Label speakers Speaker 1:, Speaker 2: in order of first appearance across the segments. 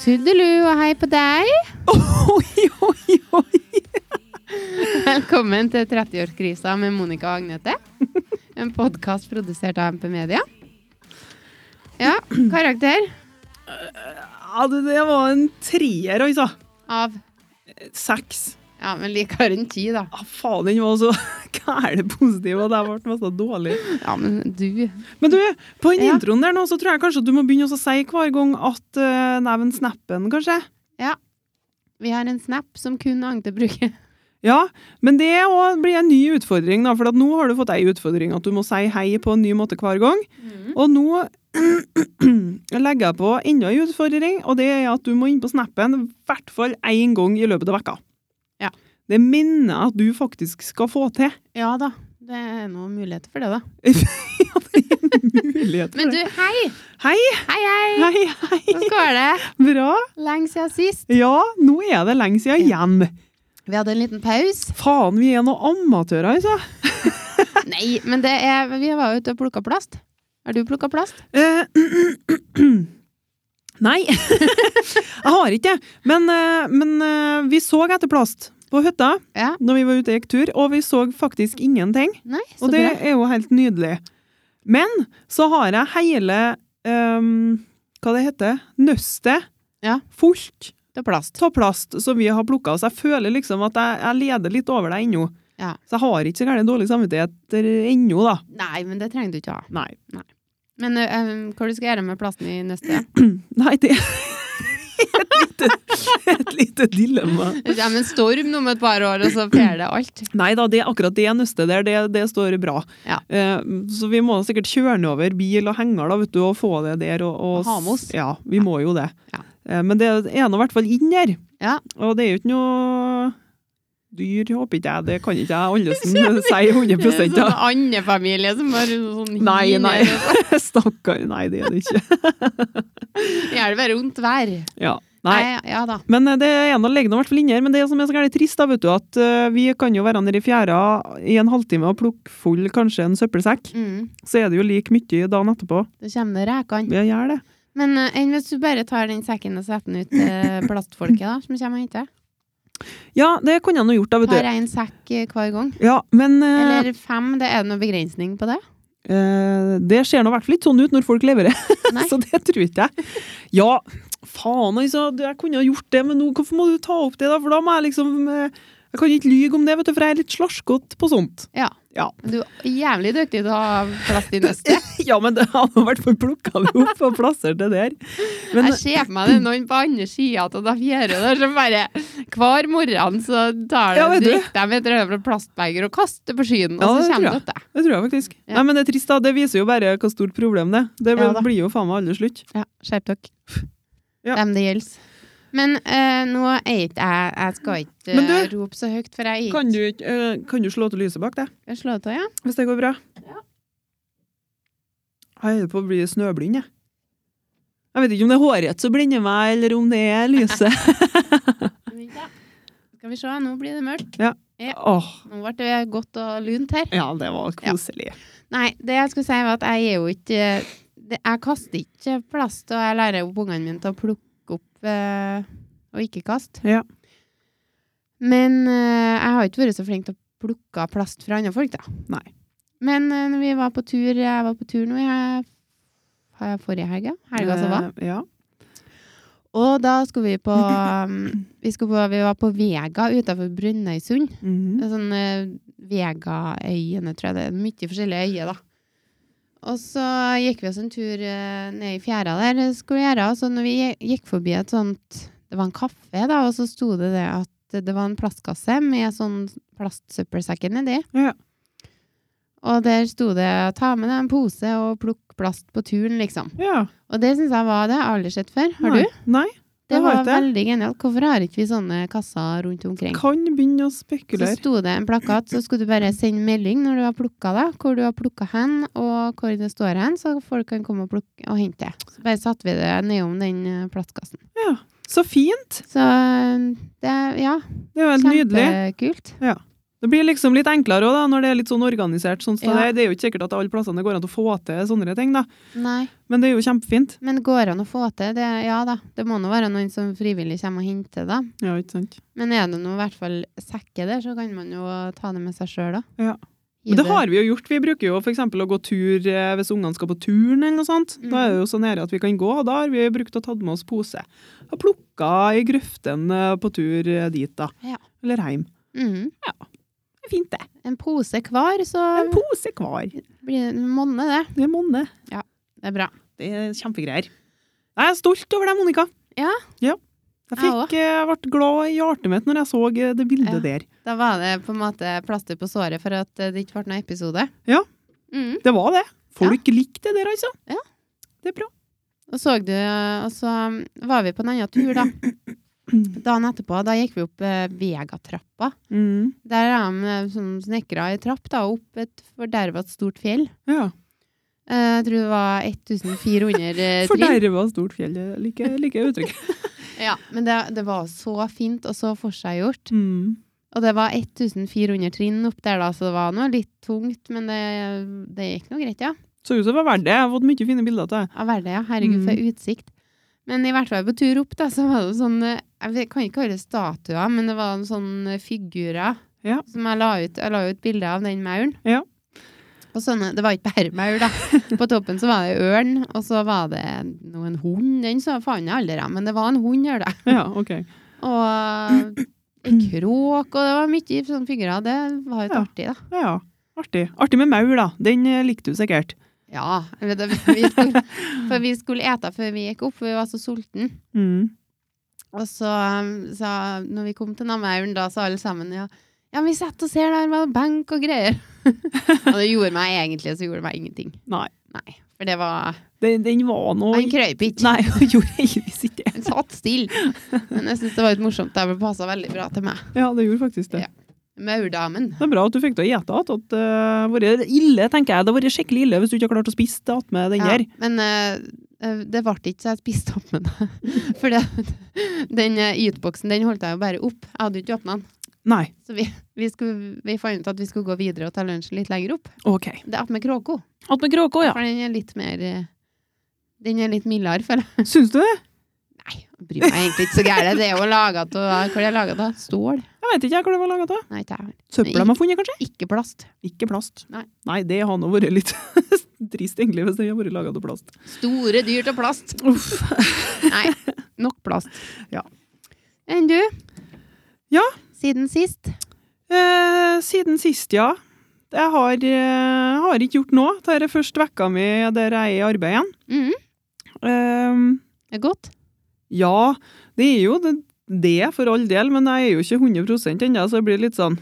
Speaker 1: Tudelu og hei på deg.
Speaker 2: Oi, oi, oi!
Speaker 1: Velkommen til 30-årskrisa med Monica og Agnete. En podkast produsert av MP Media. Ja, karakter
Speaker 2: Ja, det, det var en trier, altså.
Speaker 1: av
Speaker 2: Seks.
Speaker 1: Ja, men likere enn ti, da.
Speaker 2: Ah, faen, den var så gæren positiv, og det ble den så dårlig.
Speaker 1: Ja, men du
Speaker 2: Men du, på den
Speaker 1: Ja.
Speaker 2: introen der nå, så tror jeg kanskje du må begynne å si hver gang at uh, nevn snappen, kanskje?
Speaker 1: Vi har en snap som kun Agnete bruker.
Speaker 2: Ja, men det også blir en ny utfordring, da, for at nå har du fått ei utfordring at du må si hei på en ny måte hver gang.
Speaker 1: Mm.
Speaker 2: Og nå legger jeg på enda en utfordring, og det er at du må inn på snappen i hvert fall én gang i løpet av vekka.
Speaker 1: Ja.
Speaker 2: Det minner jeg at du faktisk skal få til.
Speaker 1: Ja da. Det er noen muligheter for det, da.
Speaker 2: Mulighet for
Speaker 1: Men
Speaker 2: det.
Speaker 1: du, hei!
Speaker 2: Hei!
Speaker 1: Hei, hei!
Speaker 2: Hei, hei!
Speaker 1: Hvordan går det?
Speaker 2: Bra!
Speaker 1: Lenge siden sist.
Speaker 2: Ja, nå er det lenge siden igjen.
Speaker 1: Vi hadde en liten pause.
Speaker 2: Faen, vi er noen amatører, altså.
Speaker 1: Nei, men det er Vi var jo ute og plukka plast. Har du plukka plast?
Speaker 2: Eh, Nei, jeg har ikke det. Men, eh, men eh, vi så etter plast på hytta
Speaker 1: Ja.
Speaker 2: når vi var ute og gikk tur, og vi så faktisk ingenting.
Speaker 1: Nei, så
Speaker 2: Og det
Speaker 1: bra.
Speaker 2: er jo helt nydelig. Men så har jeg hele ehm, Hva det heter Nøstet
Speaker 1: Ja.
Speaker 2: fullt
Speaker 1: Det er plast.
Speaker 2: av plast som vi har plukka. Så jeg føler liksom at jeg, jeg leder litt over deg ennå.
Speaker 1: Ja.
Speaker 2: Så jeg har ikke så gærent dårlig samvittighet ennå, da.
Speaker 1: Nei, men det trenger du ikke ha.
Speaker 2: Nei.
Speaker 1: Men ø, ø, hva du skal gjøre med plasten i neste?
Speaker 2: Nei, det er et lite, et lite dilemma.
Speaker 1: Det kommer en storm nå om et par år, og så fjer det alt.
Speaker 2: Nei da, det, akkurat det nøstet der, det, det står bra.
Speaker 1: Ja.
Speaker 2: Eh, så vi må sikkert kjøre den over bil og henger da, vet du, og få det der. Og, og,
Speaker 1: Og ha med oss.
Speaker 2: Ja, vi må jo det.
Speaker 1: Ja.
Speaker 2: Eh, men det er nå i hvert fall inn der.
Speaker 1: Ja.
Speaker 2: Og det er jo ikke noe dyr, håper ikke jeg. Det kan ikke jeg Andersen si 100
Speaker 1: sånn
Speaker 2: da.
Speaker 1: annen familie som har sånn hin
Speaker 2: Nei, nei.
Speaker 1: eller sånn.
Speaker 2: Stakkar. Nei, det er det ikke.
Speaker 1: Gjør det bare vondt vær.
Speaker 2: Ja. Nei.
Speaker 1: Ja da.
Speaker 2: Men eh, det ene ligger nå i hvert fall inne her, men det som er så gærent trist, da, vet du, at eh, vi kan jo være nede i fjæra i en halvtime og plukke full kanskje en søppelsekk.
Speaker 1: Mm.
Speaker 2: Så er det jo like mye dagen etterpå.
Speaker 1: Det kommer det rekene.
Speaker 2: Jeg gjør det.
Speaker 1: Men ø, enn hvis du bare tar den sekken og setter den ut til plastfolket, da, som kommer og henter?
Speaker 2: Ja, det kunne jeg nå gjort, da, vet
Speaker 1: Tar
Speaker 2: du.
Speaker 1: én sekk ø, hver gang?
Speaker 2: Ja, men eh,
Speaker 1: Eller fem? Det er det noen begrensning på det?
Speaker 2: eh, det ser nå i hvert fall ikke sånn ut når folk leverer,
Speaker 1: Nei.
Speaker 2: så det tror ikke jeg. Ja, faen altså, du, jeg kunne ha gjort det, men nå, hvorfor må du ta opp det, da? For da må jeg liksom eh, Jeg kan ikke lyge om det, vet du, for jeg er litt slaskete på sånt.
Speaker 1: Ja.
Speaker 2: Ja.
Speaker 1: Du er jævlig dyktig til å ha plast i nøstet.
Speaker 2: Ja, men det har i hvert fall plukka det opp og plassert det der. Men,
Speaker 1: Jeg ser for meg det er noen på andre sida av det fjerde der som bare Hver morgen så tar de,
Speaker 2: Ja, vet du.
Speaker 1: drikker de et rødblått plastbeger og kaster på skyen, og
Speaker 2: Ja,
Speaker 1: så
Speaker 2: det
Speaker 1: kommer
Speaker 2: tror
Speaker 1: det
Speaker 2: jeg.
Speaker 1: opp det.
Speaker 2: Det tror jeg faktisk.
Speaker 1: Ja.
Speaker 2: Nei, men det er trist, da. Det viser jo bare hva stort problem det er. Det blir,
Speaker 1: Ja da.
Speaker 2: blir jo faen meg aldri slutt.
Speaker 1: Ja, skjerp dere.
Speaker 2: Ja.
Speaker 1: Dem det gjelder. Men eh, nå er ikke jeg Jeg skal ikke
Speaker 2: Men
Speaker 1: eh,
Speaker 2: du-
Speaker 1: rope så høyt, for jeg er
Speaker 2: Kan du, ikke- eh, kan du slå til lyset bak deg,
Speaker 1: ikke Slå det av, ja?
Speaker 2: hvis det går bra? Jeg holder på å bli snøblind, jeg. Jeg vet ikke om det er håret som blender meg, eller om det er lyset.
Speaker 1: Skal vi se, nå blir det mørkt.
Speaker 2: Åh,
Speaker 1: Nå ble det godt og lunt her.
Speaker 2: ja, det var koselig.
Speaker 1: Nei, det jeg skulle si var at jeg er jo ikke det, Jeg kaster ikke plast, og jeg lærer jo ungene mine til å plukke opp eh, og ikke kaste.
Speaker 2: Ja.
Speaker 1: Men eh, jeg har ikke vært så flink til å plukke plast fra andre folk, da.
Speaker 2: Nei.
Speaker 1: Men eh, når vi var på tur Jeg var på tur nå i he- he- forrige helga. Helga som var.
Speaker 2: Eh, Ja.
Speaker 1: Og da skulle vi på um, Vi, skulle på, vi var på Vega utenfor Brønnøysund.
Speaker 2: Mhm.
Speaker 1: Det er sånn eh, Vegaøyene, tror jeg det er. Mye forskjellige øyer, da. Og så gikk vi oss en tur eh, ned i fjæra der, eh, skulle vi gjøre. Og så når vi gikk forbi et sånt Det var en kafé, da, og så sto det det at det var en plastkasse med sånn plastsøppelsekker nedi.
Speaker 2: Ja.
Speaker 1: Og der sto det 'ta med deg en pose og plukk plast på turen', liksom.
Speaker 2: ja.
Speaker 1: Og det syns jeg var Det har jeg aldri sett før. Har
Speaker 2: Nei.
Speaker 1: du?
Speaker 2: Nei.
Speaker 1: Det
Speaker 2: jeg har
Speaker 1: var
Speaker 2: ikke det.
Speaker 1: veldig genialt. Hvorfor har ikke vi sånne kasser rundt omkring?
Speaker 2: Kan begynne å
Speaker 1: Så
Speaker 2: spekulere.
Speaker 1: sto det en plakat, så skulle du bare sende melding når du har plukka det, hvor du har plukka hen, og hvor det står hen, så folk kan komme og, plukke, og hente det. Så bare satte vi det nedom den eh, plastkassen.
Speaker 2: Ja. Så fint!
Speaker 1: Så eh, det Ja,
Speaker 2: Det var helt nydelig.
Speaker 1: kjempekult.
Speaker 2: Ja. Det blir liksom litt enklere også, da, når det er litt sånn organisert. Sånn, som
Speaker 1: Ja.
Speaker 2: det er. Det er jo ikke sikkert at alle plassene det går an å få til sånne ting, da.
Speaker 1: Nei.
Speaker 2: men det er jo kjempefint.
Speaker 1: Men går det an å få til det? Ja da. Det må nå være noen som frivillig kommer og henter det.
Speaker 2: Ja, ikke sant?
Speaker 1: Men er det nå i hvert fall sekker der, så kan man jo ta det med seg sjøl, da.
Speaker 2: Ja.
Speaker 1: Gi
Speaker 2: Men det har vi jo gjort. Vi bruker jo f.eks. å gå tur eh, hvis ungene skal på turn eller noe sånt. Da er det jo så nære at vi kan gå, og da har vi brukt å tatt med oss pose. Og plukka i grøften eh, på tur eh, dit, da.
Speaker 1: Ja.
Speaker 2: Eller heim.
Speaker 1: Mhm.
Speaker 2: Det er fint, det.
Speaker 1: En pose hver, så
Speaker 2: En pose hver.
Speaker 1: blir det monne, det.
Speaker 2: Det er monne.
Speaker 1: Det er bra.
Speaker 2: Det er kjempegreier. Jeg er stolt over deg, Monica.
Speaker 1: Ja.
Speaker 2: ja. Jeg, fikk, eh, ble glad i hjertet mitt når jeg så eh, det bildet
Speaker 1: Ja.
Speaker 2: der.
Speaker 1: Da var det på en måte plaster på såret for at eh, det ikke ble noen episode.
Speaker 2: Ja.
Speaker 1: Mhm.
Speaker 2: Det var det. Folk likte det der, altså.
Speaker 1: Ja.
Speaker 2: Det er bra.
Speaker 1: Og, så du, og så var vi på en annen tur, da. Dagen etterpå da gikk vi opp eh, Vegatrappa.
Speaker 2: Mm.
Speaker 1: Der er de eh, som snekra i trapp, da, opp et forderva stort fjell.
Speaker 2: Ja.
Speaker 1: Eh, Jeg tror det var 1400 eh, trinn.
Speaker 2: Forderva stort fjell. jeg Liker like uttrykk.
Speaker 1: Ja, men det, det var så fint og så forseggjort.
Speaker 2: Mm.
Speaker 1: Og det var 1400 trinn opp der, da, så det var noe litt tungt, men det, det gikk nå greit, ja.
Speaker 2: Så ut som det var verdt det. Jeg har fått mye fine bilder til det.
Speaker 1: Av verden, ja. Herregud, for
Speaker 2: Mm.
Speaker 1: utsikt. Men i hvert fall på tur opp, da, så var det sånn eh, Jeg vet- kan ikke kalle det statuer, men det var en sånn eh, figurer
Speaker 2: Ja.
Speaker 1: som jeg la ut. Jeg la ut bilde av den mauren.
Speaker 2: Ja.
Speaker 1: Og sånne, Det var ikke bare maur, da. På toppen så var det ørn, og så var det nå en hund. Den så faen jeg aldri, men det var en hund her, da.
Speaker 2: Ja, ok.
Speaker 1: Og en kråk, og det var mye sånne figurer. Det var jo
Speaker 2: Ja.
Speaker 1: artig, da.
Speaker 2: Ja, ja. Artig. Artig med maur, da. Den eh, likte du sikkert.
Speaker 1: Ja. jeg vet det, Vi skulle, for vi skulle ete før vi gikk opp, for vi var så sultne.
Speaker 2: Mm.
Speaker 1: Og så um, sa Når vi kom til Namauren, da sa alle sammen ja, ja vi setter oss her, der var det benk og greier. og det gjorde meg egentlig så gjorde det meg ingenting.
Speaker 2: Nei.
Speaker 1: Nei, For det var
Speaker 2: Den, den var nå
Speaker 1: Han krøyp ikke.
Speaker 2: Nei, hun gjorde heldigvis ikke det.
Speaker 1: Han satt stille. Men jeg syns det var litt morsomt. Det passa veldig bra til meg.
Speaker 2: Ja, det gjorde faktisk det.
Speaker 1: Ja. Maurdamen.
Speaker 2: Det er bra at du fikk til å gjete at at, eh, vært ille, tenker jeg. Det har vært skikkelig ille hvis du ikke har klart å spise det attmed den
Speaker 1: Ja,
Speaker 2: der.
Speaker 1: men eh, eh, det ble ikke så jeg spiste opp med det. For det, den eh, ytboksen den holdt jeg jo bare opp. Jeg hadde jo ikke åpna den.
Speaker 2: Nei.
Speaker 1: Så vi, vi, skulle, vi fant ut at vi skulle gå videre og ta lunsjen litt lenger opp.
Speaker 2: OK.
Speaker 1: Det er attmed kråka.
Speaker 2: Attmed kråka, ja.
Speaker 1: For den er litt mer eh, Den er litt mildere, føler jeg.
Speaker 2: Syns du det?
Speaker 1: Nei, jeg bryr meg egentlig ikke så gærent. Det er jo laga av Hva er det laga av? Stål?
Speaker 2: Jeg vet ikke jeg, hva det var laga av.
Speaker 1: Nei, ikke jeg.
Speaker 2: Søppel de har funnet, kanskje?
Speaker 1: Ikke plast.
Speaker 2: Ikke plast.
Speaker 1: Nei.
Speaker 2: det har nå vært litt trist, egentlig, hvis det har vært laga av plast.
Speaker 1: Store dyr til plast.
Speaker 2: Uff.
Speaker 1: Nei, nok plast.
Speaker 2: Ja.
Speaker 1: Enn du?
Speaker 2: Ja.
Speaker 1: Siden sist?
Speaker 2: Eh, siden sist, ja. Jeg har, eh, har ikke gjort noe. Dette er først vekka mi der jeg er i arbeid igjen.
Speaker 1: Mhm,
Speaker 2: Eh,
Speaker 1: det er godt.
Speaker 2: ja, det er jo det, det for all del, men jeg er jo ikke 100 ennå, så det blir litt sånn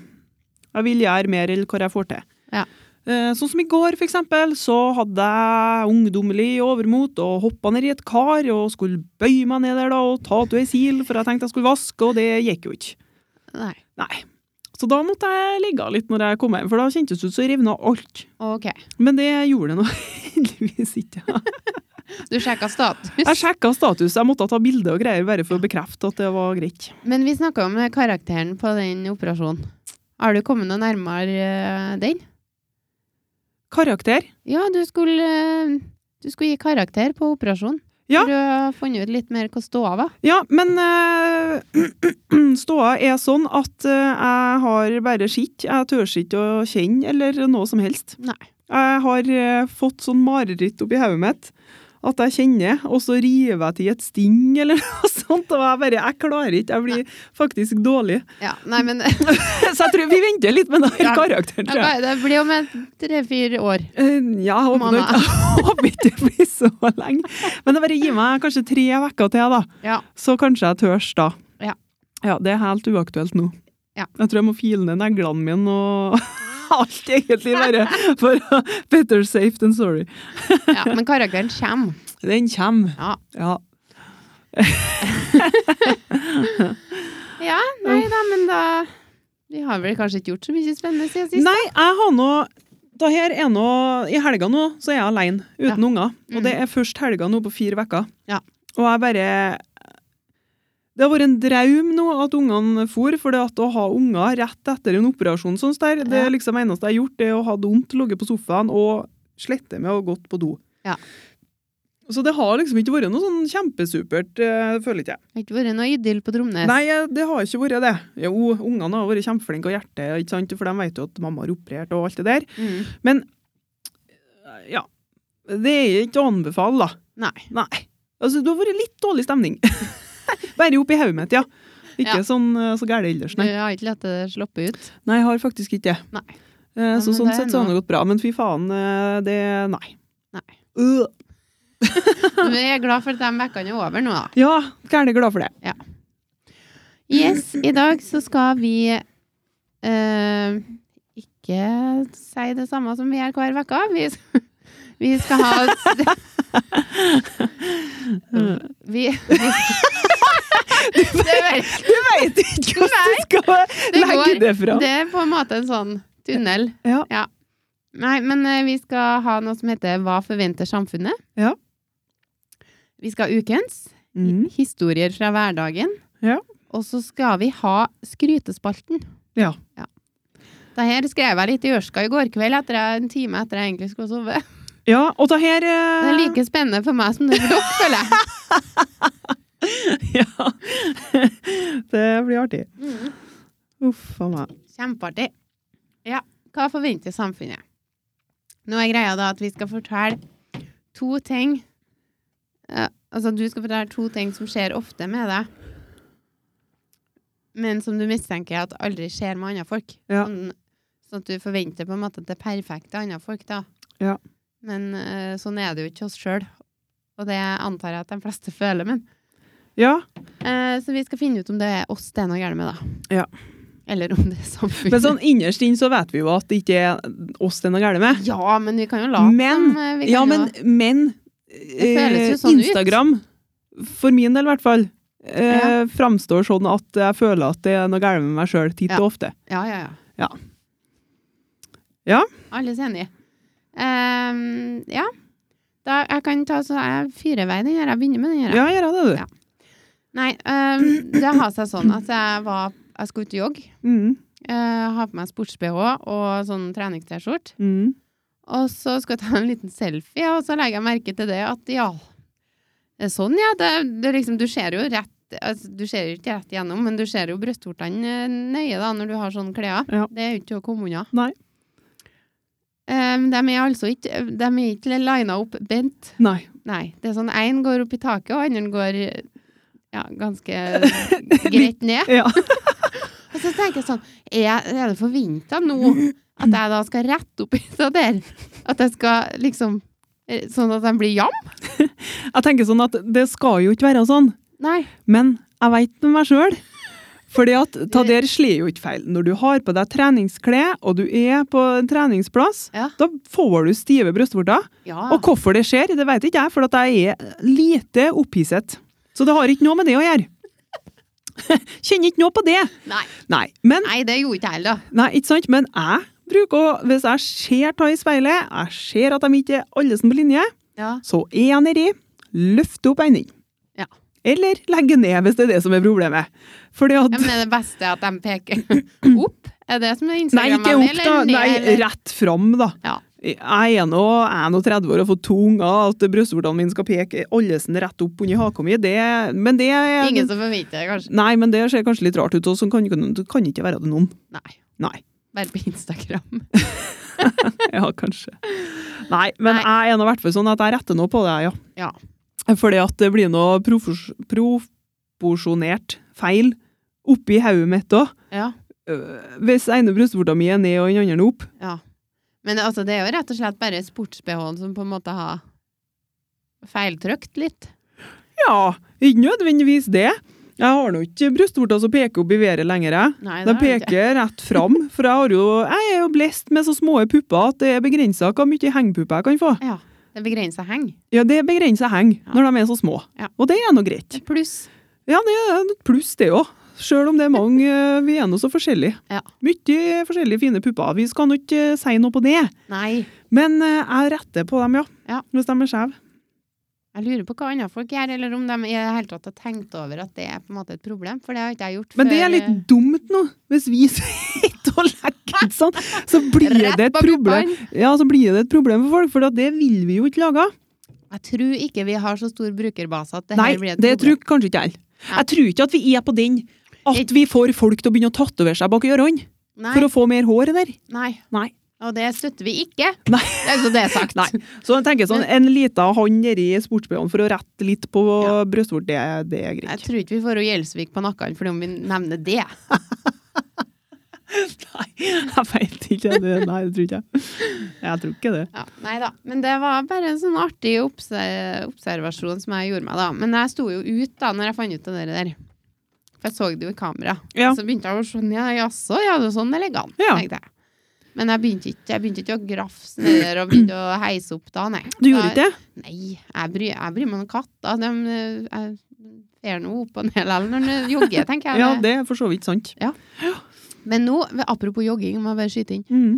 Speaker 2: Jeg vil gjøre mer enn hva jeg får til.
Speaker 1: Ja.
Speaker 2: Eh, sånn som i går, for eksempel, så hadde jeg ungdommelig overmot og hoppa ned i et kar og skulle bøye meg ned der da og ta ut ei sil, for jeg tenkte jeg skulle vaske, og det gikk jo ikke.
Speaker 1: Nei.
Speaker 2: Nei. Så da måtte jeg ligge av litt når jeg kom hjem, for da kjentes det ut som jeg revna alt.
Speaker 1: OK.
Speaker 2: Men det gjorde det nå heldigvis ikke.
Speaker 1: Du sjekka status.
Speaker 2: Jeg sjekka status, jeg måtte ta bilde og greier bare for å bekrefte at det var greit.
Speaker 1: Men vi snakka om eh, karakteren på den operasjonen. Har du kommet noe nærmere eh, den?
Speaker 2: Karakter.
Speaker 1: Ja, du skulle, eh, du skulle gi karakter på operasjonen.
Speaker 2: Ja.
Speaker 1: For Du har funnet ut litt mer hva ståa var.
Speaker 2: Ja, men eh, ståa er sånn at eh, jeg har bare skitt. Jeg tør ikke å kjenne eller noe som helst.
Speaker 1: Nei.
Speaker 2: Jeg har eh, fått sånn mareritt oppi hodet mitt at jeg kjenner, og så river jeg til i et sting eller noe sånt. Og jeg bare Jeg klarer ikke. Jeg blir faktisk dårlig.
Speaker 1: Ja, nei, men
Speaker 2: Så jeg tror vi venter litt med den
Speaker 1: Ja.
Speaker 2: karakteren, tror jeg.
Speaker 1: det blir om et tre-fire år.
Speaker 2: Eh, Ja, jeg håper
Speaker 1: Måned.
Speaker 2: nok- jeg håper ikke det blir så lenge. Men det bare gir meg kanskje tre uker til, da.
Speaker 1: Ja.
Speaker 2: Så kanskje jeg tørs da.
Speaker 1: Ja.
Speaker 2: Ja, det er helt uaktuelt nå.
Speaker 1: Ja.
Speaker 2: Jeg tror jeg må file ned neglene mine og alt, egentlig, bare for å- better safe than sorry.
Speaker 1: ja men karakteren kommer.
Speaker 2: Den kommer.
Speaker 1: Ja.
Speaker 2: Ja.
Speaker 1: Ja, nei da, men da Vi har vel kanskje ikke gjort så mye spennende siden sist?
Speaker 2: Nei, jeg har nå da her er nå, I helga nå så er jeg alene uten
Speaker 1: Ja.
Speaker 2: unger.
Speaker 1: Mm.
Speaker 2: Og det er først helga nå på fire uker.
Speaker 1: Ja.
Speaker 2: Og jeg bare Det har vært en draum nå at ungene for, for det at å ha unger rett etter en operasjon sånn der, det
Speaker 1: Ja.
Speaker 2: er liksom eneste jeg har gjort, det er å ha det vondt, ligget på sofaen og slette med og gått på do.
Speaker 1: Ja.
Speaker 2: Så det har liksom ikke vært noe sånn kjempesupert, eh, føler ikke jeg.
Speaker 1: Det har ikke vært noe idyll på Tromnes.
Speaker 2: Nei, eh, det har ikke vært det. Jo, ungene har vært kjempeflinke og hjertet, ikke sant, for de vet jo at mamma har operert og alt det der.
Speaker 1: Mm.
Speaker 2: Ja, det er ikke å anbefale da.
Speaker 1: Nei.
Speaker 2: Nei. Altså, det har vært litt dårlig stemning. Bare oppi hodet mitt, ja. Ikke
Speaker 1: Ja.
Speaker 2: sånn eh, så gære ellers,
Speaker 1: Du
Speaker 2: nei.
Speaker 1: har ikke latt det sloppe ut.
Speaker 2: Nei, jeg har faktisk ikke det.
Speaker 1: Nei.
Speaker 2: Eh,
Speaker 1: Ja,
Speaker 2: så
Speaker 1: men
Speaker 2: sånn
Speaker 1: det er
Speaker 2: sett så har
Speaker 1: noe.
Speaker 2: det gått bra. Men fy faen, eh, det Nei.
Speaker 1: Nei.
Speaker 2: Øh.
Speaker 1: Men jeg er glad for at de vekkene er over nå, da.
Speaker 2: Ja, gæren glad for det.
Speaker 1: Yes, i dag så skal vi eh, ikke si det samme som vi gjør hver uke. Vi, s- vi skal ha et s- Vi, vi det, er,
Speaker 2: Du veit ikke hvordan du skal
Speaker 1: det
Speaker 2: legge
Speaker 1: går.
Speaker 2: det fra.
Speaker 1: det er på en måte en sånn tunnel.
Speaker 2: Ja.
Speaker 1: Nei, men eh, vi skal ha noe som heter Hva forventer samfunnet?
Speaker 2: Ja.
Speaker 1: Vi skal ha ukens.
Speaker 2: Mm.
Speaker 1: Historier fra hverdagen.
Speaker 2: Ja.
Speaker 1: Og så skal vi ha skrytespalten.
Speaker 2: Ja.
Speaker 1: Det her skrev jeg litt i Ørska i går kveld, etter jeg, en time etter jeg egentlig skulle sove.
Speaker 2: ja, og det her
Speaker 1: Det
Speaker 2: eh,
Speaker 1: er like spennende for meg som det er for dere, føler jeg.
Speaker 2: Ja. Det blir artig. Uff a meg.
Speaker 1: Kjempeartig. Ja, hva forventer samfunnet? Nå er greia da at vi skal fortelle to ting eh, Altså, du skal fortelle to ting som skjer ofte med deg, men som du mistenker at aldri skjer med andre folk.
Speaker 2: Ja.
Speaker 1: Sånn, sånn at du forventer på en måte at det er perfekt til andre folk, da.
Speaker 2: Ja.
Speaker 1: Men eh, sånn er det jo ikke oss sjøl. Og det antar jeg at de fleste føler, men
Speaker 2: Ja.
Speaker 1: eh, Så vi skal finne ut om det er oss det er noe galt med, da.
Speaker 2: Ja.
Speaker 1: Eller om det er samfunnet.
Speaker 2: Men sånn innerst inne så vet vi jo at det ikke er oss det er noe galt med.
Speaker 1: Ja, men vi kan jo late
Speaker 2: Men-
Speaker 1: som eh, vi kan
Speaker 2: Ja, men,
Speaker 1: jo,
Speaker 2: men
Speaker 1: føles jo
Speaker 2: eh,
Speaker 1: sånn ut.
Speaker 2: Instagram, for min del i hvert fall, eh,
Speaker 1: Ja.
Speaker 2: framstår sånn at jeg føler at det er noe galt med meg sjøl titt
Speaker 1: Ja.
Speaker 2: og ofte.
Speaker 1: ja, ja, ja.
Speaker 2: Ja. Ja.
Speaker 1: Alle er enige. Ehm, ja. Da, jeg kan ta så jeg fyrer i vei den her. Jeg begynner med den her.
Speaker 2: Ja, gjør jeg det, du.
Speaker 1: Ja. Nei, ehm, det har seg sånn at jeg var Jeg skulle ut og jogge.
Speaker 2: Mm,
Speaker 1: eh, ha på meg sports-BH og sånn treningst-T-skjorte.
Speaker 2: mm.
Speaker 1: Og så skulle jeg ta en liten selfie, og så legger jeg merke til det at ja det er Sånn, ja. Det, det er liksom, du ser jo rett altså, Du ser jo ikke rett igjennom, men du ser jo brystvortene eh, nøye da, når du har sånne klær.
Speaker 2: Ja.
Speaker 1: Det er jo ikke til å komme unna.
Speaker 2: Nei.
Speaker 1: Em, de er altså ikke De er ikke lina opp bent.
Speaker 2: Nei.
Speaker 1: Nei. Det er sånn én går opp i taket, og andre går ja, ganske greit ned.
Speaker 2: Ja.
Speaker 1: Og så tenker jeg sånn, er, jeg- er det forventa nå at jeg da skal rette opp i det der? At jeg skal liksom eh, Sånn at den blir jam?
Speaker 2: Jeg tenker sånn at det skal jo ikke være sånn,
Speaker 1: Nei.
Speaker 2: men jeg veit med meg sjøl. Fordi at ta der slår jo ikke feil. Når du har på deg treningsklær, og du er på en treningsplass,
Speaker 1: Ja.
Speaker 2: da får du stive brystvorter.
Speaker 1: Ja.
Speaker 2: Og hvorfor det skjer, det vet ikke jeg, for at jeg er lite opphisset. Så det har ikke noe med det å gjøre. Kjenner ikke noe på det.
Speaker 1: Nei.
Speaker 2: Nei, men,
Speaker 1: Nei, det gjorde ikke jeg heller.
Speaker 2: nei, ikke sant? men jeg bruker å Hvis jeg ser ta i speilet, jeg ser at de ikke er alle som på linje,
Speaker 1: Ja.
Speaker 2: så er jeg nedi, løfter opp enden.
Speaker 1: Ja.
Speaker 2: Eller legger ned, hvis det er det som er problemet. Fordi at
Speaker 1: Ja, Men det beste er at de peker opp? Er det som er
Speaker 2: Nei,
Speaker 1: Instagram?
Speaker 2: ikke opp, da. Nei, rett fram, da.
Speaker 1: Ja.
Speaker 2: Jeg er nå jeg er nå 30 år og har fått to unger. At brystvortene mine skal peke allesen rett opp under haka mi, det Men det er
Speaker 1: Ingen som forventer det, kanskje?
Speaker 2: Nei, men det ser kanskje litt rart ut, og sånn kan, kan, kan ikke være det noen.
Speaker 1: Nei.
Speaker 2: Nei.
Speaker 1: Bare på Instagram.
Speaker 2: Ja, kanskje. Nei, men
Speaker 1: Nei.
Speaker 2: jeg er nå i hvert fall sånn at jeg retter nå på det, ja.
Speaker 1: Ja.
Speaker 2: Fordi at det blir noe profors- proporsjonert feil oppi hodet mitt òg.
Speaker 1: Ja.
Speaker 2: Hvis ene brystvorta mi er ned og den andre opp.
Speaker 1: ja. Men altså, det er jo rett og slett bare sports-BH-en som på en måte har feiltrykt litt.
Speaker 2: Ja, ikke nødvendigvis det. Jeg har nå ikke brystvorter som peker opp i været lenger. jeg.
Speaker 1: Nei,
Speaker 2: De
Speaker 1: det har jeg ikke.
Speaker 2: peker rett fram, for jeg, har jo, jeg er jo blest med så små pupper at det er begrensa hvor mye hengpupper jeg kan få.
Speaker 1: Ja. Det begrenser heng.
Speaker 2: Ja, Det er begrensa heng
Speaker 1: Ja.
Speaker 2: når de er så små,
Speaker 1: Ja.
Speaker 2: og det er nå greit.
Speaker 1: Pluss
Speaker 2: Ja, det er et pluss, det òg. Sjøl om det er mange, eh, vi er nå så forskjellige.
Speaker 1: Ja.
Speaker 2: Mye forskjellige fine pupper. Vi skal nå ikke eh, si noe på det,
Speaker 1: Nei.
Speaker 2: men eh, jeg retter på dem, ja.
Speaker 1: Ja.
Speaker 2: Hvis de er skjeve.
Speaker 1: Jeg lurer på hva andre folk gjør, eller om de i det hele tatt har tenkt over at det er på en måte et problem, for det har ikke jeg gjort
Speaker 2: Men det
Speaker 1: før,
Speaker 2: er litt
Speaker 1: eh,
Speaker 2: dumt nå, hvis vi sitter og legger ut sånn, så blir
Speaker 1: rett
Speaker 2: det et
Speaker 1: på
Speaker 2: problem.
Speaker 1: puppene.
Speaker 2: Ja, så blir det et problem for folk, for at det vil vi jo ikke lage.
Speaker 1: Jeg tror ikke vi har så stor brukerbase at det
Speaker 2: Nei,
Speaker 1: her blir et
Speaker 2: det tror
Speaker 1: problem.
Speaker 2: kanskje ikke jeg.
Speaker 1: Nei.
Speaker 2: Jeg tror ikke at vi er på den at
Speaker 1: Ikke-
Speaker 2: vi får folk til å begynne å tatovere seg bak ørene
Speaker 1: Nei,
Speaker 2: for å få mer hår der.
Speaker 1: nei.
Speaker 2: Nei.
Speaker 1: Og det støtter vi ikke.
Speaker 2: Nei.
Speaker 1: Det er så det er sagt.
Speaker 2: Nei. Så jeg tenker sånn, en lita hånd nedi sportsbh-en for å rette litt på ja. brystvort, det, det er
Speaker 1: Jeg
Speaker 2: greit.
Speaker 1: tror ikke vi får Gjelsvik på nakken fordi om vi nevner det.
Speaker 2: Nei, jeg veit ikke. Det, nei, det tror ikke jeg. Jeg tror ikke det.
Speaker 1: Ja, nei da. Men det var bare en sånn artig obse- observasjon som jeg gjorde meg, da. Men jeg sto jo ut da når jeg fant ut av det der. For jeg så det jo i kamera.
Speaker 2: Ja.
Speaker 1: Så begynte jeg å sånn, ja, jaså, ja, det er sånn elegant,
Speaker 2: Ja.
Speaker 1: tenkte jeg. Men jeg begynte ikke, jeg begynte ikke å grafse ned der og begynte å heise opp da, nei.
Speaker 2: Du gjorde ikke det?
Speaker 1: det? Nei, jeg bryr, jeg bryr meg om katter. De eh, jeg ser nå opp og ned likevel når de jogger, tenker jeg.
Speaker 2: Ja, det er for så vidt sant.
Speaker 1: Men nå, apropos jogging, må jeg bare skyte inn.
Speaker 2: Mm.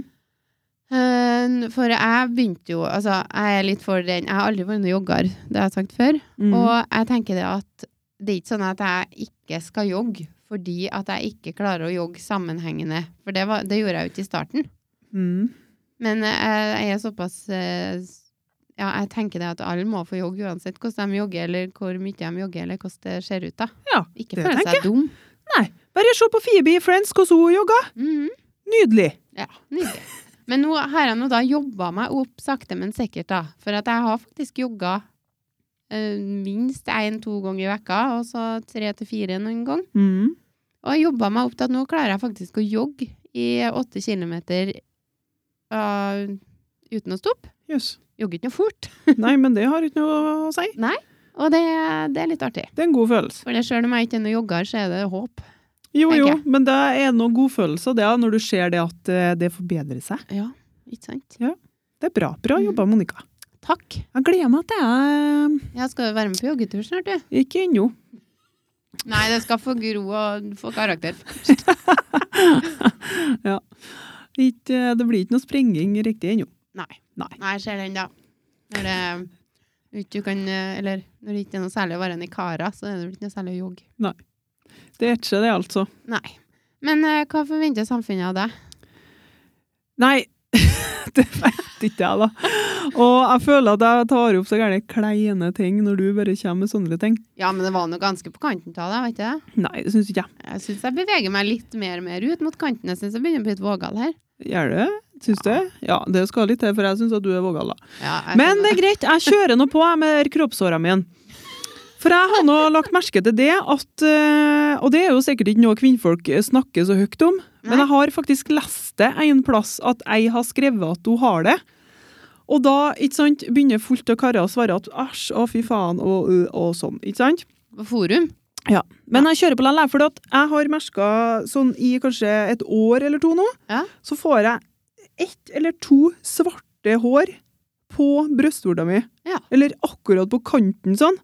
Speaker 1: Eh, For jeg begynte jo Altså, jeg er litt for den Jeg har aldri vært noen jogger, det har jeg sagt før.
Speaker 2: Mm.
Speaker 1: Og jeg tenker det at det er ikke sånn at jeg ikke skal jogge fordi at jeg ikke klarer å jogge sammenhengende. For det, var, det gjorde jeg jo ikke i starten.
Speaker 2: Mm.
Speaker 1: Men eh, jeg er såpass eh, s- Ja, jeg tenker det at alle må få jogge uansett hvordan de jogger, eller hvor mye de jogger, eller hvordan det ser ut, da.
Speaker 2: Ja,
Speaker 1: Ikke
Speaker 2: det
Speaker 1: føle
Speaker 2: tenker
Speaker 1: seg dum.
Speaker 2: Bare se på Phoebe i Friends, hvordan hun jogger.
Speaker 1: Mhm.
Speaker 2: Nydelig.
Speaker 1: Ja, nydelig. Men nå har jeg nå da jobba meg opp sakte, men sikkert, da. For at jeg har faktisk jogga eh, minst én-to ganger i vekka, og så tre til fire noen gang.
Speaker 2: Mm.
Speaker 1: Og jeg jobba meg opp til at nå klarer jeg faktisk å jogge i åtte kilometer eh, uten å stoppe.
Speaker 2: Jøss.
Speaker 1: Jogger ikke noe fort.
Speaker 2: Nei, men det har ikke noe å si.
Speaker 1: Og det, det er litt artig.
Speaker 2: Det er en god følelse.
Speaker 1: For det sjøl om jeg ikke er noen jogger, så er det håp.
Speaker 2: Jo,
Speaker 1: Tenker
Speaker 2: jo,
Speaker 1: jeg.
Speaker 2: men det er noen god følelse det, er når du ser det at eh, det forbedrer seg.
Speaker 1: Ja, ikke sant?
Speaker 2: Det er bra. Bra
Speaker 1: Mm.
Speaker 2: jobba, Monica.
Speaker 1: Takk.
Speaker 2: Jeg gleder meg til jeg eh,
Speaker 1: Jeg skal jo være med på joggetur snart, du.
Speaker 2: Ikke ennå.
Speaker 1: Nei, det skal få gro og få karakter.
Speaker 2: Ikke, eh, Det blir ikke noe sprenging riktig ennå.
Speaker 1: Nei.
Speaker 2: Nei.
Speaker 1: jeg ser den, da. Når det ikke kan eh, Eller når det ikke er noe særlig å være en ikara, så er det vel ikke noe særlig å jogge.
Speaker 2: Det er ikke det, altså.
Speaker 1: Nei. Men eh, hva forventer samfunnet av deg?
Speaker 2: Nei, det vet ikke jeg, da. Og jeg føler at jeg tar opp så gærne kleine ting når du bare kommer med sånne ting.
Speaker 1: Ja, men det var noe ganske på kanten av deg, vet du det?
Speaker 2: Nei, det syns ikke jeg.
Speaker 1: Jeg syns jeg beveger meg litt mer og mer ut mot kanten. Jeg syns jeg begynner å bli litt vågal her.
Speaker 2: Gjør det? Syns du? Ja, det skal litt til, for jeg syns at du er vågal, da.
Speaker 1: Ja, jeg
Speaker 2: Men det
Speaker 1: skjønner.
Speaker 2: er greit, jeg kjører nå på jeg, med kroppshårene mine. For jeg har nå lagt merke til det at eh, Og det er jo sikkert ikke noe kvinnfolk eh, snakker så høyt om, men
Speaker 1: Nei.
Speaker 2: jeg har faktisk lest det en plass at ei har skrevet at hun har det. Og da ikke sant, begynner fullt av karer å svare at æsj, å fy faen, og, ø, og sånn. ikke sant?
Speaker 1: På forum?
Speaker 2: Men jeg kjører på likevel, for jeg har merka sånn i kanskje et år eller to nå,
Speaker 1: Ja.
Speaker 2: så får jeg ett eller to svarte hår på brystvorta mi.
Speaker 1: Ja.
Speaker 2: Eller akkurat på kanten sånn.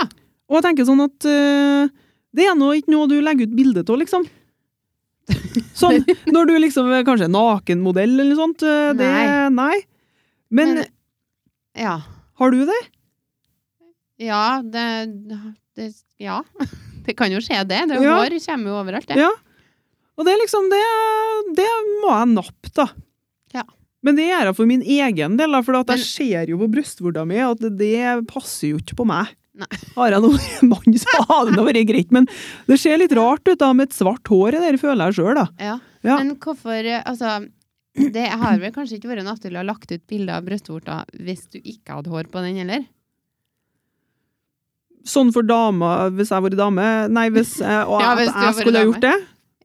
Speaker 1: Ja.
Speaker 2: Og jeg tenker sånn at eh, det er nå ikke noe du legger ut bilde av, liksom. Sånn, når du liksom er kanskje nakenmodell eller noe sånt. eh, Det, nei. Men,
Speaker 1: Men- Ja.
Speaker 2: har du det?
Speaker 1: Ja, det, det Ja. Det kan jo skje, det. det er jo
Speaker 2: Ja.
Speaker 1: Hår kommer jo overalt, det.
Speaker 2: Ja. Og det er liksom, det, er- det må jeg nappe, da.
Speaker 1: Ja.
Speaker 2: Men det gjør jeg for min egen del, da, for at
Speaker 1: Men-
Speaker 2: jeg ser jo på brystvorta mi at det, det passer jo ikke på meg.
Speaker 1: Nei.
Speaker 2: Har jeg noen mann, så hadde det vært greit, men det ser litt rart ut da med et svart hår i det, føler jeg sjøl, da.
Speaker 1: Ja.
Speaker 2: Ja.
Speaker 1: Men hvorfor eh, Altså, det har vel kanskje ikke vært naturlig å ha lagt ut bilder av brystvorta hvis du ikke hadde hår på den heller?
Speaker 2: Sånn for damer, hvis jeg har vært dame Nei, hvis, eh, og
Speaker 1: Ja,
Speaker 2: at
Speaker 1: hvis du har
Speaker 2: jeg
Speaker 1: vært
Speaker 2: skulle ha
Speaker 1: dame.
Speaker 2: gjort det.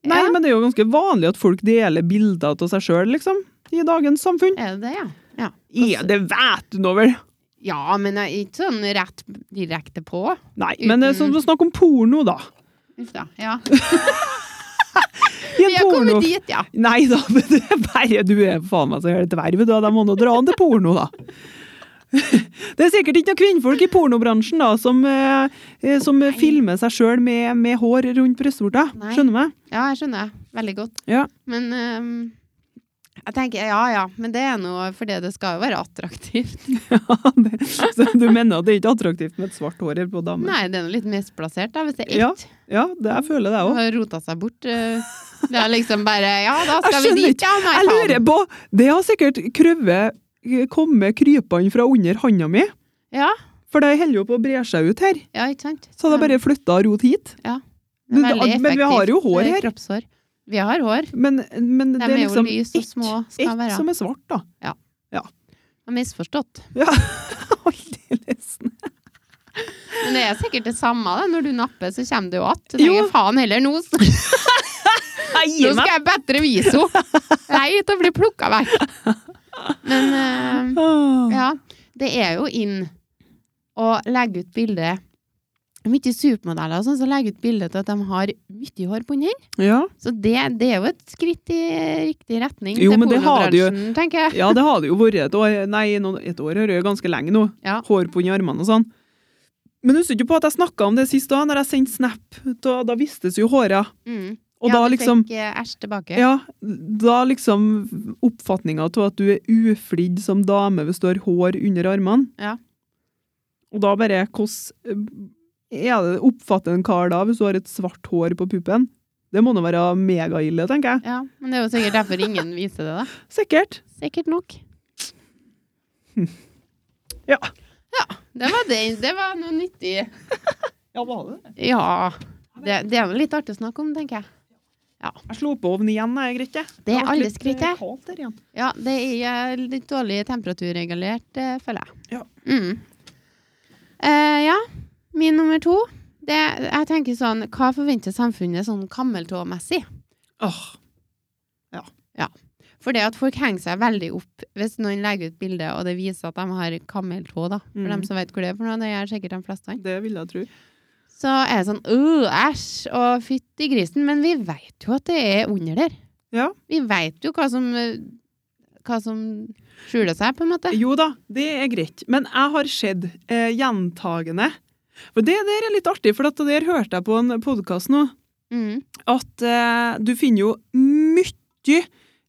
Speaker 2: Nei,
Speaker 1: ja,
Speaker 2: men det er jo ganske vanlig at folk deler bilder av seg sjøl, liksom. I dagens samfunn.
Speaker 1: Er det det, ja? Ja, altså-
Speaker 2: Ja, det vet du nå vel!
Speaker 1: ja men eh, ikke sånn rett direkte på.
Speaker 2: Nei, men det er
Speaker 1: Uten-
Speaker 2: sånn å snakke om porno, da.
Speaker 1: Uff da. Ja.
Speaker 2: I
Speaker 1: Vi
Speaker 2: en
Speaker 1: har
Speaker 2: porno.
Speaker 1: kommet dit, ja.
Speaker 2: Nei da, men det er bare du er faen meg så helt vervet, da. De må nå dra an til porno, da. Det er sikkert ikke noen kvinnfolk i pornobransjen da, som, eh, eh, som eh, filmer seg sjøl med, med hår rundt brystvorta.
Speaker 1: Nei.
Speaker 2: Skjønner du meg?
Speaker 1: Ja, jeg skjønner. Veldig godt.
Speaker 2: Ja.
Speaker 1: Men ehm, Jeg tenker ja ja, men det er noe fordi det skal jo være attraktivt.
Speaker 2: Ja, det, så du mener at det er ikke attraktivt med et svart hår her på damen?
Speaker 1: Nei, det er noe litt misplassert, da, hvis det er
Speaker 2: Ja,
Speaker 1: ett.
Speaker 2: ja det, jeg føler det òg.
Speaker 1: har rota seg bort. eh, Det er liksom bare Ja, da
Speaker 2: Jeg
Speaker 1: skal vi
Speaker 2: skjønner
Speaker 1: dit, ja! Nei,
Speaker 2: Jeg lurer
Speaker 1: faen.
Speaker 2: på Det har sikkert krøvet eh, kommet krypende fra under handa mi,
Speaker 1: Ja,
Speaker 2: for det holder jo på å bre seg ut her.
Speaker 1: ja, ikke sant?
Speaker 2: Så det er bare flytta rot hit.
Speaker 1: Det er
Speaker 2: Men
Speaker 1: veldig
Speaker 2: da- men vi
Speaker 1: effektivt.
Speaker 2: har jo hår
Speaker 1: Det er
Speaker 2: her.
Speaker 1: Kroppshår. Vi har hår.
Speaker 2: Men, men
Speaker 1: De
Speaker 2: det
Speaker 1: er
Speaker 2: er
Speaker 1: jo
Speaker 2: liksom
Speaker 1: lys og små, skal
Speaker 2: ett
Speaker 1: være.
Speaker 2: som er svart, da.
Speaker 1: Jeg har misforstått.
Speaker 2: Aldeles.
Speaker 1: Men det er sikkert det samme. Da. Når du napper, så kommer det jo att. Du
Speaker 2: Jo.
Speaker 1: tenker faen heller nå. Nå skal jeg bedre vise henne. Nei, til å bli plukka vekk. Men eh,
Speaker 2: Ah.
Speaker 1: ja, det er jo inn å legge ut bilde Mye supermodeller og sånn, så legger ut bilde til at de har mye hår på hendene.
Speaker 2: Ja.
Speaker 1: Så det, det er jo et skritt i riktig retning
Speaker 2: Jo,
Speaker 1: til
Speaker 2: men det har det jo-
Speaker 1: pornobransjen, tenker jeg.
Speaker 2: ja, det hadde jo vært et år. Nei, noen- et år er det jo ganske lenge nå.
Speaker 1: Ja.
Speaker 2: Hår på under armene og sånn. Men husker du på at jeg snakka om det sist òg, når jeg sendte snap? Da, da vistes jo håra.
Speaker 1: Mm.
Speaker 2: Og
Speaker 1: ja,
Speaker 2: da liksom
Speaker 1: du fikk eh, æsj tilbake.
Speaker 2: Ja, da liksom oppfatninga av at du er uflidd som dame hvis du har hår under armene.
Speaker 1: Ja.
Speaker 2: Og da bare Hvordan er det oppfatter en kar da, hvis du har et svart hår på puppen? Det må nå være megaille, tenker jeg.
Speaker 1: Ja, men det er jo sikkert derfor ingen viser det, da.
Speaker 2: Sikkert.
Speaker 1: Sikkert nok.
Speaker 2: Ja.
Speaker 1: Ja, det var, det, det var noe nyttig.
Speaker 2: Ja, var det det?
Speaker 1: Ja. Det, det er jo litt artig å snakke om, tenker jeg.
Speaker 2: Jeg slo på ovnen igjen, jeg, Grete.
Speaker 1: Det er
Speaker 2: har vært
Speaker 1: aldri
Speaker 2: litt,
Speaker 1: skritt,
Speaker 2: eh,
Speaker 1: jeg.
Speaker 2: kaldt her igjen.
Speaker 1: Ja, det er eh, litt dårlig temperaturregulert, eh, føler jeg.
Speaker 2: Ja.
Speaker 1: Mm. Eh, ja, min nummer to. Det, jeg tenker sånn, hva forventer samfunnet sånn kammeltåmessig?
Speaker 2: Åh.
Speaker 1: For det at folk henger seg veldig opp hvis noen legger ut bilde og det viser at de har kammeltå, da. For
Speaker 2: Mm.
Speaker 1: dem som vet hvor det er for noe, det er sikkert de fleste.
Speaker 2: Det vil jeg tro.
Speaker 1: Så er det sånn øh, æsj og fytti grisen, men vi vet jo at det er under der.
Speaker 2: Ja.
Speaker 1: Vi vet jo hva som, eh, hva som skjuler seg, på en måte.
Speaker 2: Jo da, det er greit. Men jeg har sett eh, gjentagende For det der er litt artig, for at det der hørte jeg på en podkast nå.
Speaker 1: Mm.
Speaker 2: at eh, du finner jo mye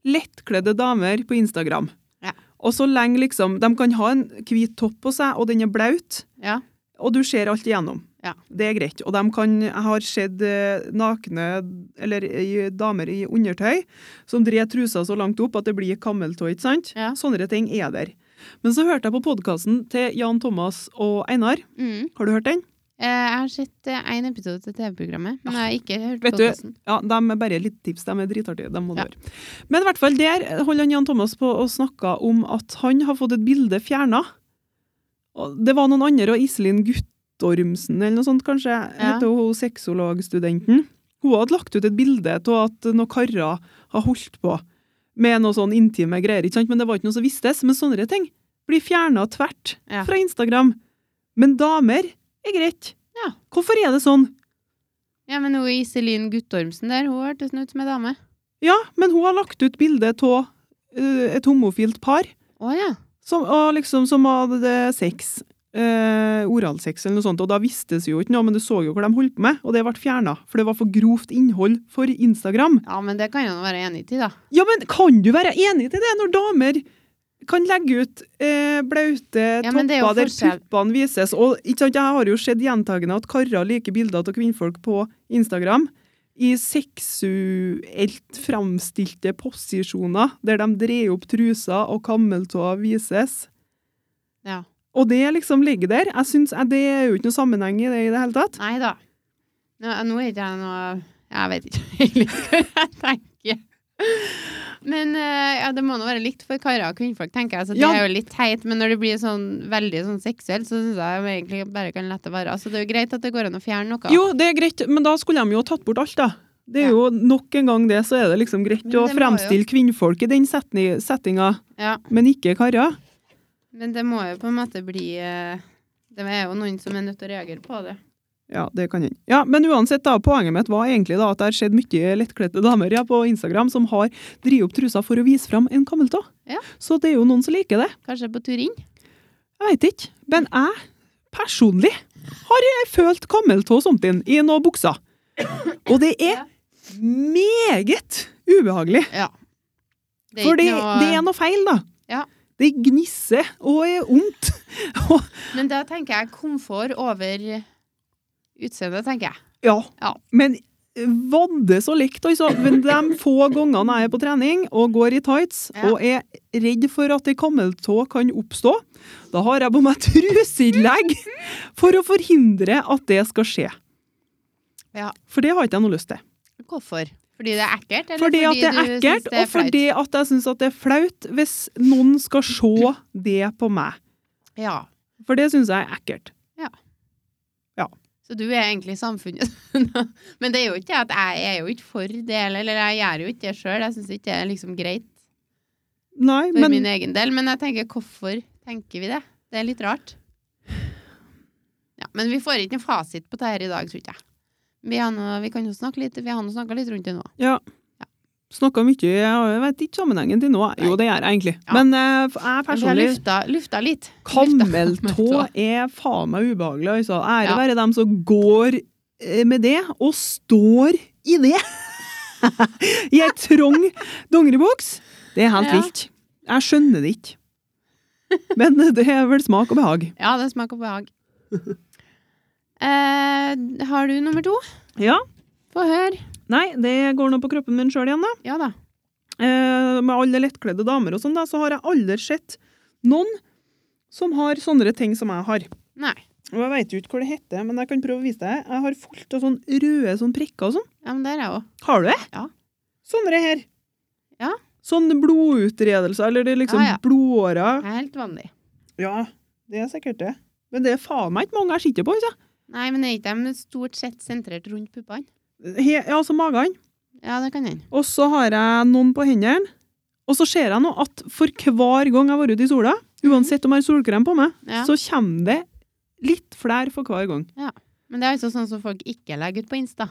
Speaker 2: lettkledde damer på Instagram.
Speaker 1: Ja.
Speaker 2: Og så lenge liksom, de kan ha en hvit topp på seg, og den er blaut,
Speaker 1: Ja.
Speaker 2: og du ser alt igjennom.
Speaker 1: Ja.
Speaker 2: Det er greit. Og de kan, jeg har sett eh, nakne eller i- damer i undertøy som dreier trusa så langt opp at det blir kammeltå, ikke sant?
Speaker 1: Ja.
Speaker 2: Sånne ting er der. Men så hørte jeg på podkasten til Jan Thomas og Einar.
Speaker 1: Mm.
Speaker 2: Har du hørt den?
Speaker 1: Eh, jeg har sett eh, en episode til TV-programmet, men jeg har ikke hørt
Speaker 2: Ah, Vet du-
Speaker 1: podcasten.
Speaker 2: Ja, de er bare litt tips. De er dritartige. De må du
Speaker 1: Ja.
Speaker 2: høre. Men i hvert fall der holder han Jan Thomas på å snakke om at han har fått et bilde fjerna. Og Det var noen andre, og Iselin Guttormsen eller noe sånt, kanskje, heter hun sexologstudenten. Hun hadde lagt ut et bilde av at noen karer har holdt på med noe sånn intime greier, ikke sant? men det var ikke noe som vistes. Men sånne ting blir fjerna tvert
Speaker 1: Ja.
Speaker 2: fra Instagram. Men damer er greit.
Speaker 1: Ja.
Speaker 2: Hvorfor er det sånn?
Speaker 1: Ja, men hun Iselin Guttormsen der, hun hørtes nå ut som ei dame.
Speaker 2: Ja, men hun har lagt ut bilde av eh, et homofilt par
Speaker 1: Å ja.
Speaker 2: som, og liksom, som hadde sex. eh, oralsex eller noe sånt, og da visste det jo ikke noe, men du så jo hva de holdt på med, og det ble fjerna, for det var for grovt innhold for Instagram.
Speaker 1: Ja, men det kan jeg nå være enig i, da.
Speaker 2: Ja, men kan du være enig til det, når damer kan legge ut eh, blaute
Speaker 1: Ja, men det er jo
Speaker 2: topper der
Speaker 1: forskjell.
Speaker 2: puppene vises, og ikke sant, jeg har jo sett gjentagende at karer liker bilder av kvinnfolk på Instagram i seksuelt framstilte posisjoner, der de dreier opp trusa og kammeltåa vises.
Speaker 1: Ja.
Speaker 2: Og det liksom ligger der. Jeg synes, eh, Det er jo ikke noe sammenheng i det i det hele tatt.
Speaker 1: Nei da. Nå, nå er ikke jeg noe Jeg vet ikke egentlig hva jeg tenker. Men eh, ja, det må nå være likt for karer og kvinnfolk, tenker jeg. Så det
Speaker 2: Ja.
Speaker 1: er jo litt teit. Men når det blir sånn veldig sånn seksuelt, så syns jeg jo egentlig bare kan la det være. Så det er jo greit at det går an å fjerne noe.
Speaker 2: Jo, det er greit, men da skulle de jo ha tatt bort alt, da. Det er
Speaker 1: Ja.
Speaker 2: jo nok en gang det, så er det liksom greit
Speaker 1: Men
Speaker 2: å
Speaker 1: det må
Speaker 2: fremstille kvinnfolk i den setni- settinga,
Speaker 1: Ja.
Speaker 2: men ikke karer.
Speaker 1: Men det må jo på en måte bli eh, Det er jo noen som er nødt til å reagere på det.
Speaker 2: Ja, det kan hende. Ja, men uansett, da, poenget mitt var egentlig da at det har skjedd mye lettkledte damer ja, på Instagram som har drevet opp trusa for å vise fram en kammeltå.
Speaker 1: Ja.
Speaker 2: Så det er jo noen som liker det.
Speaker 1: Kanskje på tur inn?
Speaker 2: Jeg veit ikke. Men jeg personlig har jeg følt kammeltå somtid i noen bukser. Og det
Speaker 1: Ja.
Speaker 2: er meget ubehagelig.
Speaker 1: Ja. Det er
Speaker 2: For det,
Speaker 1: ikke noe-
Speaker 2: det er noe feil, da.
Speaker 1: Ja.
Speaker 2: Det gnisser og er vondt.
Speaker 1: Men da tenker jeg komfort over utseende, tenker jeg.
Speaker 2: Ja.
Speaker 1: Ja.
Speaker 2: Men vadde så likt, altså. Men de få gangene jeg er på trening og går i tights
Speaker 1: Ja.
Speaker 2: og er redd for at ei kammeltå kan oppstå, da har jeg på meg trusetillegg for å forhindre at det skal skje.
Speaker 1: Ja.
Speaker 2: For det har ikke jeg noe lyst til.
Speaker 1: Hvorfor? Fordi det er ekkelt? Eller
Speaker 2: Fordi at det er
Speaker 1: du
Speaker 2: ekkelt,
Speaker 1: synes det er
Speaker 2: og fordi at jeg syns det er flaut hvis noen skal se det på meg.
Speaker 1: flaut? Ja.
Speaker 2: For det syns jeg er ekkelt.
Speaker 1: Så du er egentlig samfunnet. Men det er jo ikke det at jeg, jeg er jo ikke for det, eller, eller jeg gjør jo ikke det sjøl. Jeg syns ikke det er liksom greit
Speaker 2: Nei,
Speaker 1: for
Speaker 2: men
Speaker 1: min egen del. Men jeg tenker, hvorfor tenker vi det? Det er litt rart. Ja, men vi får ikke en fasit på det her i dag, tror ikke jeg. Vi, har nå- vi kan jo snakke litt, vi har nå snakka litt rundt det nå.
Speaker 2: Ja. Snakka mye Jeg vet ikke sammenhengen til nå. Jo, det gjør jeg egentlig.
Speaker 1: Ja.
Speaker 2: Men eh, jeg
Speaker 1: Men Vi har
Speaker 2: personlig
Speaker 1: lufta, lufta litt.
Speaker 2: Kammeltå
Speaker 1: Kammeltå.
Speaker 2: er faen meg ubehagelig, altså. Ære
Speaker 1: Ja.
Speaker 2: være dem som går eh, med det, og står i det! I ei trang dongeribuks. Det er helt
Speaker 1: Ja.
Speaker 2: vilt. Jeg skjønner det ikke. Men eh, det er vel smak og behag.
Speaker 1: Ja, det smaker behag. Eh, har du nummer to?
Speaker 2: Ja.
Speaker 1: Få høre.
Speaker 2: Nei, det går nå på kroppen min sjøl igjen, da.
Speaker 1: Ja da.
Speaker 2: Eh, med alle lettkledde damer og sånn, da, så har jeg aldri sett noen som har sånne ting som jeg har.
Speaker 1: Nei.
Speaker 2: Og jeg veit jo ikke hva det heter, men jeg kan prøve å vise deg. Jeg har fullt av sånn røde sånn prikker og sånn.
Speaker 1: Ja, men der er jeg òg.
Speaker 2: Har du det?
Speaker 1: Ja.
Speaker 2: Sånne her.
Speaker 1: Ja.
Speaker 2: Sånne blodutredelser, eller det er liksom
Speaker 1: Ja, ja.
Speaker 2: blodårer.
Speaker 1: Jeg er helt vanlig.
Speaker 2: Ja, det er sikkert det. Men det er faen meg ikke mange jeg sitter på, altså. ikke sant?
Speaker 1: Nei, men er ikke de stort sett sentrert rundt puppene?
Speaker 2: He- Ja, altså magene.
Speaker 1: Ja, det kan hende.
Speaker 2: Og så har jeg noen på hendene. Og så ser jeg nå at for hver gang jeg har vært ute i sola,
Speaker 1: Mhm.
Speaker 2: uansett om jeg har solkrem på meg,
Speaker 1: Ja.
Speaker 2: så kommer det litt flere for hver gang.
Speaker 1: Men det er altså sånn som folk ikke legger ut på Insta.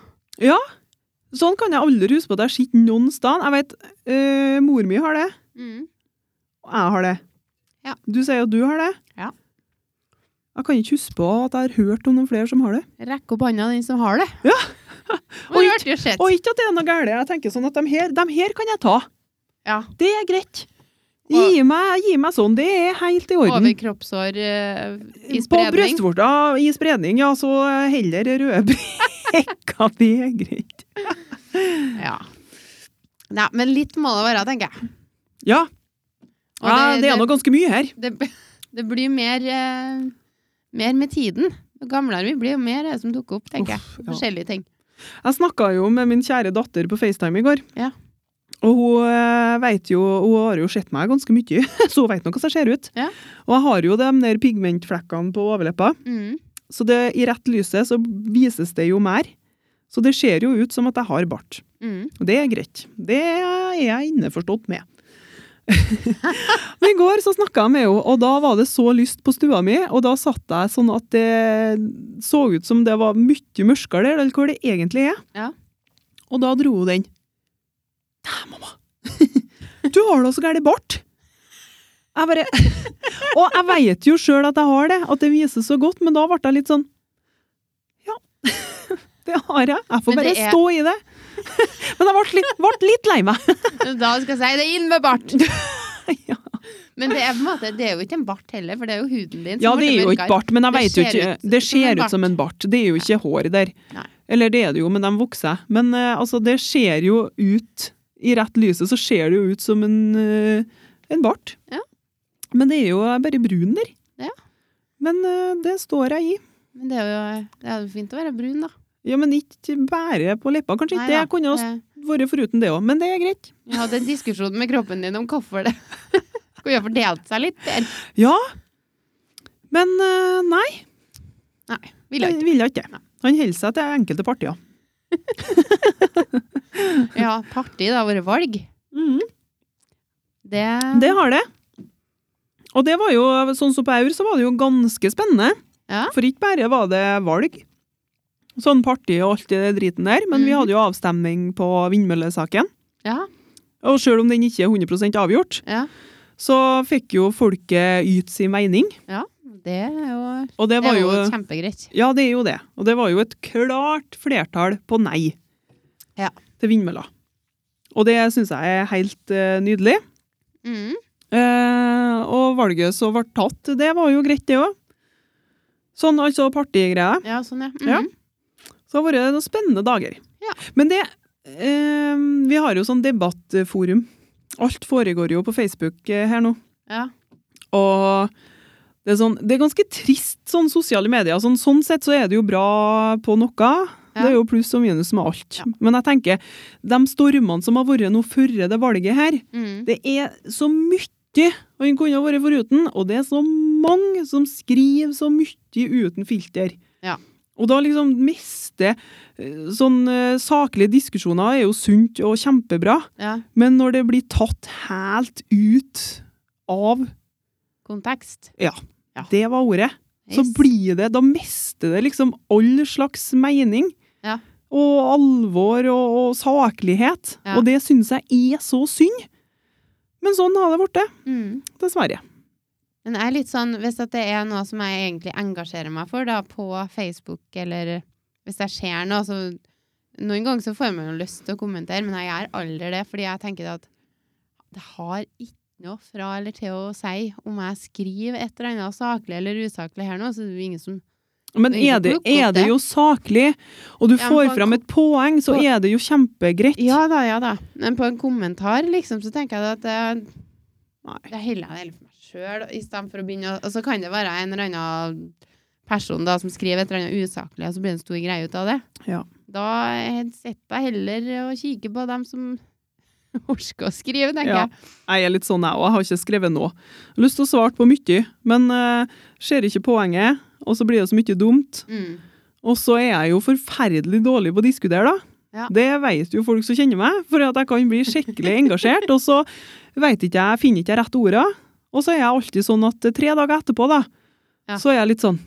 Speaker 2: Sånn kan jeg aldri huske på at jeg sitter noen sted. Jeg vet, øh, mor mi har det,
Speaker 1: Mm.
Speaker 2: og jeg har det.
Speaker 1: Ja.
Speaker 2: Du sier at du har det.
Speaker 1: Ja.
Speaker 2: Jeg kan ikke huske på at jeg har hørt om noen flere som har det.
Speaker 1: Rekk opp hånda, den som har det.
Speaker 2: Ja.
Speaker 1: Og det hørte jo sett.
Speaker 2: Og ikke at det er noe galt. Jeg tenker sånn at de her, dem her kan jeg ta.
Speaker 1: Ja.
Speaker 2: Det er greit.
Speaker 1: Og-
Speaker 2: Gi meg, gi meg sånn. Det er helt i orden.
Speaker 1: Overkroppshår eh, i
Speaker 2: På
Speaker 1: spredning.
Speaker 2: brystvorta i spredning, ja, så heller røde prikker. Det er greit.
Speaker 1: Ja. Nei, men litt må det være, tenker jeg.
Speaker 2: Ja,
Speaker 1: Og
Speaker 2: ja det, er nå ganske mye her.
Speaker 1: det, det blir mer, eh, mer med tiden. Jo gamlere vi blir, jo mer er det som dukker opp, tenker
Speaker 2: Uff,
Speaker 1: jeg.
Speaker 2: ja.
Speaker 1: Forskjellige ting.
Speaker 2: Jeg snakka jo med min kjære datter på FaceTime i går.
Speaker 1: Ja.
Speaker 2: Og hun eh, vet jo, hun har jo sett meg ganske mye, så hun vet nå hvordan jeg ser ut.
Speaker 1: Ja.
Speaker 2: Og jeg har jo de der pigmentflekkene på overleppa,
Speaker 1: Mm.
Speaker 2: så det, i rett lyset så vises det jo mer. Så det ser jo ut som at jeg har bart.
Speaker 1: Mm.
Speaker 2: Og Det er greit. Det er jeg innforstått med. Men I går så snakka jeg med henne, og da var det så lyst på stua mi. Og da satt jeg sånn at det så ut som det var mye mørkere der, eller hvor det egentlig er.
Speaker 1: Ja.
Speaker 2: Og da dro hun den. Nei, mamma! Du har da så gæren bart! Jeg bare Og jeg veit jo sjøl at jeg har det, at det vises så godt, men da ble jeg litt sånn Ja, det har jeg. Jeg får
Speaker 1: Men
Speaker 2: bare
Speaker 1: det er-
Speaker 2: stå i det. Men jeg ble litt, ble litt lei meg.
Speaker 1: Da skal jeg si det er inn med bart!
Speaker 2: Ja.
Speaker 1: Men det er, på en måte, det er jo ikke en bart heller, for det er jo huden din som
Speaker 2: Ja, det
Speaker 1: blir
Speaker 2: er jo ikke
Speaker 1: mørkere.
Speaker 2: bart, men jeg
Speaker 1: sånn Det
Speaker 2: vet jo
Speaker 1: ser
Speaker 2: ikke
Speaker 1: ut som en
Speaker 2: Det ser ut som en bart. Det er jo ikke hår der.
Speaker 1: Nei.
Speaker 2: Eller det er det jo, men de vokser. Men eh, altså, det ser jo ut I rett lyset så ser det jo ut som en, eh, en bart.
Speaker 1: Ja.
Speaker 2: Men det er jo bare brun der.
Speaker 1: Ja.
Speaker 2: Men eh, det står jeg i.
Speaker 1: Men det er jo det er jo fint å være brun, da.
Speaker 2: Ja, men ikke bare på leppa, kanskje.
Speaker 1: Nei
Speaker 2: ikke.
Speaker 1: da,
Speaker 2: Jeg kunne også
Speaker 1: det-
Speaker 2: vært foruten det òg, men det er greit.
Speaker 1: Jeg hadde en diskusjon med kroppen din om hvorfor det kunne ha fordelt seg litt. Der.
Speaker 2: Ja. Men eh, nei,
Speaker 1: Nei, ville
Speaker 2: jeg
Speaker 1: ikke.
Speaker 2: ville ikke.
Speaker 1: Nei.
Speaker 2: Han holder seg til enkelte partier.
Speaker 1: Ja, parti, det har vært valg. Det,
Speaker 2: Det har det. Og det var jo, sånn som på Aur, så var det jo ganske spennende.
Speaker 1: Ja.
Speaker 2: For ikke bare var det valg. Sånn parti og alt det driten der, men vi
Speaker 1: Mhm.
Speaker 2: hadde jo avstemning på vindmøllesaken.
Speaker 1: Ja,
Speaker 2: Og selv om den ikke er 100 avgjort,
Speaker 1: ja,
Speaker 2: så fikk jo folket yte sin mening.
Speaker 1: ja. Det er jo,
Speaker 2: Og det
Speaker 1: det
Speaker 2: var
Speaker 1: er jo
Speaker 2: jo
Speaker 1: kjempegreit.
Speaker 2: Ja, det er jo det. Og det var jo et klart flertall på nei
Speaker 1: Ja.
Speaker 2: til vindmøller. Og det syns jeg er helt eh, nydelig.
Speaker 1: Mm.
Speaker 2: Eh, og valget som ble tatt, det var jo greit, det òg. Sånn altså partigreier.
Speaker 1: Ja, sånn, ja. Mm.
Speaker 2: Ja. Så det har vært noen spennende dager.
Speaker 1: Ja.
Speaker 2: Men det eh, Vi har jo sånn debattforum. Alt foregår jo på Facebook eh, her nå.
Speaker 1: Ja.
Speaker 2: Og det er, sånn, det er ganske trist, sånn sosiale medier. Sånn, sånn sett så er det jo bra på noe.
Speaker 1: Ja.
Speaker 2: Det er jo pluss og minus med alt.
Speaker 1: Ja.
Speaker 2: Men jeg tenker, de stormene som har vært nå før det valget her,
Speaker 1: Mm.
Speaker 2: det er så mye han kunne ha vært foruten, og det er så mange som skriver så mye uten filter.
Speaker 1: Ja.
Speaker 2: Og da liksom miste eh, Sånne eh, saklige diskusjoner er jo sunt og kjempebra,
Speaker 1: ja.
Speaker 2: men når det blir tatt helt ut av
Speaker 1: Kontekst.
Speaker 2: det var ordet, så
Speaker 1: Yes.
Speaker 2: blir det Da mister det liksom all slags mening.
Speaker 1: Ja.
Speaker 2: Og alvor og, og saklighet.
Speaker 1: Ja.
Speaker 2: Og det syns jeg er så synd. Men sånn har det blitt,
Speaker 1: mm.
Speaker 2: dessverre.
Speaker 1: Men jeg er litt sånn, hvis at det er noe som jeg egentlig engasjerer meg for da, på Facebook, eller hvis jeg ser noe, så noen ganger så får man jo lyst til å kommentere, men jeg gjør aldri det, fordi jeg tenker at det har ikke noe fra eller til å si om jeg skriver et eller annet saklig eller usaklig her nå, så er det jo ingen som...
Speaker 2: Men
Speaker 1: Det er
Speaker 2: er
Speaker 1: ikke
Speaker 2: det,
Speaker 1: klokt,
Speaker 2: er det
Speaker 1: det.
Speaker 2: jo saklig, og du
Speaker 1: Ja, men på
Speaker 2: får
Speaker 1: en
Speaker 2: fram et poeng, så
Speaker 1: på-
Speaker 2: er det jo kjempegreit.
Speaker 1: Ja da, ja da. Men på en kommentar, liksom, så tenker jeg at det,
Speaker 2: Nei.
Speaker 1: det heller jeg heller for meg selv, i stedet for å begynne å... Og så kan det være en eller annen person da, som skriver et eller annet usaklig, og så blir det en stor greie ut av det.
Speaker 2: Ja.
Speaker 1: Da sitter jeg heller og kikker på dem som orker å skrive, tenker
Speaker 2: Ja.
Speaker 1: jeg.
Speaker 2: Jeg er litt sånn, jeg òg. Jeg har ikke skrevet noe. Jeg har lyst til å svare på mye, men eh, ser ikke poenget, og så blir det så mye dumt.
Speaker 1: Mm.
Speaker 2: Og så er jeg jo forferdelig dårlig på å diskutere, da.
Speaker 1: Ja.
Speaker 2: Det vet jo folk som kjenner meg, for at jeg kan bli skikkelig engasjert. Og så vet ikke jeg, finner ikke jeg rett orda. Og så er jeg alltid sånn at tre dager etterpå, da,
Speaker 1: Ja.
Speaker 2: så er jeg litt sånn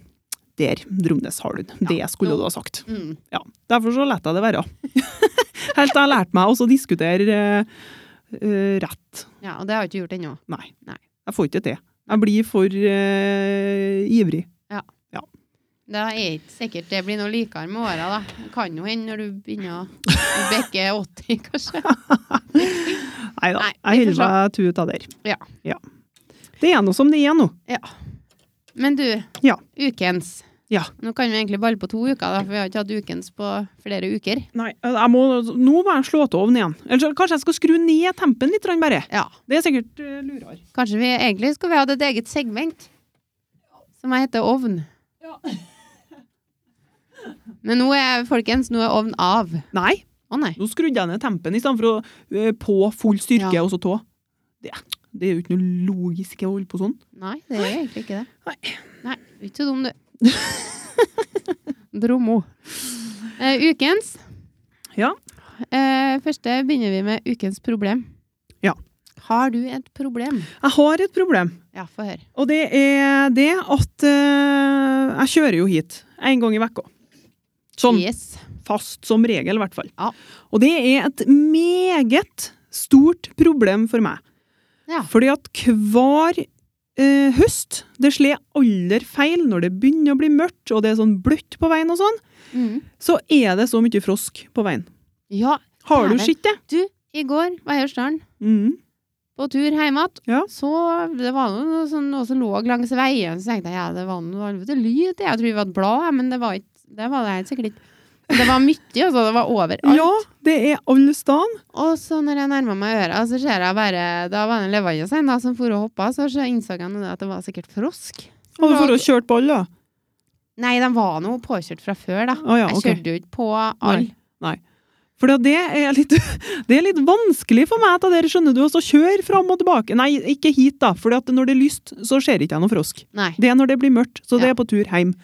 Speaker 2: Der, Dromnes, har du den. Det
Speaker 1: Ja. Jo.
Speaker 2: skulle du ha sagt.
Speaker 1: Mm.
Speaker 2: Ja, Derfor så lar jeg det være. Helt til jeg har lært meg også å diskutere eh, eh, rett.
Speaker 1: ja, og det har jeg ikke gjort ennå.
Speaker 2: Nei.
Speaker 1: Nei.
Speaker 2: Jeg får ikke til. Jeg blir for eh, ivrig.
Speaker 1: Det er ikke sikkert det blir noe likere med åra, da. Det kan jo hende når du begynner å bikke 80, kanskje.
Speaker 2: Nei da.
Speaker 1: Nei,
Speaker 2: Jeg
Speaker 1: vi får
Speaker 2: holder meg tut av der.
Speaker 1: Ja.
Speaker 2: Det er nå som det er nå.
Speaker 1: Men du,
Speaker 2: Ja.
Speaker 1: ukens.
Speaker 2: Ja.
Speaker 1: Nå kan vi egentlig balle på to uker, da, for vi har ikke hatt ukens på flere uker.
Speaker 2: Nei, eh, jeg må, nå må jeg slå av ovnen igjen. Eller så kanskje jeg skal skru ned tempen litt, grann bare.
Speaker 1: Ja.
Speaker 2: Det er sikkert eh, lurere.
Speaker 1: Kanskje vi egentlig skulle vi hatt et eget segment som jeg heter Ovn.
Speaker 2: Ja.
Speaker 1: Men nå er folkens, nå er ovn av. Å
Speaker 2: Nei,
Speaker 1: nei.
Speaker 2: nå skrudde jeg ned tempen istedenfor å eh, på full styrke
Speaker 1: Ja.
Speaker 2: og så tå. Det, det er jo ikke noe logisk å holde på sånn.
Speaker 1: Nei, det er egentlig ikke det.
Speaker 2: Nei.
Speaker 1: Nei, du er ikke så dum, du. Dromo. Eh, ukens.
Speaker 2: Ja.
Speaker 1: Eh, første begynner vi med ukens problem.
Speaker 2: Ja.
Speaker 1: Har du et problem?
Speaker 2: Jeg har et problem,
Speaker 1: Ja, få høre.
Speaker 2: og det er det at eh, jeg kjører jo hit en gang i vekka. Sånn
Speaker 1: Yes.
Speaker 2: fast som regel, i hvert fall.
Speaker 1: Ja.
Speaker 2: Og det er et meget stort problem for meg.
Speaker 1: Ja.
Speaker 2: Fordi at hver eh, høst Det slår aller feil når det begynner å bli mørkt, og det er sånn bløtt på veien og sånn.
Speaker 1: Mm.
Speaker 2: Så er det så mye frosk på veien.
Speaker 1: Ja,
Speaker 2: Har du
Speaker 1: Dæven.
Speaker 2: sett det?
Speaker 1: i går var jeg i Ørsdalen.
Speaker 2: Mm.
Speaker 1: på tur hjem igjen,
Speaker 2: Ja.
Speaker 1: så det var noe, noe sånn, noe som lå langs veien. Så tenkte jeg ja, det var noe helvete lyd. Jeg tror det var et blad, jeg, men det var ikke det var det helt sikkert ikke. Det var mye, altså. Det var overalt.
Speaker 2: Ja, det er alle steder.
Speaker 1: Og så når jeg nærma meg øra, så ser jeg bare Da var det en levende en da, som for og hoppa, så så innså jeg nå det at det var sikkert frosk.
Speaker 2: Har du for å kjørt ball, da?
Speaker 1: Nei, de var nå påkjørt fra før, da.
Speaker 2: Å ja,
Speaker 1: Jeg
Speaker 2: ok.
Speaker 1: kjørte jo ikke på alle.
Speaker 2: For det er, litt, det er litt vanskelig for meg, det der, skjønner du, å så kjøre fram og tilbake. Nei, ikke hit, da. For når det er lyst, så ser ikke jeg noe frosk.
Speaker 1: Nei.
Speaker 2: Det er når det blir mørkt, så det
Speaker 1: Ja.
Speaker 2: er på tur hjem.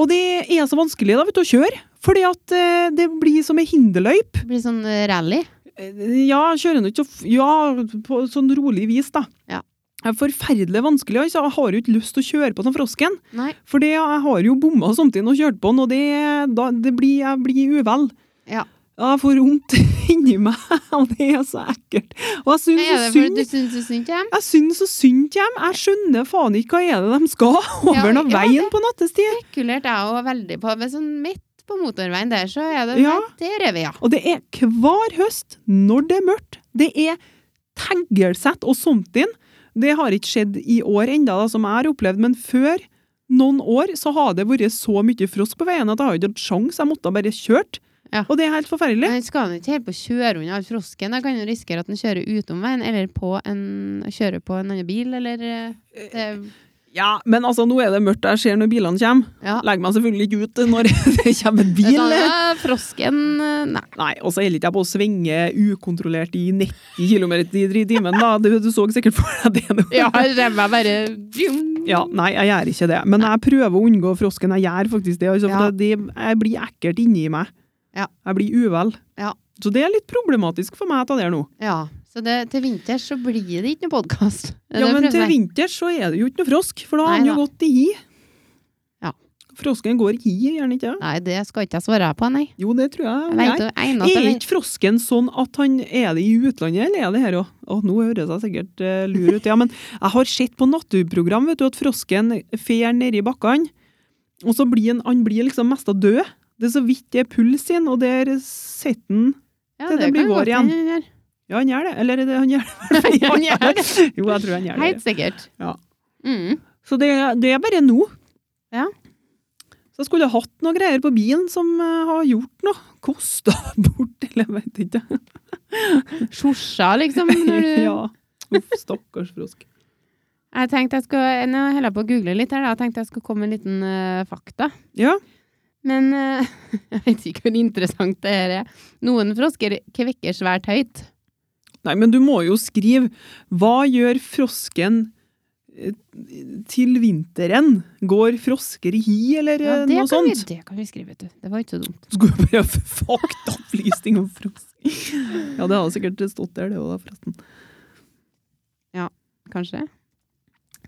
Speaker 2: Og det er så vanskelig da, vet du, å kjøre, fordi at eh, det blir som en hinderløyp.
Speaker 1: Det blir sånn eh, rally.
Speaker 2: Eh, Ja, kjører du ikke så f- Ja, på sånn rolig vis, da.
Speaker 1: Ja.
Speaker 2: Det er forferdelig vanskelig. Altså. Jeg har jo ikke lyst til å kjøre på den frosken.
Speaker 1: Nei.
Speaker 2: For det, jeg har jo bomma samtidig og kjørt på den, og det, da, det blir, jeg blir uvel.
Speaker 1: Ja.
Speaker 2: Jeg får vondt inni meg, og det er så ekkelt. Og jeg syns
Speaker 1: Er
Speaker 2: så
Speaker 1: det fordi
Speaker 2: synd
Speaker 1: du syns det er synd på dem?
Speaker 2: jeg syns så synd på dem. Jeg skjønner faen ikke hva er det de skal over
Speaker 1: Ja,
Speaker 2: den
Speaker 1: ja,
Speaker 2: veien på nattestid.
Speaker 1: spekulerte jeg òg veldig på. Men sånn midt på motorveien der, så er det
Speaker 2: Ja.
Speaker 1: Der er vi, ja.
Speaker 2: Og det er hver høst, når det er mørkt, det er Teglsett og sånt inn, det har ikke skjedd i år enda, da, som jeg har opplevd, men før noen år så har det vært så mye frosk på veien at jeg har ikke hatt sjans, jeg måtte ha bare kjørt.
Speaker 1: Ja.
Speaker 2: Og det er helt forferdelig.
Speaker 1: Men skal han ikke helt på å kjøre unna all frosken? Da kan han risikere at han kjører utom veien, eller på en, kjører på en annen bil, eller eh, det,
Speaker 2: Ja, men altså, nå er det mørkt, jeg ser når bilene kommer.
Speaker 1: Ja.
Speaker 2: Legger meg selvfølgelig ikke ut når det kommer en
Speaker 1: Det er
Speaker 2: bil.
Speaker 1: sånn, «Å, frosken eh, Nei.
Speaker 2: Nei, og så holder ikke jeg på å svinge ukontrollert i 90 km i timen, da. Du, du så sikkert for deg det nå.
Speaker 1: Ja, ræva bare Djum.
Speaker 2: Ja, nei, jeg gjør ikke det. Men jeg prøver å unngå frosken. Jeg gjør faktisk det. Altså, for
Speaker 1: Ja.
Speaker 2: det, jeg blir ekkelt inni meg.
Speaker 1: Ja.
Speaker 2: Jeg blir uvel.
Speaker 1: Ja.
Speaker 2: Så det er litt problematisk for meg, dette der nå.
Speaker 1: Ja, så det, til vinters så blir det ikke noe podkast.
Speaker 2: Ja, men til vinters så er det jo ikke noe frosk, for da har
Speaker 1: Nei
Speaker 2: den jo
Speaker 1: da.
Speaker 2: gått i hi.
Speaker 1: Ja.
Speaker 2: Frosken går i hi, gjør den ikke? det?
Speaker 1: Nei, det skal ikke jeg svare på, nei.
Speaker 2: Jo, det tror jeg.
Speaker 1: Jeg
Speaker 2: han
Speaker 1: vet
Speaker 2: gjør.
Speaker 1: jo eneste
Speaker 2: Er
Speaker 1: jeg vet.
Speaker 2: ikke frosken sånn at han er det i utlandet, eller er det her òg? Nå høres jeg sikkert eh, lur ut. Ja, men jeg har sett på naturprogram vet du, at frosken fer nedi bakkene, og så blir han, han blir liksom mest av død. Det er så vidt det er puls inn, og der sitter han
Speaker 1: Ja,
Speaker 2: til det blir vår igjen.
Speaker 1: hende han gjør.
Speaker 2: Ja, han gjør det. Eller er det han gjør det?
Speaker 1: Han gjør det.
Speaker 2: Jo, jeg tror han gjør det.
Speaker 1: Helt sikkert.
Speaker 2: Ja.
Speaker 1: Mm.
Speaker 2: Så det, det er bare nå.
Speaker 1: Ja.
Speaker 2: Så skulle jeg hatt noe greier på bilen som eh, har gjort noe. Kosta bort, eller jeg vet ikke.
Speaker 1: Sjosja, liksom. Når du...
Speaker 2: Ja. Uff, stakkars frosk.
Speaker 1: Jeg tenkte jeg skulle Nå holder jeg på å google litt her, da. Jeg tenkte jeg skulle komme med en liten eh, fakta.
Speaker 2: Ja.
Speaker 1: Men eh, jeg vet ikke hvor interessant det her er. Noen frosker kvekker svært høyt.
Speaker 2: Nei, men du må jo skrive Hva gjør frosken eh, til vinteren? Går frosker i hi, eller eh,
Speaker 1: det,
Speaker 2: noe
Speaker 1: kan vi,
Speaker 2: sånt?
Speaker 1: det kan vi skrive, vet du. Det var ikke så dumt.
Speaker 2: Skulle jeg bare ha faktaopplysning om frosk. Ja, det hadde sikkert stått der, det òg, forresten.
Speaker 1: Kanskje?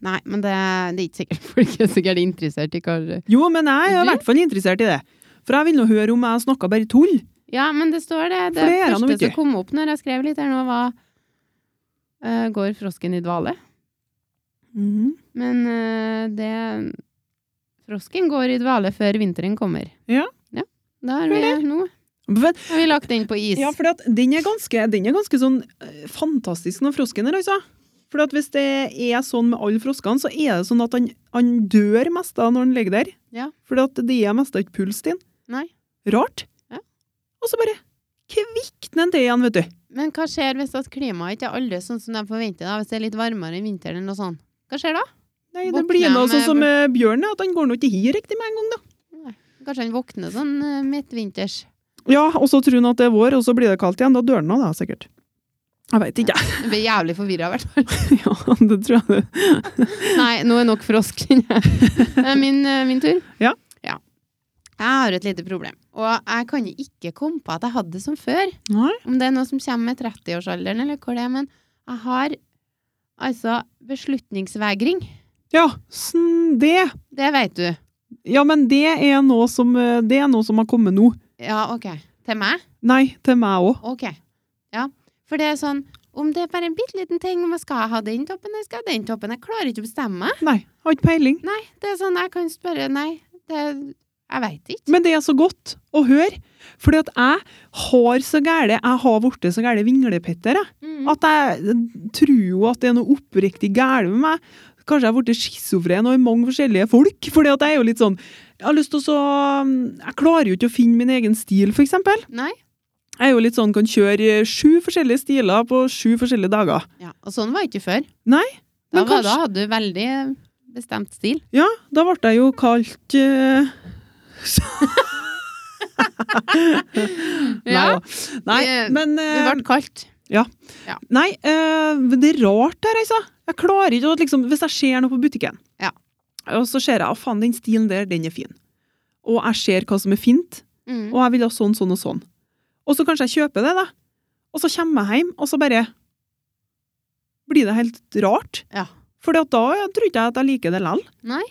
Speaker 1: Nei, men det, det er ikke sikkert folk er sikkert interessert i hva
Speaker 2: Jo, men jeg er i
Speaker 1: Du?
Speaker 2: hvert fall interessert i det. For jeg vil nå høre om jeg snakka bare tull.
Speaker 1: Ja, men det står det. Det,
Speaker 2: For det gjør han jo
Speaker 1: første
Speaker 2: ikke.
Speaker 1: som kom opp når jeg skrev litt her nå, var eh, Går frosken i dvale? Men eh, det Frosken går i dvale før vinteren kommer.
Speaker 2: Ja.
Speaker 1: ja da har vi, nå
Speaker 2: Men,
Speaker 1: har vi lagt den på is.
Speaker 2: ja, for at den er ganske, den er ganske sånn eh, fantastisk, den frosken her, altså. For at hvis det er sånn med alle froskene, så er det sånn at han, han dør mest da når han ligger der.
Speaker 1: Ja.
Speaker 2: For at det er mest ikke puls din.
Speaker 1: Nei.
Speaker 2: Rart.
Speaker 1: Ja.
Speaker 2: Og så bare kvikner han til igjen, vet du.
Speaker 1: Men hva skjer hvis at klimaet ikke er aldri sånn som de forventer? da? Hvis det er litt varmere i vinteren eller noe sånt? Hva skjer da?
Speaker 2: Nei, det
Speaker 1: Våkner
Speaker 2: blir noe
Speaker 1: han,
Speaker 2: sånn
Speaker 1: eh,
Speaker 2: som eh, bjørnen, at han går nå ikke hi riktig med en gang, da.
Speaker 1: Kanskje han våkner sånn eh, midtvinters.
Speaker 2: Ja, og så tror han at det er vår, og så blir det kaldt igjen. Da dør han av, da, sikkert. Jeg veit ikke, jeg.
Speaker 1: Jeg Blir jævlig forvirra, i hvert fall.
Speaker 2: Ja, det tror jeg det.
Speaker 1: Nei, nå er nok frosk, kjenner jeg. Det er min, eh, min tur.
Speaker 2: Ja.
Speaker 1: Jeg har et lite problem, og jeg kan ikke komme på at jeg hadde det som før.
Speaker 2: Nei.
Speaker 1: Om det er noe som kommer med 30-årsalderen, eller hvor det er, men jeg har altså beslutningsvegring.
Speaker 2: Ja, sn- det.
Speaker 1: Det vet du.
Speaker 2: Ja, men det er noe som, eh, det er noe som har kommet nå.
Speaker 1: Ja, OK. Til meg?
Speaker 2: Nei, til meg òg.
Speaker 1: OK. Ja. For det er sånn, om det er bare en bitte liten ting, om jeg skal ha den toppen, eller skal ha den toppen Jeg klarer ikke å bestemme meg.
Speaker 2: Nei, jeg har ikke peiling.
Speaker 1: Nei, det er sånn, jeg kan spørre Nei, det Jeg veit ikke.
Speaker 2: Men det er så godt å høre. Fordi at jeg har så gæle, jeg har blitt så gæle vinglepetter, jeg.
Speaker 1: Mm.
Speaker 2: At jeg eh, tror jo at det er noe oppriktig gæle med meg. Kanskje jeg har blitt schizofren og i mange forskjellige folk. Fordi at jeg er jo litt sånn Jeg har lyst til å så mm, Jeg klarer jo ikke å finne min egen stil, for eksempel.
Speaker 1: Nei.
Speaker 2: Jeg er jo litt sånn kan kjøre sju forskjellige stiler på sju forskjellige dager.
Speaker 1: Ja, og sånn var ikke før.
Speaker 2: Nei,
Speaker 1: Da,
Speaker 2: men
Speaker 1: var, da
Speaker 2: kanskje-
Speaker 1: hadde du veldig bestemt stil.
Speaker 2: Ja, da ble jeg jo kalt eh, Nei, da. nei,
Speaker 1: Det-
Speaker 2: men
Speaker 1: Det
Speaker 2: eh,
Speaker 1: ble kaldt.
Speaker 2: Nei, eh, men det er rart der, altså. Jeg klarer ikke å liksom Hvis jeg ser noe på butikken,
Speaker 1: Ja.
Speaker 2: og så ser jeg at faen, den stilen der, den er fin. Og jeg ser hva som er fint,
Speaker 1: Mm.
Speaker 2: og jeg vil ha sånn, sånn og sånn. Og så kanskje jeg kjøper det, da. Og så kommer jeg hjem, og så bare blir det helt rart.
Speaker 1: Ja.
Speaker 2: For da tror ikke jeg at jeg liker det likevel.
Speaker 1: Men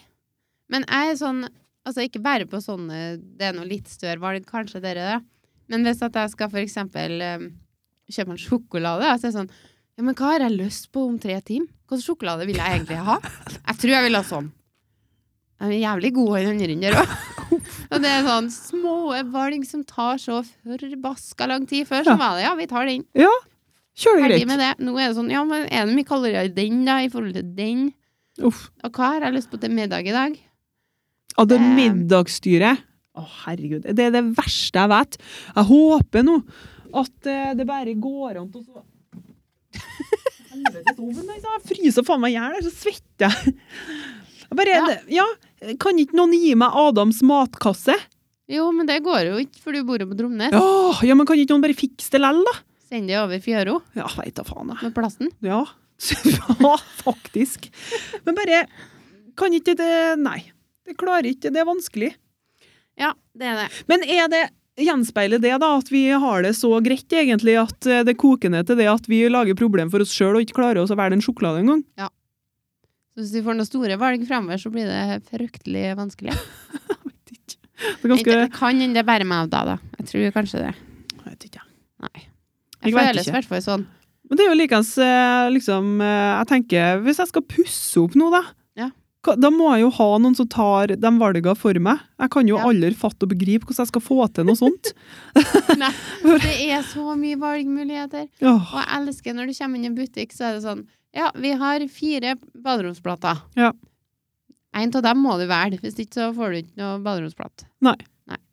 Speaker 1: jeg er sånn Altså, ikke bare på sånne Det er noe litt større valg, kanskje, dere, da. Men hvis at jeg skal for eksempel eh, kjøpe en sjokolade, da, så er det sånn Ja, men hva har jeg lyst på om tre timer? Hva slags sjokolade vil jeg egentlig ha? Jeg tror jeg vil ha sånn. De er jævlig gode, i den andre der òg. Og det er sånn små valg som tar så forbaska lang tid. Før så
Speaker 2: Ja.
Speaker 1: var det ja, vi tar den.
Speaker 2: Ja. Kjør det
Speaker 1: Ferdig
Speaker 2: greit.
Speaker 1: med det. Nå er det sånn, ja, men er det mye kalorier i den da, i forhold til den?
Speaker 2: Uff.
Speaker 1: Og hva har jeg lyst på til middag i dag?
Speaker 2: Av det
Speaker 1: Eh.
Speaker 2: middagsstyret. Å, herregud. Det er det verste jeg vet. Jeg håper nå at eh, det bare går an til å så Helvetes oven, altså. Jeg fryser faen meg i hjel, så svetter jeg. Jeg Bare,
Speaker 1: Ja.
Speaker 2: det- ja. Kan ikke noen gi meg Adams matkasse?
Speaker 1: Jo, men det går jo ikke, for du bor jo på Dromnes.
Speaker 2: Åh, ja, men kan ikke noen bare fikse det lell, da?
Speaker 1: Send det over Fjøro
Speaker 2: Ja, veit da faen, jeg.
Speaker 1: med plasten.
Speaker 2: Ja. ja, faktisk. Men bare Kan ikke det Nei. Det klarer ikke. Det er vanskelig.
Speaker 1: Ja, det er det.
Speaker 2: Men er det gjenspeiler det da at vi har det så greit egentlig at eh, det koker ned til det at vi lager problem for oss sjøl og ikke klarer oss å velge en sjokolade engang?
Speaker 1: Så hvis vi får noen store valg fremover, så blir det fryktelig vanskelig.
Speaker 2: Vet ikke. Det er ganske
Speaker 1: Det kan hende det er bare meg da, da. Jeg tror kanskje det.
Speaker 2: Jeg vet ikke.
Speaker 1: Nei.
Speaker 2: Jeg
Speaker 1: Jeg
Speaker 2: vet
Speaker 1: føles i
Speaker 2: ikke.
Speaker 1: hvert fall sånn.
Speaker 2: Men det er jo likeens eh, liksom eh, Jeg tenker, hvis jeg skal pusse opp nå, da
Speaker 1: Ja.
Speaker 2: hva- Da må jeg jo ha noen som tar de valgene for meg. Jeg kan jo
Speaker 1: Ja.
Speaker 2: aldri fatte og begripe hvordan jeg skal få til noe sånt.
Speaker 1: Nei, det er så mye valgmuligheter.
Speaker 2: Åh,
Speaker 1: Og jeg elsker når du kommer inn i en butikk, så er det sånn Ja, vi har fire baderomsplater.
Speaker 2: Ja.
Speaker 1: En av dem må du velge, hvis ikke så får du ikke noe baderomsplate.
Speaker 2: Nei.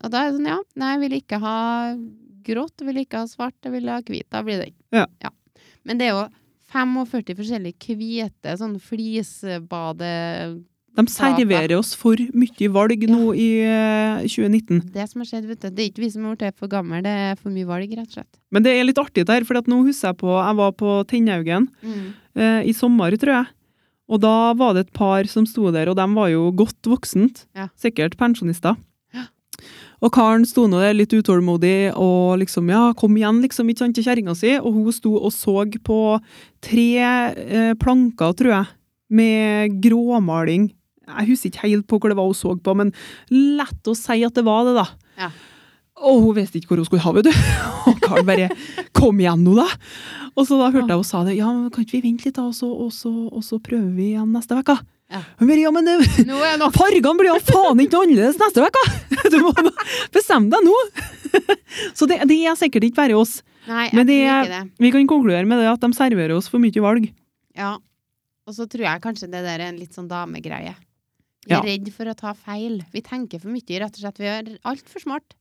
Speaker 1: Og da er det sånn, ja, nei, jeg vil ikke ha grått, jeg vil ikke ha svart, jeg vil ha hvit. Da blir det den.
Speaker 2: Ja.
Speaker 1: Men det er jo 45 forskjellige hvite sånn flisbade...
Speaker 2: de serverer oss for mye valg nå i eh, 2019.
Speaker 1: Det som har skjedd, vet du, det er ikke vi som har blitt for gamle, det er for mye valg, rett og slett.
Speaker 2: Men det er litt artig det her, for at nå husker jeg på Jeg var på Tennhaugen eh, i sommer, tror jeg. Og da var det et par som sto der, og de var jo godt voksent.
Speaker 1: Ja.
Speaker 2: Sikkert pensjonister.
Speaker 1: Ja.
Speaker 2: Og karen sto nå der litt utålmodig og liksom ja, kom igjen, liksom, ikke sant, til kjerringa si. Og hun sto og så på tre eh, planker, tror jeg, med gråmaling. Jeg husker ikke helt på hva det var hun så på, men lett å si at det var det, da.
Speaker 1: Ja.
Speaker 2: Og hun visste ikke hvor hun skulle ha, vet du. Og karen bare 'kom igjen nå, da'. Og så da hørte jeg hun sa det. Ja, men kan ikke vi vente litt, da, og så, og så, og så prøver vi igjen neste uke?
Speaker 1: Ja.
Speaker 2: Hun bare, ja, men det-
Speaker 1: Nå er det nok!
Speaker 2: fargene blir jo faen ikke noe annerledes neste uke! Du må bestemme deg nå! Så det, det er sikkert ikke bare oss.
Speaker 1: Nei, jeg
Speaker 2: Men det
Speaker 1: tror
Speaker 2: er-
Speaker 1: ikke det.
Speaker 2: Vi kan konkludere med det at de serverer oss for mye valg.
Speaker 1: Ja. Og så tror jeg kanskje det der er en litt sånn damegreie. Vi
Speaker 2: Ja.
Speaker 1: er redd for å ta feil. Vi tenker for mye, rett og slett. Vi er altfor smart.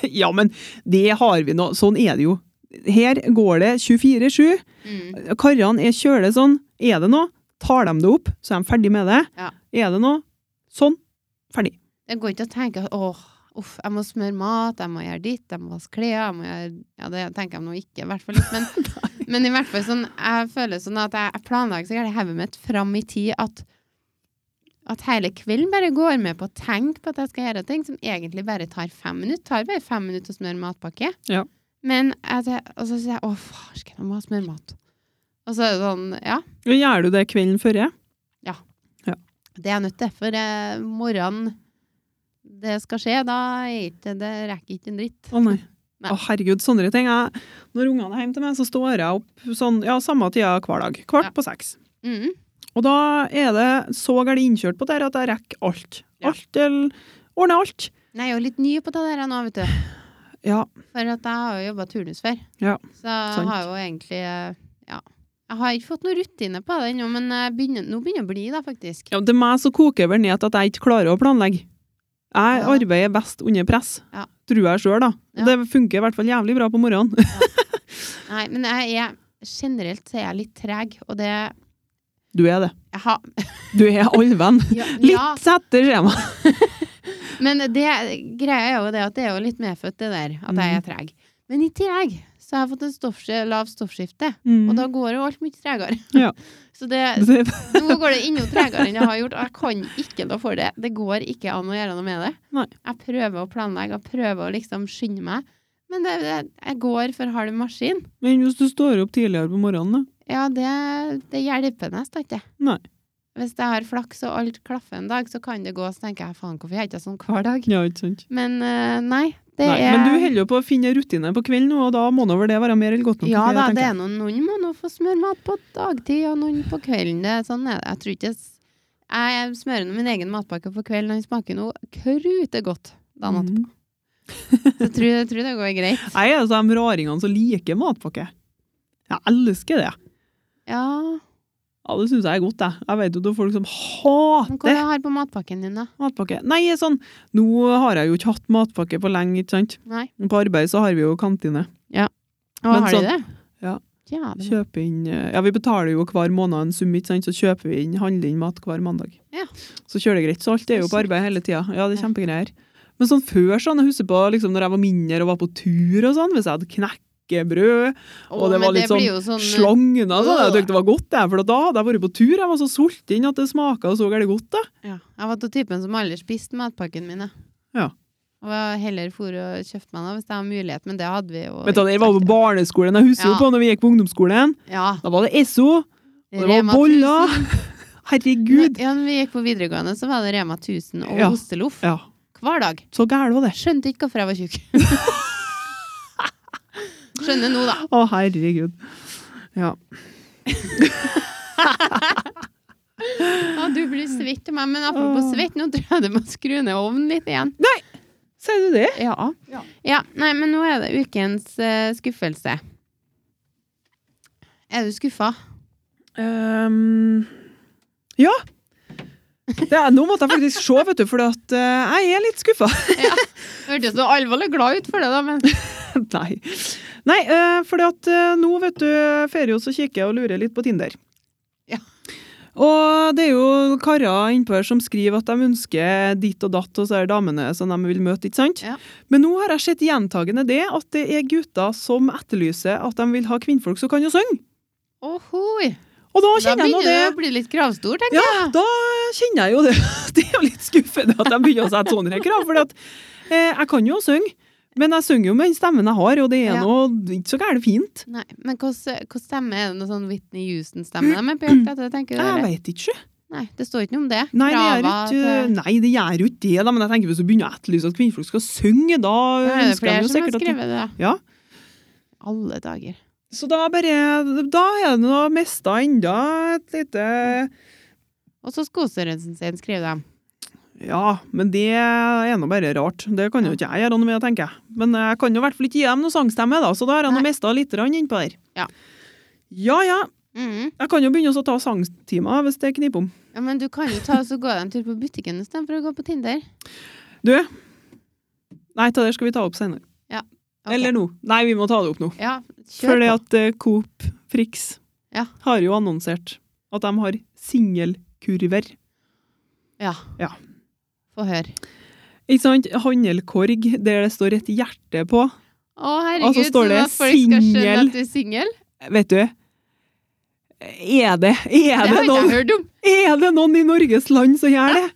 Speaker 2: Ja, men det har vi nå. Sånn er det jo. Her går det 24-7.
Speaker 1: Mm.
Speaker 2: Karene er kjøle sånn. Er det noe, tar de det opp, så er de ferdig med det.
Speaker 1: Ja.
Speaker 2: Er det noe, sånn, ferdig.
Speaker 1: Det går ikke å tenke åh, uff, jeg må smøre mat, jeg må gjøre ditt, jeg må vaske klær, jeg må gjøre Ja, det tenker jeg nå ikke, i hvert fall ikke, men, men i hvert fall sånn Jeg føler sånn at jeg, jeg planlegger så gærent i hodet mitt fram i tid at at hele kvelden bare går med på å tenke på at jeg skal gjøre ting som egentlig bare tar fem minutter. Tar bare fem minutter å smøre matpakke.
Speaker 2: Ja.
Speaker 1: Men at jeg, og så sier jeg 'Å, farsken, jeg må smøre mat'. Og så er det sånn Ja,
Speaker 2: Ja, Gjør du det kvelden før? jeg?
Speaker 1: det er nødt til, for eh, morgenen det skal skje, da er ikke det rekker ikke en dritt.
Speaker 2: Å nei.
Speaker 1: Nei.
Speaker 2: Å herregud, sånne ting. Jeg, når ungene er hjemme til meg, så står jeg opp sånn, ja, samme tida hver dag. Kvart
Speaker 1: Ja.
Speaker 2: på seks.
Speaker 1: Mhm.
Speaker 2: Og da er det så gærent innkjørt på det her at jeg rekker alt.
Speaker 1: Ja.
Speaker 2: Alt, eller ordner alt.
Speaker 1: Nei, jeg er jo litt ny på det der nå, vet du.
Speaker 2: Ja,
Speaker 1: For at jeg har jo jobba turnus før.
Speaker 2: Ja,
Speaker 1: så jeg
Speaker 2: sant.
Speaker 1: har jo egentlig eh, Ja. Jeg har ikke fått noen rutine på det ennå, men jeg begynner, nå begynner det å bli det, faktisk.
Speaker 2: Ja, til meg så koker det vel ned til at jeg ikke klarer å planlegge. Jeg
Speaker 1: Ja.
Speaker 2: arbeider best under press,
Speaker 1: Ja.
Speaker 2: tror jeg sjøl, da.
Speaker 1: Ja.
Speaker 2: Det funker i hvert fall jævlig bra på morgenen.
Speaker 1: Nei, men jeg er generelt så er jeg litt treg, og det jeg
Speaker 2: Du er det.
Speaker 1: har,
Speaker 2: Du er allvenn.
Speaker 1: ja, ja,
Speaker 2: Litt etter skjema.
Speaker 1: Men det greia er jo det at det er jo litt medfødt, det der, at
Speaker 2: Mm.
Speaker 1: jeg er treg. Men i tillegg så har jeg fått en stoffskje, lav stoffskifte, og da går jo alt mye tregere.
Speaker 2: Mm. Ja.
Speaker 1: Så det,
Speaker 2: Det-
Speaker 1: nå går det ennå tregere enn jeg har gjort, og jeg kan ikke noe for det. Det går ikke an å gjøre noe med det.
Speaker 2: Nei.
Speaker 1: Jeg prøver å planlegge, jeg prøver å liksom skynde meg, men det, det, jeg går for halv maskin.
Speaker 2: Men hvis du står opp tidligere på morgenen, da?
Speaker 1: Ja, det, det hjelper nesten ikke.
Speaker 2: Nei.
Speaker 1: Hvis jeg har flaks og alt klaffer en dag, så kan det gå, så tenker jeg faen, hvorfor gjør jeg ikke sånn hver dag?
Speaker 2: Ja, ikke sant.
Speaker 1: Men eh, nei, det
Speaker 2: Nei,
Speaker 1: er
Speaker 2: Men du holder jo på å finne rutine på kvelden, nå, og da må nå vel det være mer eller godt nok?
Speaker 1: Ja
Speaker 2: for
Speaker 1: da,
Speaker 2: jeg
Speaker 1: det
Speaker 2: tenker.
Speaker 1: er noen, noen må nå få smøre mat på dagtid, og noen på kvelden. Det er sånn er det. Jeg tror ikke s- Jeg smører nå min egen matpakke på kvelden, og den smaker noe krute godt. Da natt.
Speaker 2: Mhm.
Speaker 1: Så jeg tror, jeg tror det går greit.
Speaker 2: Jeg er altså de raringene som liker matpakke. Jeg elsker det.
Speaker 1: Ja.
Speaker 2: Ja, Det syns jeg er godt, jeg. Jeg vet jo det er folk som
Speaker 1: Men hva er
Speaker 2: hater
Speaker 1: det jeg har på matpakken din, da?
Speaker 2: matpakke. Nei, sånn Nå har jeg jo ikke hatt matpakke på lenge, ikke sant?
Speaker 1: Nei.
Speaker 2: På arbeid så har vi jo kantine.
Speaker 1: Å,
Speaker 2: Men
Speaker 1: har de
Speaker 2: sånn-
Speaker 1: det?
Speaker 2: Ja.
Speaker 1: Ja, det
Speaker 2: Kjøper inn eh, Ja, vi betaler jo hver måned en sum, ikke sant? Så kjøper vi inn, handler inn mat hver mandag.
Speaker 1: Ja.
Speaker 2: Så kjører det greit. Så alt er jo på arbeid hele tida. Ja, det er kjempegreier. Men sånn før, sånn, jeg husker på liksom når jeg var mindre og var på tur og sånn, hvis jeg hadde knekkebrød, og
Speaker 1: Å,
Speaker 2: det
Speaker 1: men
Speaker 2: var litt
Speaker 1: blir
Speaker 2: sånn
Speaker 1: jo sånn
Speaker 2: slagna og sånn, jeg
Speaker 1: Øh.
Speaker 2: syntes det var godt, jeg, for da hadde jeg vært på tur, jeg var så sulten at det smaka så gærent godt, da.
Speaker 1: eh, Ja. Jeg var til typen som aldri spiste matpakken min. jeg.
Speaker 2: Ja.
Speaker 1: Og jeg heller for og kjøpte meg noe hvis jeg hadde mulighet, men det hadde vi jo
Speaker 2: Vet du, det var på
Speaker 1: ikke.
Speaker 2: barneskolen, jeg husker jo
Speaker 1: Ja.
Speaker 2: på når vi gikk på ungdomsskolen,
Speaker 1: Ja.
Speaker 2: da var det SO, og det var
Speaker 1: Rema
Speaker 2: boller.
Speaker 1: 1000.
Speaker 2: Herregud.
Speaker 1: Ja, når vi gikk på videregående, så var det Rema 1000 og
Speaker 2: Ja.
Speaker 1: osteloff
Speaker 2: Ja,
Speaker 1: hver dag.
Speaker 2: så gæren var det.
Speaker 1: Skjønte ikke hvorfor jeg var tjukk. Skjønner nå, da.
Speaker 2: Å, herregud. Ja.
Speaker 1: Ja, du blir svett av meg, men apropos
Speaker 2: Åh.
Speaker 1: svett, nå tror jeg du må skru ned ovnen litt igjen.
Speaker 2: Sier du det?
Speaker 1: Ja.
Speaker 2: Ja.
Speaker 1: ja. Nei, men nå er det ukens eh, skuffelse. Er du skuffa?
Speaker 2: Ehm, ja. Det er, nå måtte jeg faktisk se, vet du, for at, eh, jeg er litt skuffa.
Speaker 1: Hørtes så alvorlig glad ut for det, da, men
Speaker 2: Nei, Nei eh, fordi at eh, nå, vet du, ferier jo så kikker jeg og lurer litt på Tinder.
Speaker 1: Ja.
Speaker 2: Og det er jo karer innpå her som skriver at de ønsker ditt og datt hos de damene som de vil møte, ikke sant?
Speaker 1: Ja.
Speaker 2: Men nå har jeg sett gjentagende det at det er gutter som etterlyser at de vil ha kvinnfolk som kan jo synge.
Speaker 1: Ohoi!
Speaker 2: Og da
Speaker 1: Da
Speaker 2: kjenner jeg nå
Speaker 1: begynner
Speaker 2: det.
Speaker 1: det å bli litt kravstor, tenker
Speaker 2: Ja, da kjenner jeg jo det. Det er jo litt skuffende at de begynner å sette sånne krav. For at, eh, jeg kan jo synge, men jeg synger jo med den stemmen jeg har, og det er
Speaker 1: Ja.
Speaker 2: noe ikke så gærent fint.
Speaker 1: jeg. Nei, men hvordan hvordan stemme er det? Noe sånn Whitney Houston-stemme de er på jakt etter? tenker du?
Speaker 2: Jeg
Speaker 1: eller?
Speaker 2: vet ikke.
Speaker 1: Nei, det står ikke noe om det.
Speaker 2: Nei, det eh, gjør
Speaker 1: Krava
Speaker 2: ikke,
Speaker 1: til-
Speaker 2: nei, det gjør jo ikke det, da, men jeg tenker hvis du begynner å etterlyse at kvinnfolk skal synge, da
Speaker 1: Da er det
Speaker 2: ønsker de
Speaker 1: flere
Speaker 2: jo
Speaker 1: som har
Speaker 2: sikkert at de-
Speaker 1: skrevet det, da.
Speaker 2: Ja.
Speaker 1: Alle dager.
Speaker 2: Så da bare Da er det noe mista enda et lite
Speaker 1: Og så Skosørensen sin, skriver de.
Speaker 2: Ja, men det er nå bare rart. Det kan jo ikke jeg gjøre noe med, tenker jeg. Men jeg kan jo i hvert fall ikke gi dem noe sangstemme, da, så da har jeg nå
Speaker 1: Nei.
Speaker 2: mista litt grann innpå der.
Speaker 1: Ja.
Speaker 2: ja ja.
Speaker 1: Mhm.
Speaker 2: Jeg kan jo begynne å ta sangstimer hvis det kniper om.
Speaker 1: Ja, men du kan jo ta og så gå deg en tur på butikken istedenfor å gå på Tinder.
Speaker 2: Du? Nei, ta det skal vi ta opp senere.
Speaker 1: Ok.
Speaker 2: Eller nå. Nei, vi må ta det opp nå.
Speaker 1: Ja, kjør
Speaker 2: Fordi
Speaker 1: på.
Speaker 2: at eh, Coop Frix
Speaker 1: Ja.
Speaker 2: har jo annonsert at de har singelkurver.
Speaker 1: Ja.
Speaker 2: Ja.
Speaker 1: Få høre.
Speaker 2: Ikke sant? Handelkorg der det står et hjerte på.
Speaker 1: Å,
Speaker 2: Og så
Speaker 1: herregud,
Speaker 2: står
Speaker 1: sånn
Speaker 2: det
Speaker 1: at folk skal skjønne
Speaker 2: singel.
Speaker 1: at du er singel?
Speaker 2: Vet du? Er det, er
Speaker 1: Det
Speaker 2: det,
Speaker 1: har ikke
Speaker 2: noen
Speaker 1: jeg hørt om.
Speaker 2: Er det noen i Norges land som gjør det?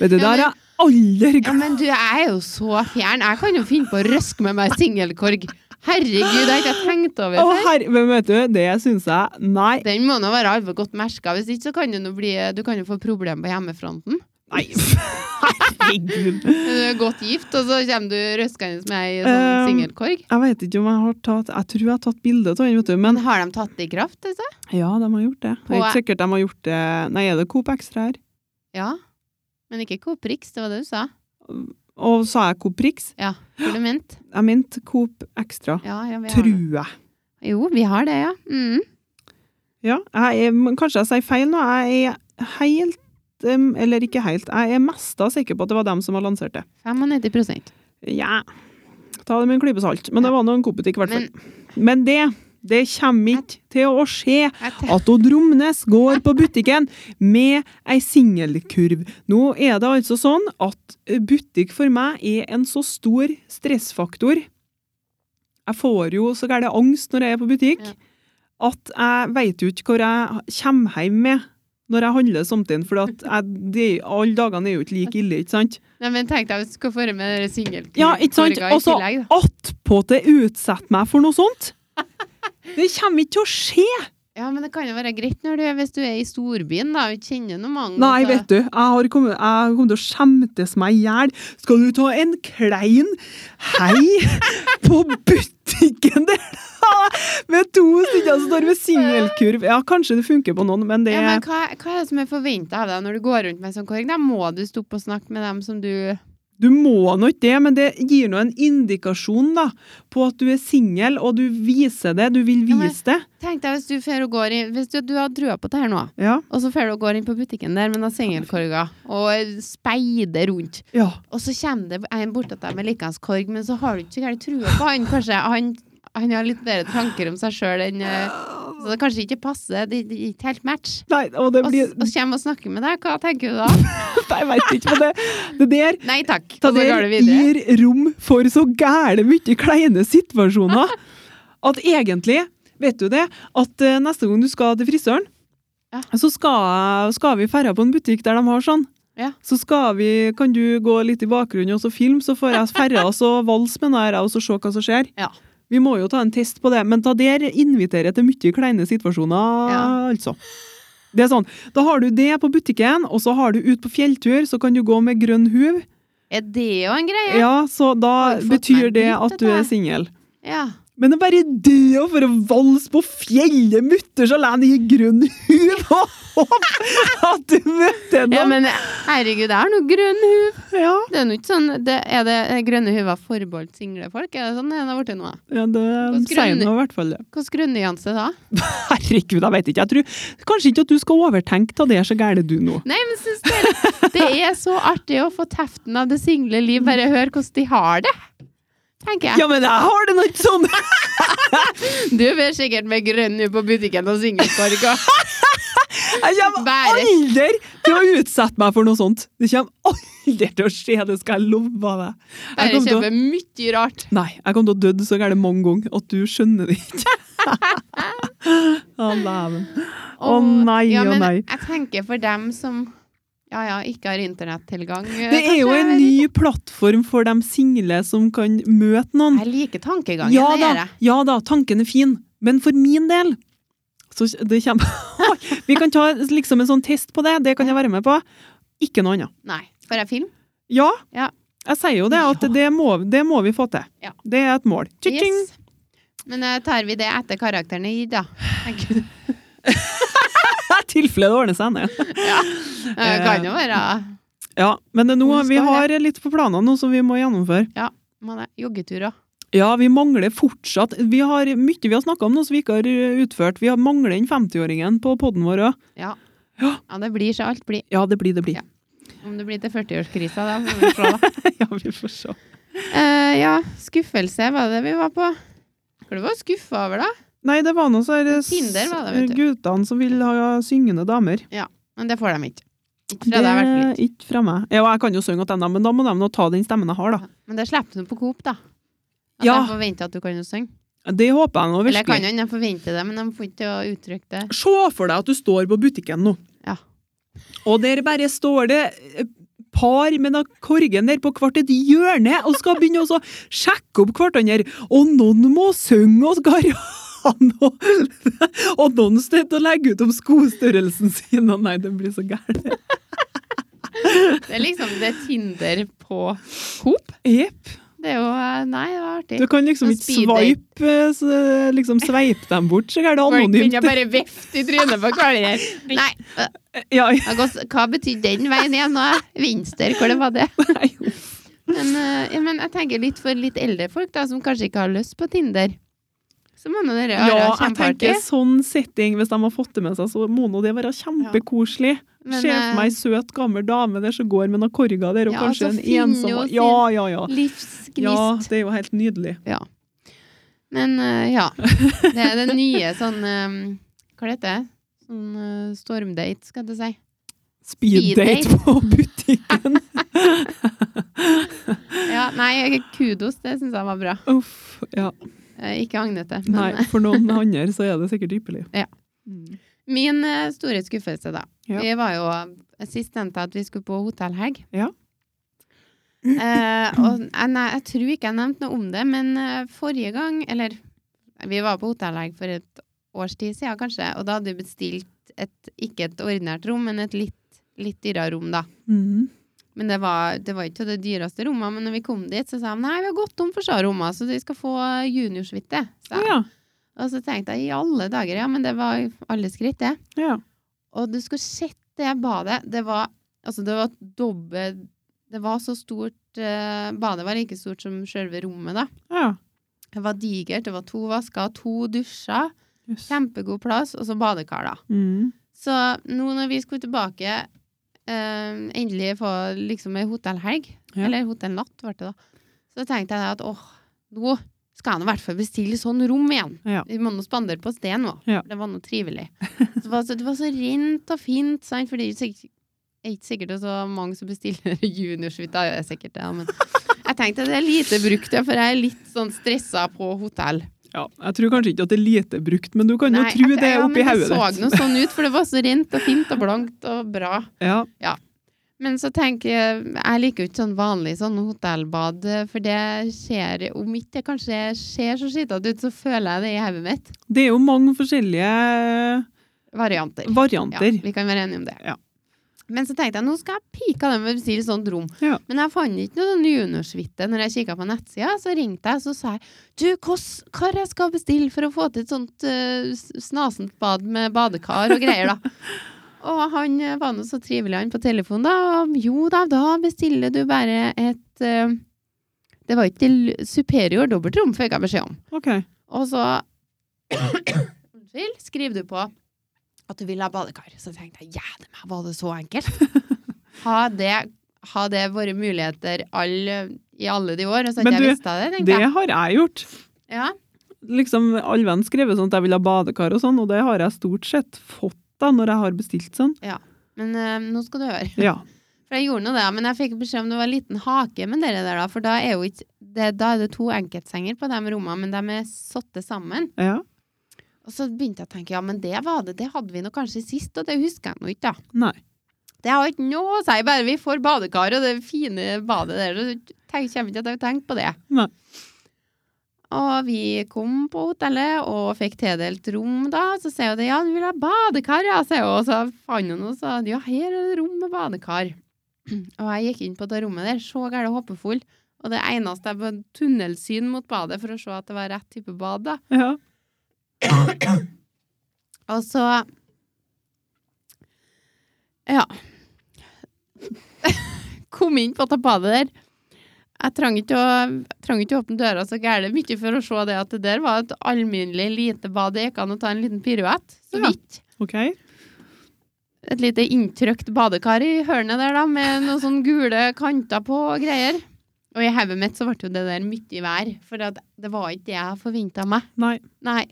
Speaker 2: Vet du,
Speaker 1: Ja,
Speaker 2: der har
Speaker 1: men-
Speaker 2: jeg aldri
Speaker 1: Ja, men du, jeg er jo så fjern. Jeg kan jo finne på å røske med meg singelkorg. Herregud, det har ikke jeg tenkt over
Speaker 2: Å,
Speaker 1: før.
Speaker 2: herre, men vet du, det syns jeg Nei.
Speaker 1: Den må nå være alvor godt merka. Hvis ikke så kan du, nå bli, du kan jo få problemer på hjemmefronten.
Speaker 2: Nei. Herregud.
Speaker 1: Du er godt gift, og så kommer du røskende med ei sånn
Speaker 2: Um,
Speaker 1: singelkorg.
Speaker 2: Jeg vet ikke om jeg har tatt Jeg tror jeg har tatt bilde av den, vet du.
Speaker 1: Men
Speaker 2: Men
Speaker 1: har de tatt det i kraft, altså?
Speaker 2: ja, de har gjort det. Det er ikke sikkert de har gjort det Nei, er det Coop Extra her?
Speaker 1: Ja. Men ikke Coop Rix, det var det du sa.
Speaker 2: Og sa jeg Coop Rix?
Speaker 1: Ja, hvor du mente.
Speaker 2: Jeg mente Coop Extra.
Speaker 1: Ja, ja, vi har
Speaker 2: Tror
Speaker 1: det.
Speaker 2: jeg.
Speaker 1: Jo, vi har det, ja. Mm.
Speaker 2: Ja. Jeg er, men kanskje jeg sier feil nå. Jeg er helt em, Eller ikke helt. Jeg er mest da sikker på at det var dem som har lansert det.
Speaker 1: 95
Speaker 2: Ja. Ta det med en klype salt. Men det var nå en kopetikk, i hvert fall.
Speaker 1: Men
Speaker 2: Men, det, det kommer ikke til å skje
Speaker 1: jeg tenker
Speaker 2: at hun Dromnes går på butikken med ei singelkurv. Nå er det altså sånn at butikk for meg er en så stor stressfaktor. Jeg får jo så gæren angst når jeg er på butikk,
Speaker 1: Ja.
Speaker 2: at jeg veit jo ikke hvor jeg kommer hjem med når jeg handler samtidig. For at jeg, de, alle dagene er jo ikke like ille, ikke sant?
Speaker 1: Nei, men tenk deg hvis du skal få det med singelkorga
Speaker 2: Ja, ikke sant?
Speaker 1: i
Speaker 2: Og så
Speaker 1: tillegg, da.
Speaker 2: attpåtil utsette meg for noe sånt. Det kommer ikke til å skje!
Speaker 1: Ja, men det kan jo være greit når du, er- hvis du er i storbyen, da, og ikke kjenner noen mange.
Speaker 2: Nei,
Speaker 1: så-
Speaker 2: vet du, jeg har kommet, jeg kommer til å skjemtes meg i hjel. Skal du ta en klein hei på butikken der? Med to stykker som står med singelkurv. Ja, kanskje det funker på noen, men det
Speaker 1: Ja, men hva, hva er det som er forventa av deg når du går rundt med en sånn korg? Da må du stoppe og snakke med dem som du
Speaker 2: Du Du må nå ikke det, men det gir nå en indikasjon da, på at du er singel, og du viser det. Du vil
Speaker 1: Ja, men-
Speaker 2: vise det.
Speaker 1: Tenk deg hvis du fer og går inn Hvis du, du har trua på det her nå,
Speaker 2: Ja.
Speaker 1: og så fer du og går inn på butikken der med noen singelkorger og speider rundt,
Speaker 2: ja.
Speaker 1: og så kommer det en bort til deg med likens korg, men så har du ikke så gærent trua på han, kanskje. Han, han har litt bedre tanker om seg sjøl enn eh, Så det kanskje ikke passer. Det det er ikke helt match.
Speaker 2: Nei, og det
Speaker 1: Og,
Speaker 2: blir
Speaker 1: s- og kommer og snakker med deg, hva tenker du da?
Speaker 2: Nei, Jeg veit ikke, men det, det der
Speaker 1: Nei takk.
Speaker 2: Det
Speaker 1: Og så går
Speaker 2: der
Speaker 1: du videre.
Speaker 2: gir rom for så gæle mye kleine situasjoner at egentlig, vet du det, at eh, neste gang du skal til frisøren,
Speaker 1: Ja.
Speaker 2: så skal, skal vi ferde på en butikk der de har sånn.
Speaker 1: Ja.
Speaker 2: Så skal vi, kan du gå litt i bakgrunnen og så filme, så får jeg ferde oss og valse med den her og så se hva som skjer.
Speaker 1: Ja.
Speaker 2: Vi må jo ta en test på det, men da der inviterer jeg til mye kleine situasjoner,
Speaker 1: Ja.
Speaker 2: altså. Det er sånn, da har du det på butikken, og så har du ut på fjelltur, så kan du gå med grønn huv,
Speaker 1: Er det jo en greie?
Speaker 2: ja, så da
Speaker 1: Har du fått
Speaker 2: betyr
Speaker 1: meg
Speaker 2: det
Speaker 1: dritt,
Speaker 2: at du
Speaker 1: dette
Speaker 2: er
Speaker 1: her?
Speaker 2: singel.
Speaker 1: Ja.
Speaker 2: Men det er bare det å for å valse på fjellet mutters alene i grønn huv og håpe at du møter
Speaker 1: ja,
Speaker 2: noen!
Speaker 1: men herregud, jeg har noe grønn huv.
Speaker 2: Ja,
Speaker 1: Det er jo ikke sånn det, Er det er grønne huver forbeholdt single folk? Er det sånn det har blitt nå?
Speaker 2: ja det
Speaker 1: Hvordan
Speaker 2: sier
Speaker 1: grønn-
Speaker 2: nå i hvert fall det.
Speaker 1: Hvilken grønnnyanse da?
Speaker 2: Herregud, jeg vet ikke. Jeg tror kanskje ikke at du skal overtenke av det er så gæren du nå.
Speaker 1: Nei, men syns dere det er så artig å få teften av det single liv? Bare hør hvordan de har det, tenker jeg.
Speaker 2: Ja, men jeg har det nå ikke sånn!
Speaker 1: Du blir sikkert med grønn huv på butikken og singelkorg og
Speaker 2: Jeg kommer
Speaker 1: Bare-
Speaker 2: aldri til å utsette meg for noe sånt. Det kommer aldri til å skje, det skal jeg love deg. Jeg
Speaker 1: bare
Speaker 2: kommer til å-
Speaker 1: kjøper mye rart.
Speaker 2: Nei, jeg kom til å døde så gærent mange ganger at du skjønner det ikke. Å, dæven. Å
Speaker 1: Og-
Speaker 2: nei,
Speaker 1: ja,
Speaker 2: å
Speaker 1: men
Speaker 2: nei.
Speaker 1: Jeg tenker for dem som ja, ja, ikke har internettilgang.
Speaker 2: Det er jo en ny plattform for de single som kan møte noen.
Speaker 1: Jeg liker tankegangen.
Speaker 2: Ja
Speaker 1: det
Speaker 2: da,
Speaker 1: gjør jeg.
Speaker 2: ja da, tanken er fin. Men for min del så det kommer Oi, Vi kan ta liksom en sånn test på det. Det kan jeg være med på. Ikke noe annet.
Speaker 1: Nei. Får jeg film?
Speaker 2: Ja.
Speaker 1: Ja.
Speaker 2: Jeg sier jo det, at
Speaker 1: Ja.
Speaker 2: det må, det må vi få til.
Speaker 1: Ja.
Speaker 2: Det er et mål. Tjing!
Speaker 1: Yes. Men eh, tar vi det etter karakterene i, da? Tenker du?
Speaker 2: I tilfelle det ordner seg. Nei.
Speaker 1: Det kan jo være
Speaker 2: Ja, men det er nå,
Speaker 1: Hvor
Speaker 2: vi
Speaker 1: skal
Speaker 2: har litt på planene nå som vi må gjennomføre.
Speaker 1: man er joggetur òg.
Speaker 2: Ja, vi mangler fortsatt Vi har mye vi har snakka om nå som vi ikke har eh, utført. Vi har mangler den 50-åringen på poden vår òg.
Speaker 1: Ja. ja, det blir så alt blir.
Speaker 2: Ja, det blir det blir.
Speaker 1: Ja. Om det blir til 40-årskrisa, da får vi se, da.
Speaker 2: ja, vi får se.
Speaker 1: Eh, ja, skuffelse var det vi var på. Hva du var skuffa over, da?
Speaker 2: Nei, det var noe så her, eh, s-
Speaker 1: Tinder var det, vet
Speaker 2: guttene som vil ha syngende damer.
Speaker 1: Men det får de ikke. Ikke fra deg, i hvert fall ikke.
Speaker 2: Det er Ikke fra meg. Ja, jeg kan jo synge til dem, men da må de nå ta den stemmen jeg har, da.
Speaker 1: Ja. Men det slipper du på Coop, da. At
Speaker 2: Ja.
Speaker 1: de forventer at du kan jo synge.
Speaker 2: Det håper jeg nå
Speaker 1: Eller kan
Speaker 2: virkelig.
Speaker 1: jo de forvente det, men de får ikke til å uttrykke det.
Speaker 2: Se for deg at du står på butikken nå,
Speaker 1: Ja.
Speaker 2: og der bare står det eh, par med den korgen der på hvert et hjørne og skal begynne å så sjekke opp hverandre. Og noen må synge og skal han og, og noen steder å legge ut om skostørrelsen sin. Og nei, det blir så gærent.
Speaker 1: Det er liksom det er Tinder på Coop.
Speaker 2: Jepp.
Speaker 1: Det er jo eh, Nei, det var artig.
Speaker 2: Du kan liksom
Speaker 1: Sånn
Speaker 2: ikke
Speaker 1: speeddate.
Speaker 2: sveipe, eh, så- liksom sveipe dem bort, så er det
Speaker 1: Folk
Speaker 2: anonymt.
Speaker 1: begynner bare vifte i trynet på hverandre. Nei, eh,
Speaker 2: Ja,
Speaker 1: hva- hva betydde den veien igjen? nå? Vinster, hvor det var det?
Speaker 2: nei.
Speaker 1: Men, eh, ja, men jeg tenker litt for litt eldre folk da, som kanskje ikke har lyst på Tinder. Så må nå dere
Speaker 2: ja,
Speaker 1: være
Speaker 2: jeg tenker
Speaker 1: kjempeartig.
Speaker 2: sånn setting, hvis de har fått det med seg, så må nå det være kjempekoselig.
Speaker 1: Men, eh, øh,
Speaker 2: Se for meg ei søt, gammel dame der som går med noen korger der, og
Speaker 1: Ja,
Speaker 2: kanskje
Speaker 1: så
Speaker 2: en
Speaker 1: finner
Speaker 2: ensom
Speaker 1: hun sin
Speaker 2: Ja, ja, ja.
Speaker 1: eh,
Speaker 2: Ja,
Speaker 1: Livsgnist.
Speaker 2: det er jo helt nydelig.
Speaker 1: Ja. Men eh, ja. Det er det nye sånn eh, Hva heter det? Sånn eh, stormdate, skal jeg til å si.
Speaker 2: Speeddate
Speaker 1: Speeddate.
Speaker 2: på butikken.
Speaker 1: Ja, nei, kudos. Det syns jeg var bra.
Speaker 2: Uff. Ja.
Speaker 1: Eh, Ikke Agnete. Men eh,
Speaker 2: Nei, for noen andre så er det sikkert ypperlig.
Speaker 1: Ja.
Speaker 2: Mm.
Speaker 1: min eh, store skuffelse, da.
Speaker 2: Ja.
Speaker 1: Vi var jo eh, sist nevnte jeg at vi skulle på hotellhelg.
Speaker 2: Ja.
Speaker 1: Eh, og jeg, nei, jeg tror ikke jeg nevnte noe om det, men eh, forrige gang Eller vi var på hotellhelg for et års tid siden, kanskje, og da hadde vi bestilt et, ikke et ordinært rom, men et litt, litt dyrere rom, da.
Speaker 2: Mm.
Speaker 1: Men det var, det var ikke det dyreste rommet, men når vi kom dit, så sa de nei, vi har gått tom for sånne rommer, så de skal få juniorsuite. sa
Speaker 2: Ja,
Speaker 1: jeg.
Speaker 2: ja.
Speaker 1: Og så tenkte jeg i alle dager, ja, men det var alle skritt, det.
Speaker 2: ja.
Speaker 1: Og du skulle sett det badet. Det var, altså, det var dobbelt Det var så stort eh, Badet var like stort som selve rommet, da.
Speaker 2: Ja.
Speaker 1: Det var digert, det var to vasker, to dusjer,
Speaker 2: Yes.
Speaker 1: kjempegod plass, og så badekar, da.
Speaker 2: Mm.
Speaker 1: Så nå når vi skulle tilbake, eh, endelig få liksom ei hotellhelg,
Speaker 2: Ja.
Speaker 1: eller hotellnatt ble det da, så tenkte jeg da at åh, nå skal jeg nå i hvert fall bestille sånn rom igjen.
Speaker 2: Ja.
Speaker 1: Vi må nå spandere på sted nå.
Speaker 2: Ja.
Speaker 1: Det var nå trivelig. Så det, var så, det var så rent og fint, sant? for det er jo sikkert, er ikke sikkert det er så mange som bestiller juniorsuite, da er det sikkert det, men jeg tenkte det er lite brukt, ja, for jeg er litt sånn stressa på hotell.
Speaker 2: ja. Jeg tror kanskje ikke at det er lite brukt, men du kan jo tro
Speaker 1: jeg-
Speaker 2: det er
Speaker 1: ja, men
Speaker 2: oppi hodet
Speaker 1: Det så
Speaker 2: ditt.
Speaker 1: noe sånn ut, for det var så rent og fint og blankt og bra.
Speaker 2: Ja.
Speaker 1: Men så tenker jeg Jeg liker jo ikke sånn vanlig sånn hotellbad, for det skjer Om ikke det kanskje ser så skittete ut, så føler jeg det i hodet mitt.
Speaker 2: Det er jo mange forskjellige
Speaker 1: Varianter. Ja,
Speaker 2: varianter.
Speaker 1: vi kan være enige om det.
Speaker 2: Ja.
Speaker 1: Men så tenkte jeg nå skal jeg pike dem og bestille sånt rom.
Speaker 2: Ja.
Speaker 1: sånn, Men jeg fant ikke noe sånn juniorsuite når jeg kikka på nettsida. Så ringte jeg så sa jeg du, hos- hva er det jeg skal bestille for å få til et sånt eh, s- snasent bad med badekar og greier, da. og han eh, var nå så trivelig, han på telefonen, da. Og jo da, da bestiller du bare et eh, Det var ikke l- superior dobbeltrom, fikk jeg beskjed om.
Speaker 2: Ok.
Speaker 1: Og så Unnskyld, skriver du på at du vil ha badekar. Så tenkte jeg jævlig meg, var det så enkelt? Har det, har det vært muligheter alle, i alle de år? Og så
Speaker 2: Men
Speaker 1: hadde jeg
Speaker 2: du,
Speaker 1: visst det, tenkte
Speaker 2: Det
Speaker 1: jeg.
Speaker 2: har jeg gjort.
Speaker 1: Ja.
Speaker 2: Liksom, Alle venn skrevet sånn at jeg vil ha badekar og sånn, og det har jeg stort sett fått da, når jeg har bestilt sånn.
Speaker 1: Men eh, nå skal du høre.
Speaker 2: Ja.
Speaker 1: For jeg gjorde nå det, men jeg fikk beskjed om det var en liten hake med dere der, da. For da er, jo ikke, det, da er det to enkeltsenger på de rommene, men de er satt sammen.
Speaker 2: ja.
Speaker 1: Og så begynte jeg å tenke, ja, men det var det, det hadde vi nå kanskje sist, og det husker jeg nå ikke, da.
Speaker 2: Nei.
Speaker 1: Det har ikke noe å si, bare vi får badekar og det fine badet der. Så tenk, kommer ikke at jeg har tenkt på det.
Speaker 2: Nei.
Speaker 1: Og vi kom på hotellet og fikk tildelt rom da. Så sier hun det, ja, du vil ha badekar, ja, sier hun. Og så fant hun noe, sa hun, ja, her er det rom med badekar. Og jeg gikk inn på det rommet der, så gærent håpefull. Og det eneste jeg var tunnelsyn mot badet for å se at det var rett type bad, da.
Speaker 2: Ja.
Speaker 1: Og så Ja. Kom inn på tapadet der. Jeg trang ikke å, trang ikke å åpne døra så gærent mye for å se det at det der var et alminnelig lite bad. Det gikk an å ta en liten piruett, så
Speaker 2: Ja.
Speaker 1: vidt.
Speaker 2: Ok.
Speaker 1: Et lite inntrykt badekar i hørnet der, da, med noen sånne gule kanter på og greier. Og i hodet mitt så ble jo det der mye vær, for at det var ikke det jeg forventa meg.
Speaker 2: Nei.
Speaker 1: Nei.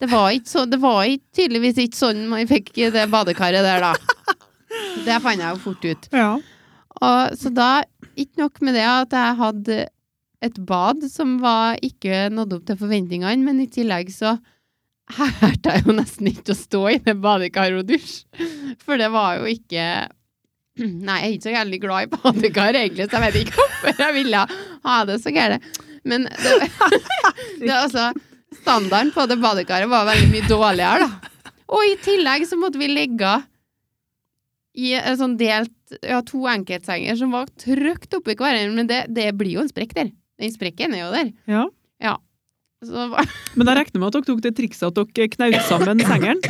Speaker 1: Det var, ikke så, det var ikke, tydeligvis ikke sånn man fikk det badekaret der, da. Det fant jeg jo fort ut.
Speaker 2: Ja.
Speaker 1: Og, så da, ikke nok med det at jeg hadde et bad som var ikke nådd opp til forventningene, men i tillegg så hærte jeg jo nesten ikke å stå i det badekaret og dusje. For det var jo ikke Nei, jeg er ikke så veldig glad i badekar, egentlig, så jeg vet ikke hvorfor jeg ville ha det så gærent. Men det, det er altså Standarden på det badekaret var veldig mye dårligere, da. Og i tillegg så måtte vi ligge i en sånn delt ja, to enkeltsenger som var trygt oppi hverandre, men det, det blir jo en sprekk der. Den sprekken er jo der.
Speaker 2: Ja.
Speaker 1: Så var-
Speaker 2: Men jeg regner med at dere tok det trikset at dere knaut sammen sengeren.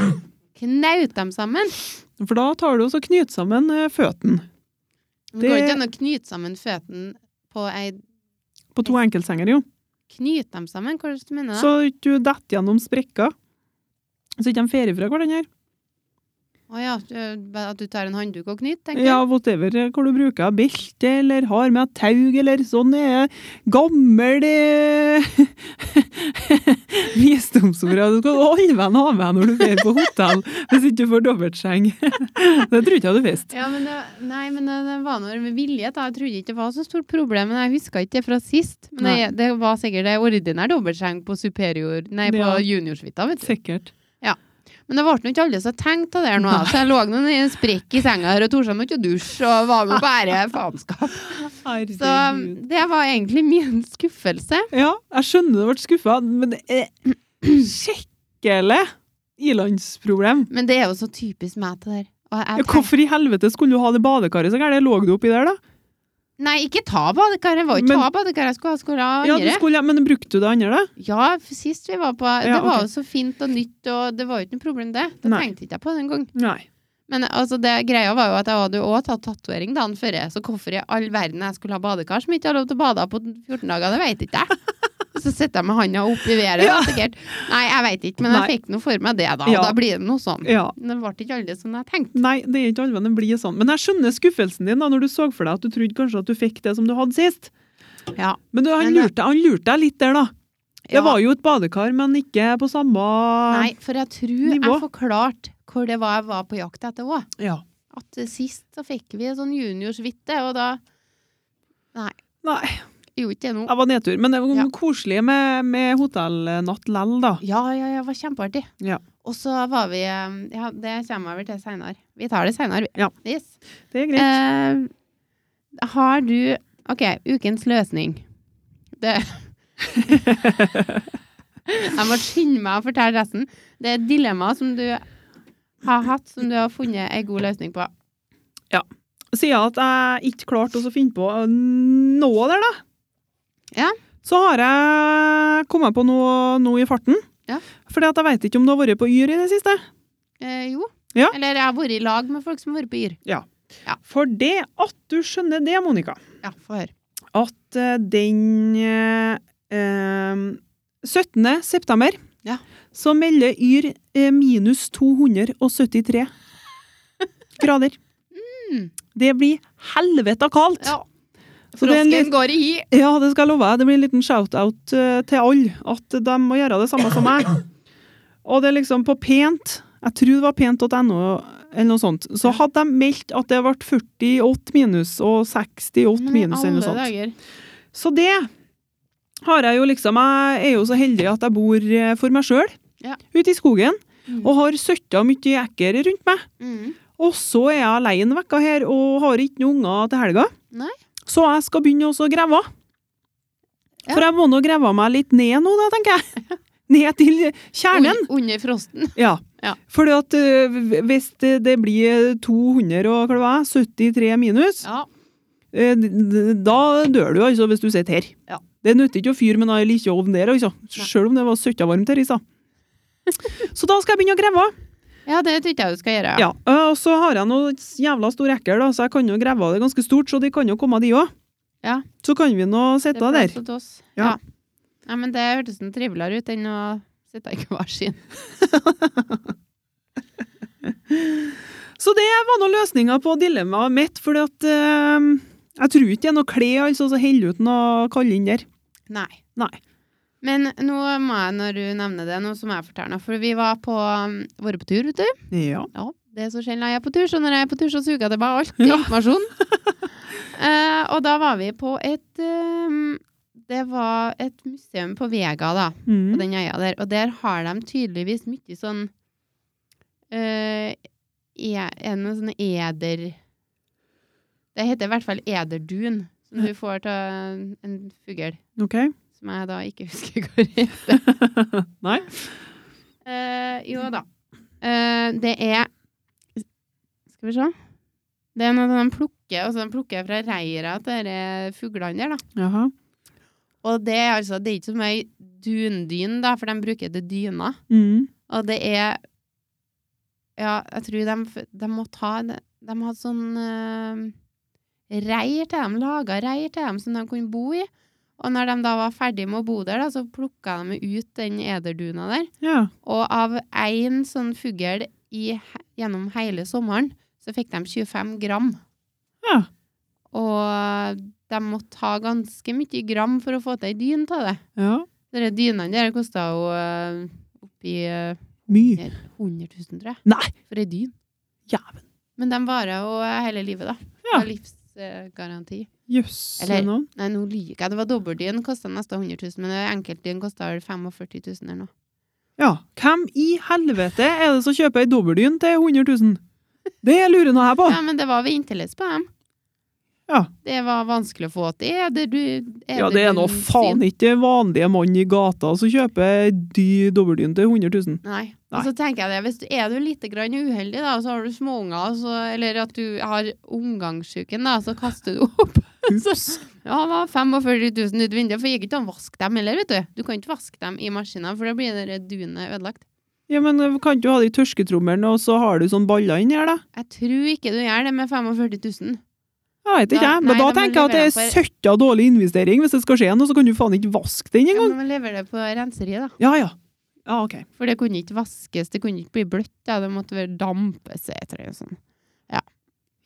Speaker 1: knaut dem sammen.
Speaker 2: For da tar du også knyt sammen eh, føtten
Speaker 1: Det
Speaker 2: Det-
Speaker 1: går ikke an å knyte sammen føttene på ei
Speaker 2: på to enkeltsenger, jo.
Speaker 1: Knyte dem sammen? Hva er det du mener da?
Speaker 2: Så ikke du detter gjennom sprekker. Så ikke de ferier fra hverandre.
Speaker 1: Å ja, du- at du tar en håndduk og knyter, tenker
Speaker 2: Ja, whatever eh, hva du bruker. Belte eller har med tau eller sånn er jeg. gammel eh, visdomsord. Du skal alle venn ha med når du drar på hotell, hvis ikke du får dobbeltseng. Det tror ikke jeg du visste.
Speaker 1: du? Ja, men det, nei, men det, det var noe med vilje. da. Jeg trodde ikke det var så stort problem, men jeg huska ikke det fra sist. Men det, det var sikkert ei ordinær dobbeltseng på superior, nei, på
Speaker 2: Ja.
Speaker 1: juniorsuita, vet du.
Speaker 2: Sikkert.
Speaker 1: Men det ble nå ikke alle som tenkte det der nå, så jeg lå nå i en sprekk i senga her og torde meg ikke å dusje og var med bare faenskap. Så um,
Speaker 2: Herregud.
Speaker 1: det var egentlig min skuffelse.
Speaker 2: Ja, jeg skjønner du ble skuffa, men det er skikkelig ilandsproblem.
Speaker 1: Men det er jo så typisk meg til det der. Og jeg
Speaker 2: Ja,
Speaker 1: tenk-
Speaker 2: hvorfor i helvete skulle du ha det badekaret så gærent? Lå du oppi der, da?
Speaker 1: Nei, ikke ta badekaret. Det var jo ikke
Speaker 2: Men-
Speaker 1: ta badekaret jeg skulle ha. Skulle ha
Speaker 2: Ja, du
Speaker 1: andre.
Speaker 2: skulle, men brukte du det andre, da?
Speaker 1: Ja, for sist vi var på
Speaker 2: Ja,
Speaker 1: Det var
Speaker 2: ok.
Speaker 1: jo så fint og nytt, og det var jo ikke noe problem, det. Det
Speaker 2: Nei.
Speaker 1: tenkte ikke jeg på den gang.
Speaker 2: Nei.
Speaker 1: Men altså, det greia var jo at jeg hadde jo også tatt tatovering dagen før, så hvorfor i all verden jeg skulle ha badekar som ikke har lov til å bade på 14 dager, det veit ikke jeg. Så sitter jeg med handa opp i været.
Speaker 2: Ja.
Speaker 1: da, sikkert. Nei, jeg veit ikke, men jeg
Speaker 2: Nei.
Speaker 1: fikk nå for meg det, da.
Speaker 2: Ja.
Speaker 1: Og da blir det noe sånn.
Speaker 2: Ja.
Speaker 1: Men det ble ikke aldri som jeg tenkte.
Speaker 2: Nei, det er ikke alle venner blir sånn. Men jeg skjønner skuffelsen din da, når du så for deg at du trodde kanskje at du fikk det som du hadde sist.
Speaker 1: Ja.
Speaker 2: Men du, han,
Speaker 1: Men det-
Speaker 2: lurte, han lurte deg litt der, da. Det
Speaker 1: Ja.
Speaker 2: var jo et badekar, men ikke på samme
Speaker 1: Nei, for jeg tror
Speaker 2: Nivå.
Speaker 1: jeg forklarte hvor det var jeg var på jakt etter òg.
Speaker 2: Ja.
Speaker 1: At eh, sist så fikk vi en sånn juniorsvitte, og da
Speaker 2: Nei,
Speaker 1: gjorde ikke det noe.
Speaker 2: det var nedtur. Men det var
Speaker 1: Ja.
Speaker 2: koselig med, med hotellnatt lell, da.
Speaker 1: Ja, ja, ja, det var kjempeartig.
Speaker 2: Ja.
Speaker 1: Og så var vi eh, Ja, det kommer jeg vel til seinere. Vi tar det seinere, vi.
Speaker 2: Ja.
Speaker 1: Yes.
Speaker 2: Det er greit.
Speaker 1: Eh, har du OK, ukens løsning. Det Jeg må skynde meg å fortelle resten. Det er et dilemma som du har hatt, som du har funnet ei god løsning på.
Speaker 2: Siden at jeg ikke klarte å finne på eh, noe der, da.
Speaker 1: Ja.
Speaker 2: Så har jeg kommet på noe, noe i farten.
Speaker 1: Ja.
Speaker 2: Fordi at jeg vet ikke om du har vært på Yr i det siste.
Speaker 1: Eh, jo.
Speaker 2: Ja.
Speaker 1: Eller jeg har vært i lag med folk som har vært på Yr.
Speaker 2: For det at du skjønner det, Monica,
Speaker 1: Ja, få høre.
Speaker 2: at eh, den eh, eh, 17. september
Speaker 1: Ja.
Speaker 2: så melder Yr eh, minus 273 grader.
Speaker 1: Mm.
Speaker 2: Det blir helvete kaldt!
Speaker 1: Ja.
Speaker 2: Så det er en
Speaker 1: Frosken går i hi.
Speaker 2: Ja, det skal jeg love deg. Det blir en liten shout-out eh, til alle. At de må gjøre det samme som meg. Og det er liksom på pent Jeg tror det var pent.no eller noe sånt. Så hadde de meldt at det ble 48 minus og 68
Speaker 1: Men i
Speaker 2: minus
Speaker 1: Mm,
Speaker 2: eller noe
Speaker 1: alle
Speaker 2: sånt.
Speaker 1: dager.
Speaker 2: Så det har jeg jo liksom Jeg er jo så heldig at jeg bor eh, for meg sjøl
Speaker 1: Ja.
Speaker 2: ute i skogen.
Speaker 1: Mm.
Speaker 2: Og har søtta mye ekker rundt meg.
Speaker 1: Mm.
Speaker 2: Og så er jeg alene vekka her og har ikke noen unger til helga.
Speaker 1: Nei.
Speaker 2: Så jeg skal begynne også å grave.
Speaker 1: Ja.
Speaker 2: For jeg må nå grave meg litt ned nå, da, tenker jeg. Ned til kjernen.
Speaker 1: Un- Under frosten.
Speaker 2: Ja.
Speaker 1: Ja.
Speaker 2: Fordi at ø, hvis det det blir 200 og hva det var, 73 minus,
Speaker 1: Ja.
Speaker 2: ø, Eh, d- d- da dør du altså hvis du sitter her.
Speaker 1: Ja.
Speaker 2: Det nytter ikke å fyre med ei lita ovn der, altså.
Speaker 1: Nei.
Speaker 2: Selv om det var søtta varmt her i stad. Så da skal jeg begynne å grave.
Speaker 1: ja, det tror ikke jeg du skal gjøre.
Speaker 2: Ja, ø, og så har jeg noe jævla stor ekkel, da, så jeg kan jo grave av det ganske stort, så de kan jo komme, de òg.
Speaker 1: Ja.
Speaker 2: Så kan vi nå
Speaker 1: Det
Speaker 2: sitte
Speaker 1: er
Speaker 2: der.
Speaker 1: plass til oss.
Speaker 2: Ja.
Speaker 1: Ja. Nei, men det hørtes en triveligere ut enn å sitte i hver sin.
Speaker 2: Så det var noen løsninger på dilemmaet mitt, for at ø, jeg tror ikke det er noe kle altså, så heller uten å kalle inn der.
Speaker 1: Nei.
Speaker 2: Nei.
Speaker 1: Men nå må jeg, når du nevner det, nå så må jeg fortelle noe. For vi var på, um, vært på tur, vet du.
Speaker 2: Ja.
Speaker 1: Ja, det er så sjelden jeg er på tur, så når jeg er på tur, så suger jeg til meg alt
Speaker 2: Ja.
Speaker 1: informasjon. Eh, og da var vi på et um, Det var et museum på Vega, da. på
Speaker 2: Mm.
Speaker 1: den øya der. Og der har de tydeligvis mye sånn eh, e, Er det noe sånn eder Det heter i hvert fall ederdun, som du får av en fugl.
Speaker 2: Ok.
Speaker 1: Som jeg da ikke husker hvor heter.
Speaker 2: Nei.
Speaker 1: Eh, jo da. Eh, det er Skal vi se. Det er noe de plukker, altså de plukker fra reira til disse fuglene der, da.
Speaker 2: Jaha.
Speaker 1: Og det er altså, det er ikke som ei dundyn, da, for de bruker det til dyna.
Speaker 2: Mm.
Speaker 1: Og det er Ja, jeg tror de, f- de må ta De de hadde sånn eh, reir til dem, laga reir til dem som de kunne bo i. Og når de da var ferdig med å bo der, da, så plukka de ut den ederduna der.
Speaker 2: Ja.
Speaker 1: Og av én sånn fugl i he- gjennom hele sommeren, så fikk de 25 gram.
Speaker 2: Ja.
Speaker 1: Og de måtte ta ganske mye gram for å få til ei dyn av det.
Speaker 2: ja.
Speaker 1: De dynene der kosta jo eh, oppi eh,
Speaker 2: Mye.
Speaker 1: 100 000, tror jeg.
Speaker 2: Nei.
Speaker 1: For ei dyn.
Speaker 2: Jæven.
Speaker 1: Men de varer jo eh, hele livet, da.
Speaker 2: Ja.
Speaker 1: Og livsgaranti.
Speaker 2: Jøsse
Speaker 1: Eller-
Speaker 2: navn.
Speaker 1: Nei, nå lyver jeg. Det var dobbeltdyn, kosta nesten 100 000, men enkeltdyn kosta vel 45 000 eller noe.
Speaker 2: Ja. Hvem i helvete er det som kjøper ei dobbeldyn til 100 000? Det lurer nå jeg på.
Speaker 1: Ja, men det var vinterless på dem.
Speaker 2: Ja.
Speaker 1: Det var vanskelig å få til. Er det du er
Speaker 2: Ja, det er nå faen ikke vanlige mann i gata som kjøper dy dobbeldyn til 100 000.
Speaker 1: Nei.
Speaker 2: Nei.
Speaker 1: Og så tenker jeg det, hvis du er du litt grann uheldig, da, og så har du småunger, og så- eller at du har omgangssyken, da, så kaster du opp.
Speaker 2: Ups.
Speaker 1: Ja, det var 45 000 ut vinduet, for jeg gikk ikke an å vaske dem heller, vet du. Du kan ikke vaske dem i maskinen, for da blir det der dunet ødelagt.
Speaker 2: Ja, men eh, kan ikke du ha det i tørsketrommelen, og så har du sånn baller inni her, da?
Speaker 1: Jeg tror ikke du gjør det med 45 000.
Speaker 2: Jeg vet ikke,
Speaker 1: Da-
Speaker 2: jeg.
Speaker 1: nei,
Speaker 2: Men
Speaker 1: da
Speaker 2: da
Speaker 1: må
Speaker 2: tenker jeg at
Speaker 1: du
Speaker 2: det er
Speaker 1: levere
Speaker 2: søtta dårlig investering hvis det skal skje noe, så kan du faen ikke vaske den
Speaker 1: Ja,
Speaker 2: engang.
Speaker 1: men man lever det på renseriet, da.
Speaker 2: Ja, ja. Ja, OK.
Speaker 1: For det kunne ikke vaskes, det kunne ikke bli bløtt. Da. Det måtte være dampes. Jeg tror, og sånn.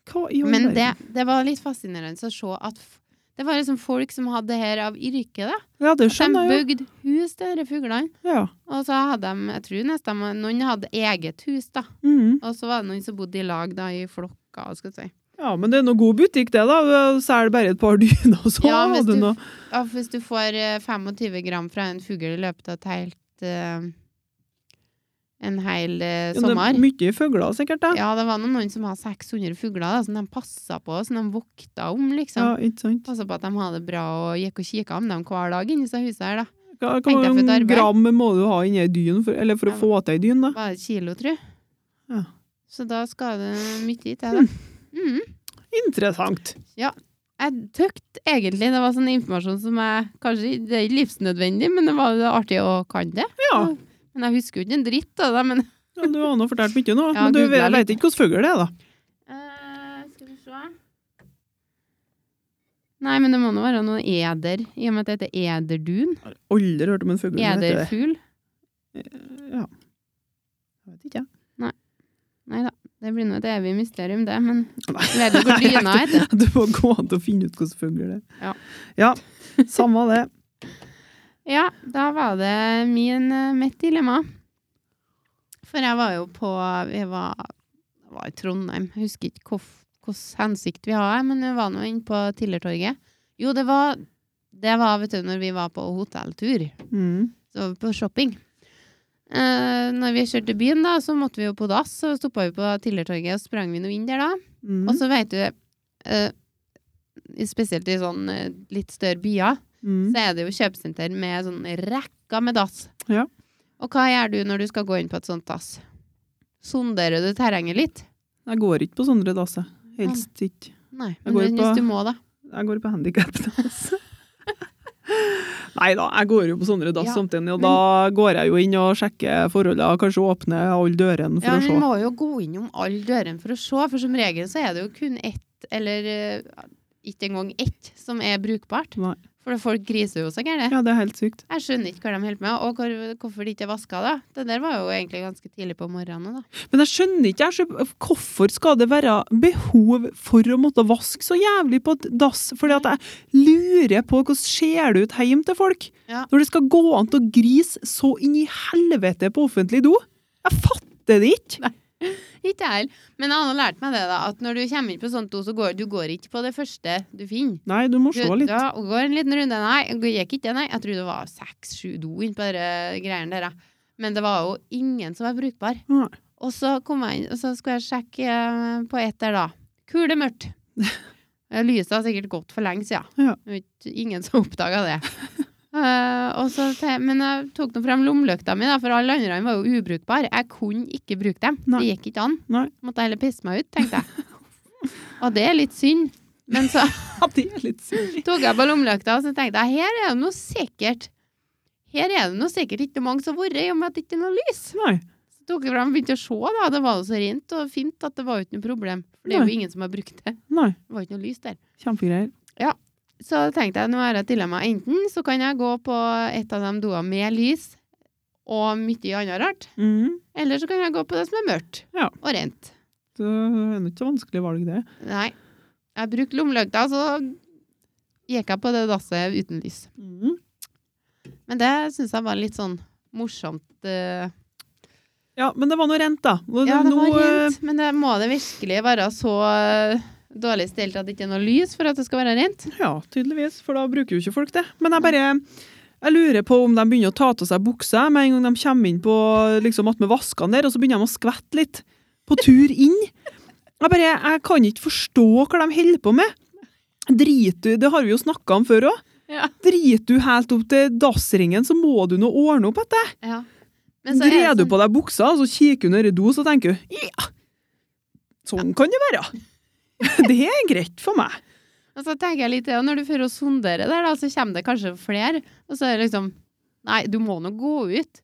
Speaker 2: Hva i all
Speaker 1: Men
Speaker 2: verden?
Speaker 1: det, det var litt fascinerende å se at f- det var liksom folk som hadde det her av yrke. da.
Speaker 2: Ja, det
Speaker 1: At de
Speaker 2: skjønner jeg jo.
Speaker 1: bygde hus til disse fuglene.
Speaker 2: Ja.
Speaker 1: Og så hadde de, jeg tror nesten de- noen hadde eget hus, da.
Speaker 2: Mhm.
Speaker 1: Og så var det noen som bodde i lag da, i flokker. skal jeg si.
Speaker 2: ja, men det er noe god butikk, det, da. Selger bare et par dyner, og så
Speaker 1: Ja,
Speaker 2: har
Speaker 1: hvis
Speaker 2: du
Speaker 1: du-
Speaker 2: noe.
Speaker 1: Ja, hvis du får eh, 25 gram fra en fugl i løpet av et helt eh, en hel eh,
Speaker 2: Ja, det
Speaker 1: sommer
Speaker 2: er mye fugler, sikkert, da.
Speaker 1: Ja, det var noen, noen som hadde 600 fugler, da, som de passa på, som de vokta om, liksom.
Speaker 2: Ja, ikke sant.
Speaker 1: Passa på at de hadde det bra og gikk og kikka om dem hver dag inni disse husene her, da.
Speaker 2: Hva, hva
Speaker 1: Tenkte jeg for et
Speaker 2: mange
Speaker 1: arbeid.
Speaker 2: gram må du ha inni ei dyn, for, eller for å
Speaker 1: Ja.
Speaker 2: få til ei dyn, da?
Speaker 1: Var det et kilo, tror jeg.
Speaker 2: Ja.
Speaker 1: Så da skal det mye til, da. Mm.
Speaker 2: Interessant.
Speaker 1: Jeg tøkt egentlig, det var sånn informasjon som jeg kanskje, det er ikke livsnødvendig, men det var jo artig å kan det.
Speaker 2: Ja.
Speaker 1: Men jeg husker jo ikke en dritt av det, men
Speaker 2: Ja, du har nå fortalt mye nå,
Speaker 1: Ja,
Speaker 2: men du
Speaker 1: googlet
Speaker 2: vet,
Speaker 1: litt.
Speaker 2: vet ikke hvilken fugl det er, da.
Speaker 1: Eh, skal vi se Nei, men det må nå være noe eder, i og med at det heter ederdun.
Speaker 2: Aldri hørt om en fugl som heter det.
Speaker 1: Ederfugl.
Speaker 2: Ja. Jeg vet ikke, jeg.
Speaker 1: Nei da, det blir nå et evig mysterium, det, men
Speaker 2: Nei.
Speaker 1: vet du hvor dyna heter?
Speaker 2: Det må gå an til å finne ut hvilken fugl det er.
Speaker 1: Ja.
Speaker 2: Ja, samme det.
Speaker 1: Ja, da var det min, eh, mitt dilemma. For jeg var jo på Vi var, jeg var i Trondheim. Jeg husker ikke hvilken hensikt vi har, men vi var nå inne på Tillertorget. Jo, det var, det var vet du, når vi var på hotelltur.
Speaker 2: Mm.
Speaker 1: Så var vi på shopping. Eh, når vi kjørte til byen, da, så måtte vi jo på dass, så stoppa vi på Tillertorget og sprang vi nå inn der, da.
Speaker 2: Mm.
Speaker 1: Og så veit du eh, Spesielt i sånn eh, litt større byer,
Speaker 2: Mm.
Speaker 1: så er det jo kjøpesenter med sånn rekka med dass.
Speaker 2: Ja.
Speaker 1: Og hva gjør du når du skal gå inn på et sånt dass? Sonderer du terrenget litt?
Speaker 2: Jeg går ikke på sånne dasser. Helst ikke.
Speaker 1: Nei.
Speaker 2: Jeg
Speaker 1: Men
Speaker 2: går på-
Speaker 1: hvis du må, da.
Speaker 2: Jeg går på handikapdass. Nei da, jeg går jo på sånne dass
Speaker 1: Ja,
Speaker 2: samtidig, og
Speaker 1: men-
Speaker 2: da går jeg jo inn og sjekker forholdene, kanskje åpner alle dørene for
Speaker 1: Ja, men
Speaker 2: å
Speaker 1: du
Speaker 2: se.
Speaker 1: må jo gå innom alle dørene for å se, for som regel så er det jo kun ett, eller eh, ikke engang ett, som er brukbart.
Speaker 2: Nei.
Speaker 1: For folk griser jo så gærent.
Speaker 2: Ja, det er helt sykt.
Speaker 1: Jeg skjønner ikke hva de holder på med, og hvor, hvorfor de ikke er vaska, da. Det der var jo egentlig ganske tidlig på morgenen, da.
Speaker 2: Men jeg skjønner ikke, jeg skjønner, hvorfor skal det være behov for å måtte vaske så jævlig på et dass? Fordi at jeg lurer på hvordan ser det ut hjem til folk?
Speaker 1: Ja.
Speaker 2: Når det skal gå an til å grise så inn i helvete på offentlig do? Jeg fatter det ikke!
Speaker 1: Ikke jeg heller. Men jeg har nå lært meg det, da, at når du kommer inn på sånt do, så går du går ikke på det første du finner.
Speaker 2: Nei, du må
Speaker 1: Du,
Speaker 2: se litt.
Speaker 1: da går en liten runde. Nei, jeg gikk ikke det, nei. Jeg tror det var seks-sju do inn på de greiene der. da. Men det var jo ingen som var brukbar.
Speaker 2: Nei.
Speaker 1: Og så kom jeg inn, og så skulle jeg sjekke eh, på ett der, da. Kule mørkt. Eh, Lyset har sikkert gått for lenge siden.
Speaker 2: Ja.
Speaker 1: Det var ikke- Ingen som oppdaga det. Eh, og så, te- men jeg tok nå frem lommelykta mi, da, for alle andre var jo ubrukbare. Jeg kunne ikke bruke dem.
Speaker 2: Nei.
Speaker 1: Det gikk ikke an.
Speaker 2: Nei.
Speaker 1: Måtte heller pisse meg ut, tenkte jeg. Og det er litt synd. Men så
Speaker 2: Ja, det er litt sykt.
Speaker 1: tok jeg på lommelykta og så tenkte jeg, her er det noe sikkert. Her er det noe sikkert ikke mange som har vært, i og med at det ikke er noe lys.
Speaker 2: Nei.
Speaker 1: Så tok jeg fram og begynte å se, da. Det var jo så rent og fint at det var jo ikke noe problem. For det er
Speaker 2: Nei.
Speaker 1: jo ingen som har brukt det.
Speaker 2: Nei.
Speaker 1: Det var ikke noe lys der.
Speaker 2: Kjempegreier.
Speaker 1: Så tenkte jeg, nå er det et dilemma. Enten så kan jeg gå på et av de doene med lys og mye annet rart,
Speaker 2: Mhm.
Speaker 1: eller så kan jeg gå på det som er mørkt
Speaker 2: Ja.
Speaker 1: og rent.
Speaker 2: Det er nå ikke så vanskelig valg, det.
Speaker 1: Nei. Jeg brukte lommelykta, så gikk jeg på det dasset uten lys. Mm.
Speaker 2: Mhm.
Speaker 1: Men det syns jeg var litt sånn morsomt. eh,
Speaker 2: Ja, men det var nå rent, da. Nå-
Speaker 1: Ja, det var
Speaker 2: nå, eh,
Speaker 1: rent, men det må det virkelig være så eh, dårlig stelt at det ikke er noe lys for at det skal være rent?
Speaker 2: eh, Ja, tydeligvis, for da bruker jo ikke folk det. Men jeg bare jeg lurer på om de begynner å ta til seg buksa med en gang de kommer inn på liksom, at med vaskene der, og så begynner de å skvette litt på tur inn. Jeg bare, jeg kan ikke forstå hva de holder på med. Drit du, Det har vi jo snakka om før òg.
Speaker 1: Ja.
Speaker 2: Driter du helt opp til dassringen, så må du nå ordne opp etter.
Speaker 1: Men så er det
Speaker 2: Drer du
Speaker 1: sånn-
Speaker 2: på deg buksa, og så kikker du ned i do, så tenker du ja, sånn kan det være. Det er greit for meg.
Speaker 1: Og så tenker jeg litt, ja, når du fører og sonderer der, da, så kommer det kanskje flere, og så er det liksom Nei, du må nå gå ut.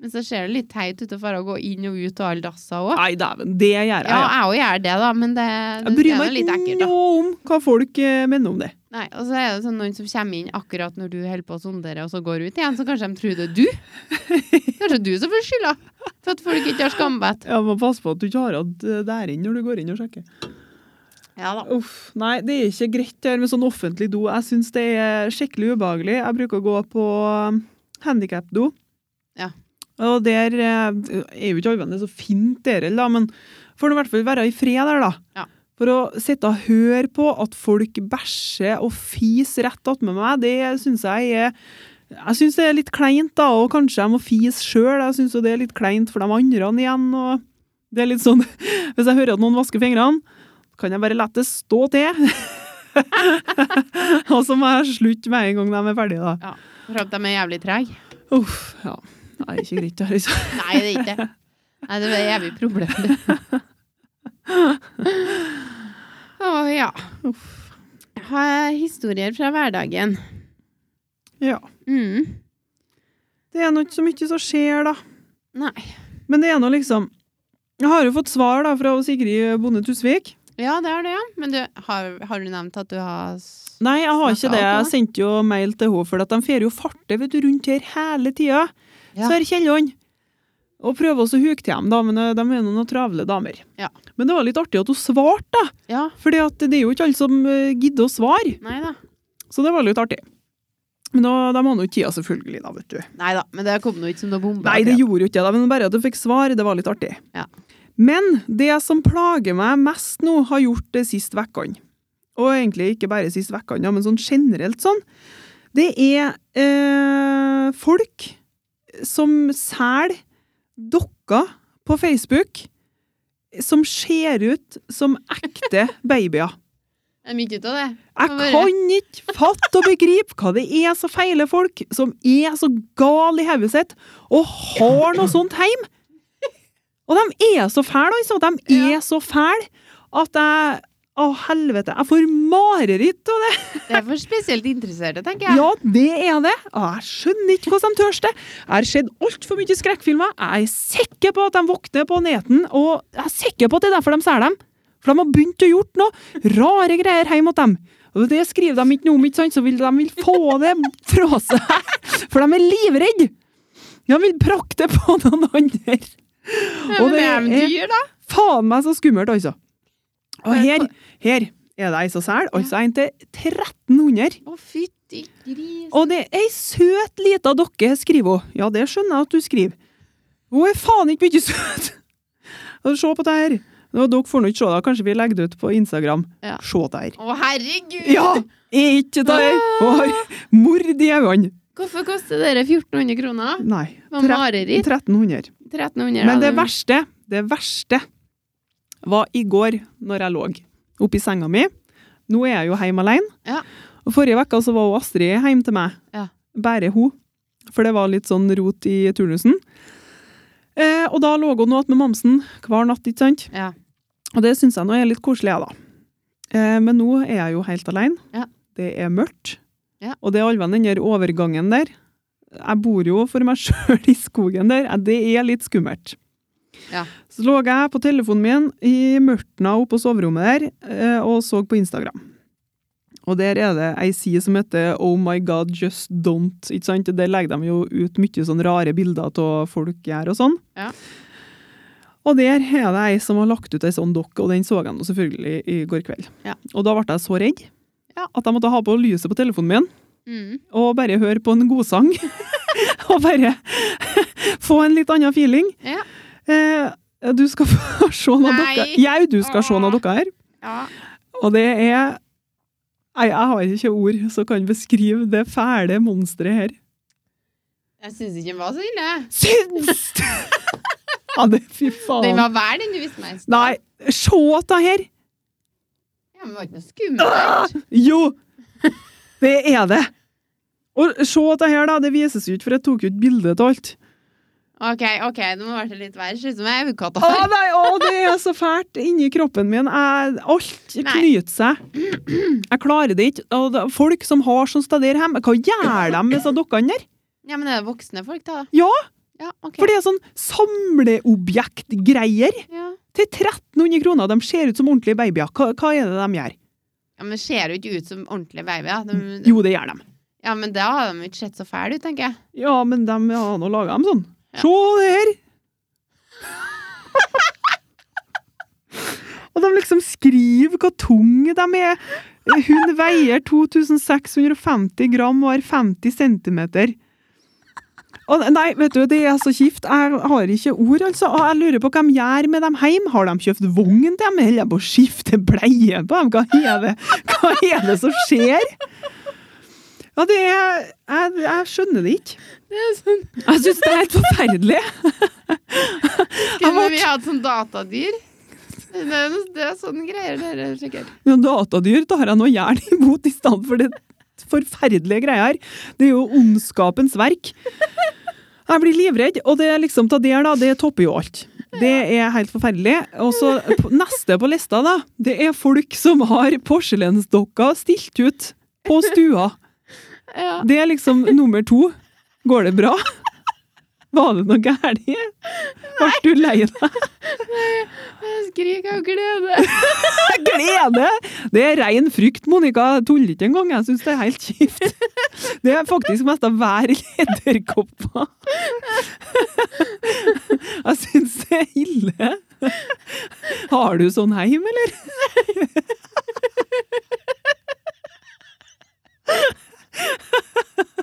Speaker 1: Men så ser det litt teit ut å fare å gå inn og ut av alle dasser òg.
Speaker 2: Nei, dæven, det gjør jeg.
Speaker 1: Ja,
Speaker 2: Ja.
Speaker 1: jeg òg gjør det, da, men det,
Speaker 2: Jeg
Speaker 1: det
Speaker 2: bryr
Speaker 1: er nå
Speaker 2: meg
Speaker 1: litt ekkelt,
Speaker 2: ikke
Speaker 1: da.
Speaker 2: noe om hva folk eh, mener om det.
Speaker 1: Nei, og så er det sånn noen som kommer inn akkurat når du holder på å sondere, og så går ut igjen, så kanskje de tror det er du. Kanskje du som får skylda for at folk ikke har skambedt.
Speaker 2: Jeg må passe på at du ikke har hatt eh, der inn når du går inn og sjekker.
Speaker 1: Ja da.
Speaker 2: Uff, nei, det er ikke greit det her med sånn offentlig do. Jeg syns det er skikkelig ubehagelig. Jeg bruker å gå på handikapdo.
Speaker 1: Ja.
Speaker 2: Og der eh, er jo ikke allmenn så fint der, da, men får nå i hvert fall være i fred der, da.
Speaker 1: Ja.
Speaker 2: For å sitte og høre på at folk bæsjer og fiser rett attmed meg, det syns jeg er jeg syns det er litt kleint, da, og kanskje jeg må fise sjøl. Jeg syns det er litt kleint for de andre igjen. og det er litt sånn, Hvis jeg hører at noen vasker fingrene, kan jeg bare la det stå til. og så må jeg slutte med en gang de er ferdige, da.
Speaker 1: For at de er jævlig trege.
Speaker 2: Uff, ja. Det er ikke greit. det her, altså.
Speaker 1: Nei, det er ikke det. Nei, det er et jævlig problem, det. Å ja.
Speaker 2: Uff.
Speaker 1: Ha historier fra hverdagen.
Speaker 2: Ja.
Speaker 1: Mm.
Speaker 2: Det er nå ikke så mye som skjer, da.
Speaker 1: Nei.
Speaker 2: Men det er nå liksom Jeg har jo fått svar da fra Sigrid Bonde Tusvik.
Speaker 1: Ja, det har du, ja. Men du, har, har du nevnt at du har s-
Speaker 2: Nei, jeg har ikke
Speaker 1: Snakket
Speaker 2: det.
Speaker 1: alt
Speaker 2: Jeg
Speaker 1: nå?
Speaker 2: sendte jo mail til henne, for at de fer jo farte vet du, rundt her hele tida.
Speaker 1: Ja.
Speaker 2: Så er Kielland. Og prøver også å huke til dem, da, men eh, de er nå noen travle damer.
Speaker 1: Ja.
Speaker 2: Men det var litt artig at hun svarte, da.
Speaker 1: Ja.
Speaker 2: Fordi at det er jo ikke alle som eh, gidder å svare.
Speaker 1: Nei da.
Speaker 2: Så det var litt artig. Men da, da må nå tida selvfølgelig, da, vet du.
Speaker 1: Nei da. Men det kom nå ikke som noe bombe.
Speaker 2: Nei, det gjorde jo ikke det, da, men bare at du fikk svar, det var litt artig.
Speaker 1: Ja.
Speaker 2: Men det som plager meg mest nå, har gjort det sist vekkene. Og egentlig ikke bare sist vekkene, ja, men sånn generelt sånn. Det er eh, folk som selger dokker på Facebook som ser ut som ekte babyer.
Speaker 1: Er mye ut av det. Hva var
Speaker 2: Jeg
Speaker 1: det?
Speaker 2: kan ikke fatte og begripe hva det er som feiler folk som er så gale i hodet sitt og har noe sånt hjemme. Og de er så fæle, altså. De
Speaker 1: Ja.
Speaker 2: er så fæle at jeg Å, helvete. Jeg får mareritt av det.
Speaker 1: Det er for spesielt interesserte, tenker jeg.
Speaker 2: Ja, det er det. Og jeg skjønner ikke hvordan de tør det. Jeg har sett altfor mye skrekkfilmer. Jeg er sikker på at de våkner på neten, og jeg er sikker på at det er derfor de selger dem. For de har begynt å gjort noe rare greier hjemme hos dem. Og det skriver de ikke noe om, ikke sant? så vil de vil få det fra seg. For de er livredde. De vil prakte på noen andre.
Speaker 1: Men
Speaker 2: og det
Speaker 1: er de
Speaker 2: er-
Speaker 1: dyr, da.
Speaker 2: Faen meg så skummelt, altså. Og her, her er det ei som selger, altså en til 1300.
Speaker 1: Å, fytti gris.
Speaker 2: Og det er ei søt lita dokke, skriver hun. Ja, det skjønner jeg at du skriver. Hun er faen ikke mye søt! Og Se på det her. Nå, dere får nå ikke se det, kanskje vi legger det ut på Instagram.
Speaker 1: Ja.
Speaker 2: Se det her.
Speaker 1: Å, herregud!
Speaker 2: Ja! Er ikke det her? Hun har mord i øynene.
Speaker 1: Hvorfor koster dere 1400 kroner?
Speaker 2: Nei.
Speaker 1: Det var
Speaker 2: tre-
Speaker 1: mareritt.
Speaker 2: 1300.
Speaker 1: 1300.
Speaker 2: Men
Speaker 1: da,
Speaker 2: det
Speaker 1: du.
Speaker 2: verste, det verste var i går når jeg lå oppi senga mi. Nå er jeg jo hjemme alene.
Speaker 1: Ja.
Speaker 2: Og forrige uke så var hun Astrid hjemme til meg.
Speaker 1: Ja.
Speaker 2: Bare hun. For det var litt sånn rot i turnusen. Eh, og da lå hun nå att med mamsen hver natt, ikke sant?
Speaker 1: Ja.
Speaker 2: Og det syns jeg nå er litt koselig, jeg, da. Eh, men nå er jeg jo helt alene.
Speaker 1: Ja.
Speaker 2: Det er mørkt.
Speaker 1: Ja.
Speaker 2: Og det er alven den der overgangen der. Jeg bor jo for meg sjøl i skogen der. Eh, Det er litt skummelt.
Speaker 1: Ja.
Speaker 2: Så lå jeg på telefonen min i mørtna oppe på soverommet der eh, og så på Instagram. Og der er det ei side som heter Oh my god, just don't. Ikke sant? Der legger de jo ut mye sånn rare bilder av folk gjør og sånn. Og der er det ei som har lagt ut ei sånn dokk, og den så jeg nå selvfølgelig i går kveld.
Speaker 1: Ja.
Speaker 2: Og da ble jeg så redd
Speaker 1: Ja.
Speaker 2: at jeg måtte ha på lyset på telefonen min
Speaker 1: Mm.
Speaker 2: og bare høre på en godsang. og bare få en litt annen feeling.
Speaker 1: Ja.
Speaker 2: Eh, du skal få se noen
Speaker 1: Nei.
Speaker 2: dokker. Jau, du skal se noen
Speaker 1: Åh.
Speaker 2: dokker her.
Speaker 1: ja.
Speaker 2: Og det er Nei, jeg har ikke ord som kan beskrive det fæle monsteret her.
Speaker 1: Jeg syns ikke den var så ille.
Speaker 2: Syns! ja, det fy faen.
Speaker 1: Den var verre den du viste meg. i stad.
Speaker 2: Nei, se det her!
Speaker 1: Ja, men det var ikke noe
Speaker 2: Ah!
Speaker 1: skummelt.
Speaker 2: Jo! Det er det. Og se dette her, da. Det vises jo ikke, for jeg tok jo ikke bilde av alt.
Speaker 1: OK, ok, det må ha vært litt verre. Ser ut som ei ukatt.
Speaker 2: Å Ah, nei, å, det er så fælt inni kroppen min. Jeg, alt
Speaker 1: Nei.
Speaker 2: knyter seg. Jeg klarer det ikke. Og det- folk som har sånn steder hjemme, hva gjør de med disse dokkene der?
Speaker 1: Ja, men det er voksne folk, da. Ja, ok.
Speaker 2: For det er sånn samleobjektgreier
Speaker 1: ja.
Speaker 2: til 1300 kroner. De ser ut som ordentlige babyer. Hva, hva er det de gjør?
Speaker 1: ja, men ser jo ikke ut som ordentlige babyer. De,
Speaker 2: Jo, det gjør de.
Speaker 1: Ja, men da har de ikke sett så fæle ut, tenker jeg.
Speaker 2: Ja, men de har nå laga dem sånn.
Speaker 1: Ja.
Speaker 2: Se det her! Og de liksom skriver hvor tunge de er. Hun veier 2650 gram og er 50 centimeter. Og nei, vet du, det er så kjipt. Jeg har ikke ord, altså. Og jeg lurer på hva de gjør med dem hjem. Har de kjøpt vogn til dem? Holder de på å skifte bleie på dem? Hva er det, hva er det som skjer? Ja, det er Jeg, jeg skjønner det ikke.
Speaker 1: Det er sånn,
Speaker 2: Jeg syns det er helt forferdelig.
Speaker 1: Kunne vi hatt sånn datadyr? Det er, noe- det er sånn greier dere sikkert.
Speaker 2: Men datadyr tar jeg nå gjerne imot i stedet for det forferdelige greia her. Det er jo ondskapens verk. Jeg blir livredd, og det er liksom ta der, da, det topper jo alt. Det er helt forferdelig. Og så p- neste på lista, da, det er folk som har porselensdokker stilt ut på stua.
Speaker 1: Ja.
Speaker 2: Det er liksom nummer to. Går det bra? Var det noe galt? Ble du lei deg?
Speaker 1: Jeg skriker av glede.
Speaker 2: glede! Det er ren frykt, Monica. Jeg tuller ikke engang. Jeg syns det er helt kjipt. Det er faktisk mest av hver lederkoppa. Jeg syns det er ille. Har du sånn heim, eller?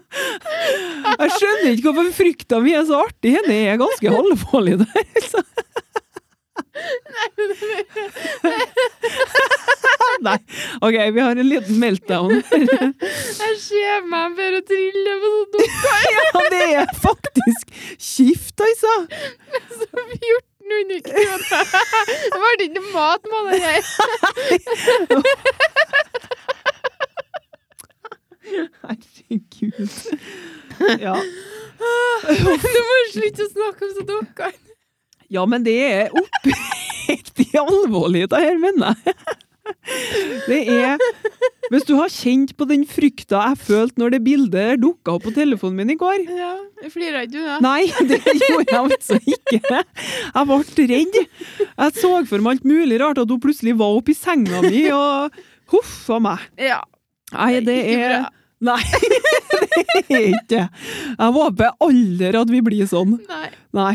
Speaker 2: Jeg skjønner ikke hvorfor frykta mi er så artig. Det er ganske alvorlig, der. altså. Nei. OK, vi har en liten meltdown.
Speaker 1: Jeg ser meg bare trille på sånn dumt
Speaker 2: Ja, det er faktisk kjipt, altså.
Speaker 1: som 1400 kroner. Det ble ikke noe mat med det her.
Speaker 2: Herregud. Ja.
Speaker 1: Du må slutte å snakke om sånn dukker.
Speaker 2: ja, men det er oppriktig alvorlig, det her, mener jeg. Det er Hvis du har kjent på den frykta jeg følte når det bildet dukka opp på telefonen min i går
Speaker 1: Ja, jeg flirer ikke du da?
Speaker 2: Nei, det gjorde jeg altså ikke. Jeg ble redd. Jeg så for meg alt mulig rart, at hun plutselig var oppi senga mi og Huff a meg.
Speaker 1: Ja.
Speaker 2: Nei, det
Speaker 1: Det er ikke
Speaker 2: er
Speaker 1: bra.
Speaker 2: Nei, det er ikke Jeg håper aldri at vi blir sånn.
Speaker 1: Nei.
Speaker 2: Nei.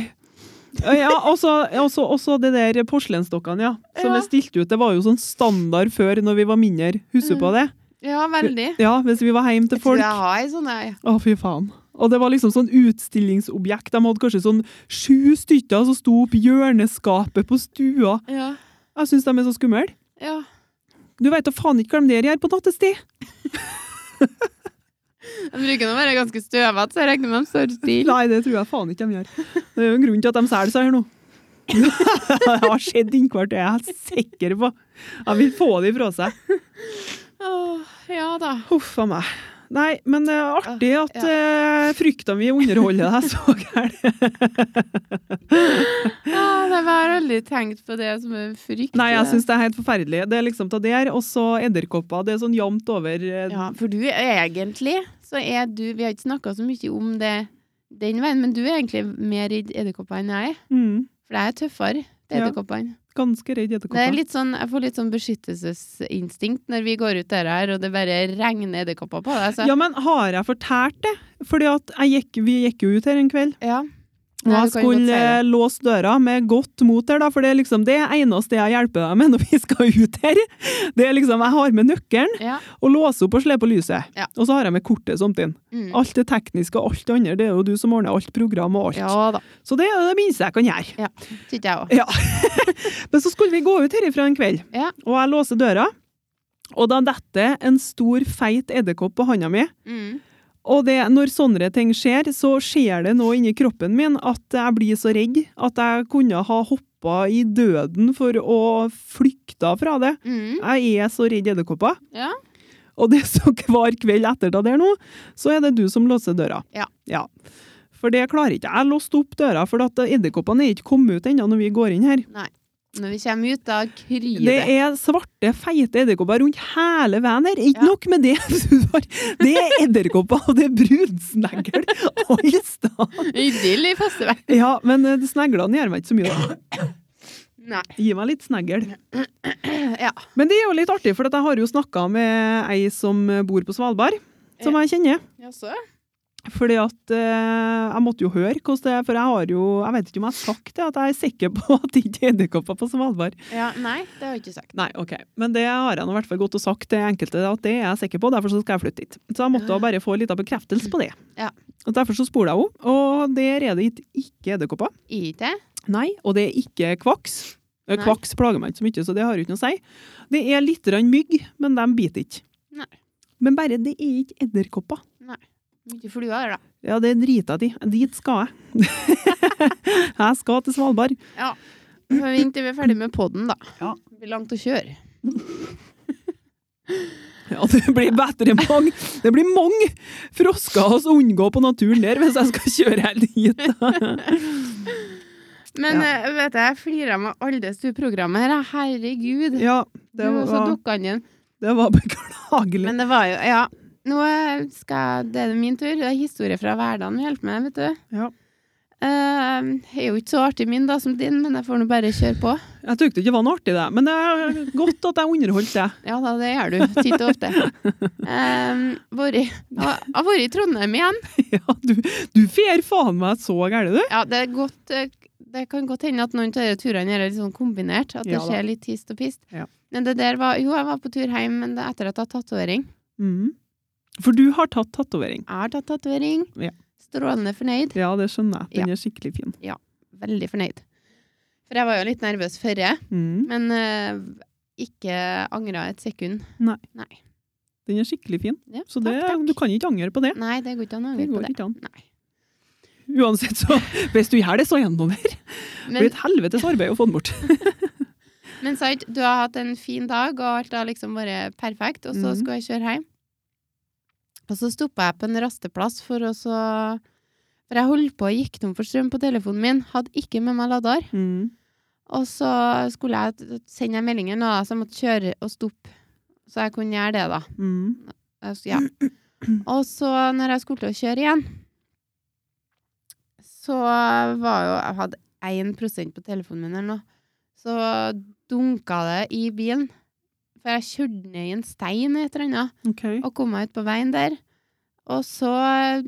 Speaker 2: Eh, Ja, også, også, også det der porselensdokkene, ja. Som
Speaker 1: Ja.
Speaker 2: er stilt ut. Det var jo sånn standard før når vi var mindre. Husker du på
Speaker 1: Mm.
Speaker 2: det?
Speaker 1: Ja, veldig.
Speaker 2: Ja, Hvis vi var hjemme til
Speaker 1: Jeg tror
Speaker 2: folk.
Speaker 1: jeg har sånne, ja.
Speaker 2: Å, fy faen. Og det var liksom sånn utstillingsobjekt. De hadde kanskje sånn sju stykker som sto opp i hjørneskapet på stua.
Speaker 1: Ja.
Speaker 2: Jeg syns de er så skumle.
Speaker 1: ja.
Speaker 2: Du veit da faen ikke hva de der gjør på nattestid.
Speaker 1: De bruker nå å være ganske støvete, så jeg regner med de står stille.
Speaker 2: Nei, det tror jeg faen ikke de gjør. Det er jo en grunn til at de selger seg her nå. det har skjedd innkvart, det er jeg helt sikker på. Jeg vil få det ifra seg.
Speaker 1: Åh, ja da.
Speaker 2: Huff a meg. Nei, men det er artig at
Speaker 1: Ja.
Speaker 2: eh, frykta mi underholder deg så gærent.
Speaker 1: Ja, det var aldri tenkt på det som en frykt.
Speaker 2: Nei, jeg syns det er helt forferdelig. Det er liksom ta der, og så edderkopper. Det er sånn jevnt over eh,
Speaker 1: Ja, for du egentlig, så er du Vi har ikke snakka så mye om det den veien, men du er egentlig mer redd edderkopper enn jeg er.
Speaker 2: mm,
Speaker 1: For jeg er tøffere til
Speaker 2: Ja.
Speaker 1: edderkoppene.
Speaker 2: Ganske redd
Speaker 1: Det er
Speaker 2: edderkopper.
Speaker 1: litt sånn, jeg får litt sånn beskyttelsesinstinkt når vi går ut der her, og det bare regner edderkopper på deg. Så.
Speaker 2: Ja, men har jeg fortært det? Fordi at jeg gikk, vi gikk jo ut her en kveld.
Speaker 1: Ja.
Speaker 2: Og
Speaker 1: Nei,
Speaker 2: jeg
Speaker 1: du kan jo godt si
Speaker 2: skulle eh,
Speaker 1: det.
Speaker 2: låse døra med godt mot her, da, for det er liksom det eneste jeg hjelper deg med når vi skal ut her. Det er liksom, Jeg har med nøkkelen
Speaker 1: Ja.
Speaker 2: og låser opp og slår på lyset.
Speaker 1: Ja.
Speaker 2: Og så har jeg med kortet samtidig.
Speaker 1: Mm.
Speaker 2: Alt det tekniske og alt det andre, det er jo du som ordner alt program og alt.
Speaker 1: ja da.
Speaker 2: Så det er det minste jeg kan gjøre.
Speaker 1: Ja. Syns jeg òg.
Speaker 2: Ja. Men så skulle vi gå ut herifra en kveld,
Speaker 1: Ja.
Speaker 2: og jeg låser døra. Og da detter en stor, feit edderkopp på handa mi.
Speaker 1: Mm.
Speaker 2: Og det, når sånne ting skjer, så skjer det noe inni kroppen min at jeg blir så redd at jeg kunne ha hoppa i døden for å flykte fra det.
Speaker 1: Mm.
Speaker 2: Jeg er så redd edderkopper.
Speaker 1: Ja.
Speaker 2: Og det er så hver kveld etter det der nå, så er det du som låser døra.
Speaker 1: Ja.
Speaker 2: For det klarer ikke jeg. Jeg låste opp døra, for at edderkoppene er ikke kommet ut ennå når vi går inn her.
Speaker 1: Nei. Når vi kommer ut, da kryr
Speaker 2: Det
Speaker 1: det.
Speaker 2: er svarte, feite edderkopper rundt hele veien her. Ikke
Speaker 1: Ja.
Speaker 2: nok med det. du har- Det er edderkopper, og det er brunsnegl og gjestan.
Speaker 1: Idyll i festevei.
Speaker 2: Ja, men eh, sneglene gjør meg ikke så mye. da.
Speaker 1: Nei.
Speaker 2: Gi meg litt snegl.
Speaker 1: Ja.
Speaker 2: Men det er jo litt artig, for at jeg har jo snakka med ei som bor på Svalbard, som jeg kjenner.
Speaker 1: Jaså?
Speaker 2: Fordi at eh, jeg måtte jo høre hvordan det er, for jeg har jo Jeg vet ikke om jeg har sagt det, at jeg er sikker på at det ikke er edderkopper på Svalbard.
Speaker 1: Ja, nei, det har jeg ikke sagt.
Speaker 2: Nei, ok. Men det har jeg nå i hvert fall gått og sagt til enkelte at det er jeg sikker på, derfor så skal jeg flytte dit. Så jeg måtte
Speaker 1: Ja.
Speaker 2: bare få en liten bekreftelse på det.
Speaker 1: Ja.
Speaker 2: Og derfor så spoler jeg henne, og der er det ikke- ikke edderkopper.
Speaker 1: IT?
Speaker 2: Nei, og det er ikke kvaks. Eh,
Speaker 1: Nei.
Speaker 2: Kvaks plager meg ikke så mye, så det har jo ikke noe å si. Det er litt grann mygg, men de biter ikke.
Speaker 1: Nei.
Speaker 2: Men bare det er ikke edderkopper.
Speaker 1: Mye fluer der, da.
Speaker 2: Ja, det driter jeg i. Dit skal jeg. jeg skal til Svalbard.
Speaker 1: Vi får vente til vi er ferdig med podden, da.
Speaker 2: Ja.
Speaker 1: Det blir langt å kjøre.
Speaker 2: Ja, det blir bedre mange. Det blir mange frosker å unngå på naturen der hvis jeg skal kjøre helt hit.
Speaker 1: Men eh, vet du, jeg flirer meg aldri til programmet her. Herregud.
Speaker 2: Ja, det
Speaker 1: Det var, så
Speaker 2: var,
Speaker 1: dukka han inn.
Speaker 2: det var beklagelig.
Speaker 1: Men det var jo Ja. Nå eh, skal det er min tur. Det er historie fra hverdagen vi hjelper med, vet du.
Speaker 2: Ja.
Speaker 1: Eh, det er jo ikke så artig min da som din, men jeg får nå bare kjøre på.
Speaker 2: Jeg tykte ikke det var noe artig, det. Men det er godt at jeg underholdt det.
Speaker 1: Ja da, det gjør du. Titt og ofte. Um, vært, jeg har vært i Trondheim igjen.
Speaker 2: Ja, du, du fer faen meg så gæren, du.
Speaker 1: Ja, det, er godt, eh, det kan godt hende at noen av de turene her er litt sånn kombinert. At det
Speaker 2: Ja da.
Speaker 1: skjer litt hist og pist.
Speaker 2: Ja.
Speaker 1: Men det der var, jo, jeg var på tur hjem men det er etter at jeg har tatovering.
Speaker 2: Mm. For du har tatt tatovering.
Speaker 1: Jeg har tatt tatovering.
Speaker 2: Ja.
Speaker 1: Strålende fornøyd.
Speaker 2: Ja, det skjønner jeg. Den er skikkelig fin.
Speaker 1: Veldig fornøyd. For jeg var jo litt nervøs forrige,
Speaker 2: Mm.
Speaker 1: men eh, ikke angra et sekund.
Speaker 2: Den er skikkelig fin.
Speaker 1: Ja,
Speaker 2: Så det,
Speaker 1: takk, takk.
Speaker 2: du kan ikke angre på det.
Speaker 1: Nei, det går ikke an å
Speaker 2: Det
Speaker 1: angre på
Speaker 2: går
Speaker 1: det.
Speaker 2: ikke an.
Speaker 1: Nei.
Speaker 2: Uansett, så hvis du gjør det, så gjennommer. Det blir
Speaker 1: Men,
Speaker 2: et helvetes arbeid å få den bort.
Speaker 1: men sant, du har hatt en fin dag, og alt har liksom vært perfekt, og så
Speaker 2: Mhm.
Speaker 1: skulle jeg kjøre hjem. Og så stoppa jeg på en rasteplass for å så For jeg holdt på å gikk tom for strøm på telefonen min, hadde ikke med meg lader.
Speaker 2: Mm.
Speaker 1: Og så skulle jeg t- sende en melding, da, så jeg måtte kjøre og stoppe. Så jeg kunne gjøre det, da.
Speaker 2: Mm.
Speaker 1: Jeg s- Eh, Ja. Og så når jeg skulle til å kjøre igjen, så var jo Jeg hadde 1 på telefonen min eller noe. Så dunka det i bilen. For jeg kjørte ned i en stein eller et eller annet
Speaker 2: Ok.
Speaker 1: og kom meg ut på veien der. Og så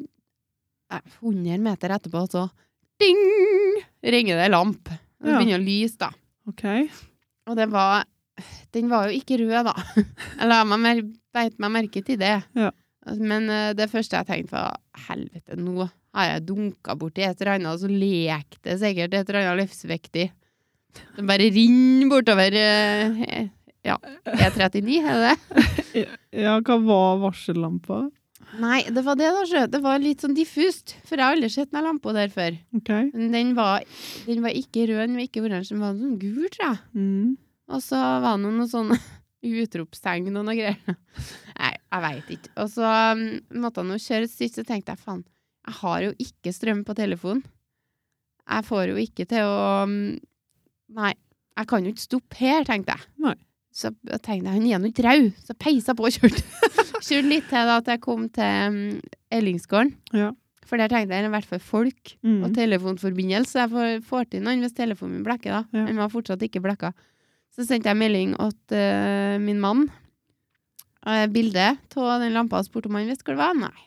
Speaker 1: eh, 100 meter etterpå så ding! ringer det lamp. Det
Speaker 2: Ja.
Speaker 1: begynner å lyse, da.
Speaker 2: Ok.
Speaker 1: Og det var Den var jo ikke rød, da. Jeg la meg mer, beit meg merke til det.
Speaker 2: Ja.
Speaker 1: Men eh, det første jeg tenkte, var helvete, nå har jeg dunka borti et eller annet, og så lekte det sikkert et eller annet livsviktig. Det bare rinner bortover eh, ja, E39, er det det?
Speaker 2: Ja, hva var varsellampa?
Speaker 1: Nei, det var det, da. sjø. Det var litt sånn diffust, for jeg har aldri sett den lampa der før.
Speaker 2: Ok.
Speaker 1: Men den var, den var ikke rød, den var ikke oransje, den var sånn gul, tror jeg.
Speaker 2: Mm.
Speaker 1: Og så var det noen sånne utropstegn og noe greier. Nei, jeg veit ikke. Og så um, måtte han jo kjøre et stykke, så tenkte jeg faen, jeg har jo ikke strøm på telefonen. Jeg får jo ikke til å um, Nei, jeg kan jo ikke stoppe her, tenkte jeg.
Speaker 2: Nei.
Speaker 1: Så jeg tenkte jeg, han er nå ikke rau, så peisa på og kjørte. Kjørte litt til da at jeg kom til um, Ellingsgården.
Speaker 2: Ja.
Speaker 1: For der tenkte jeg det er i hvert fall folk og
Speaker 2: Mm.
Speaker 1: telefonforbindelse. Jeg får, får til noen hvis telefonen min blekker, da.
Speaker 2: Ja.
Speaker 1: Den var fortsatt ikke blekka. Så sendte jeg melding til min mann. Uh, bilde av den lampa og spurte om han visste hvor det var. Nei.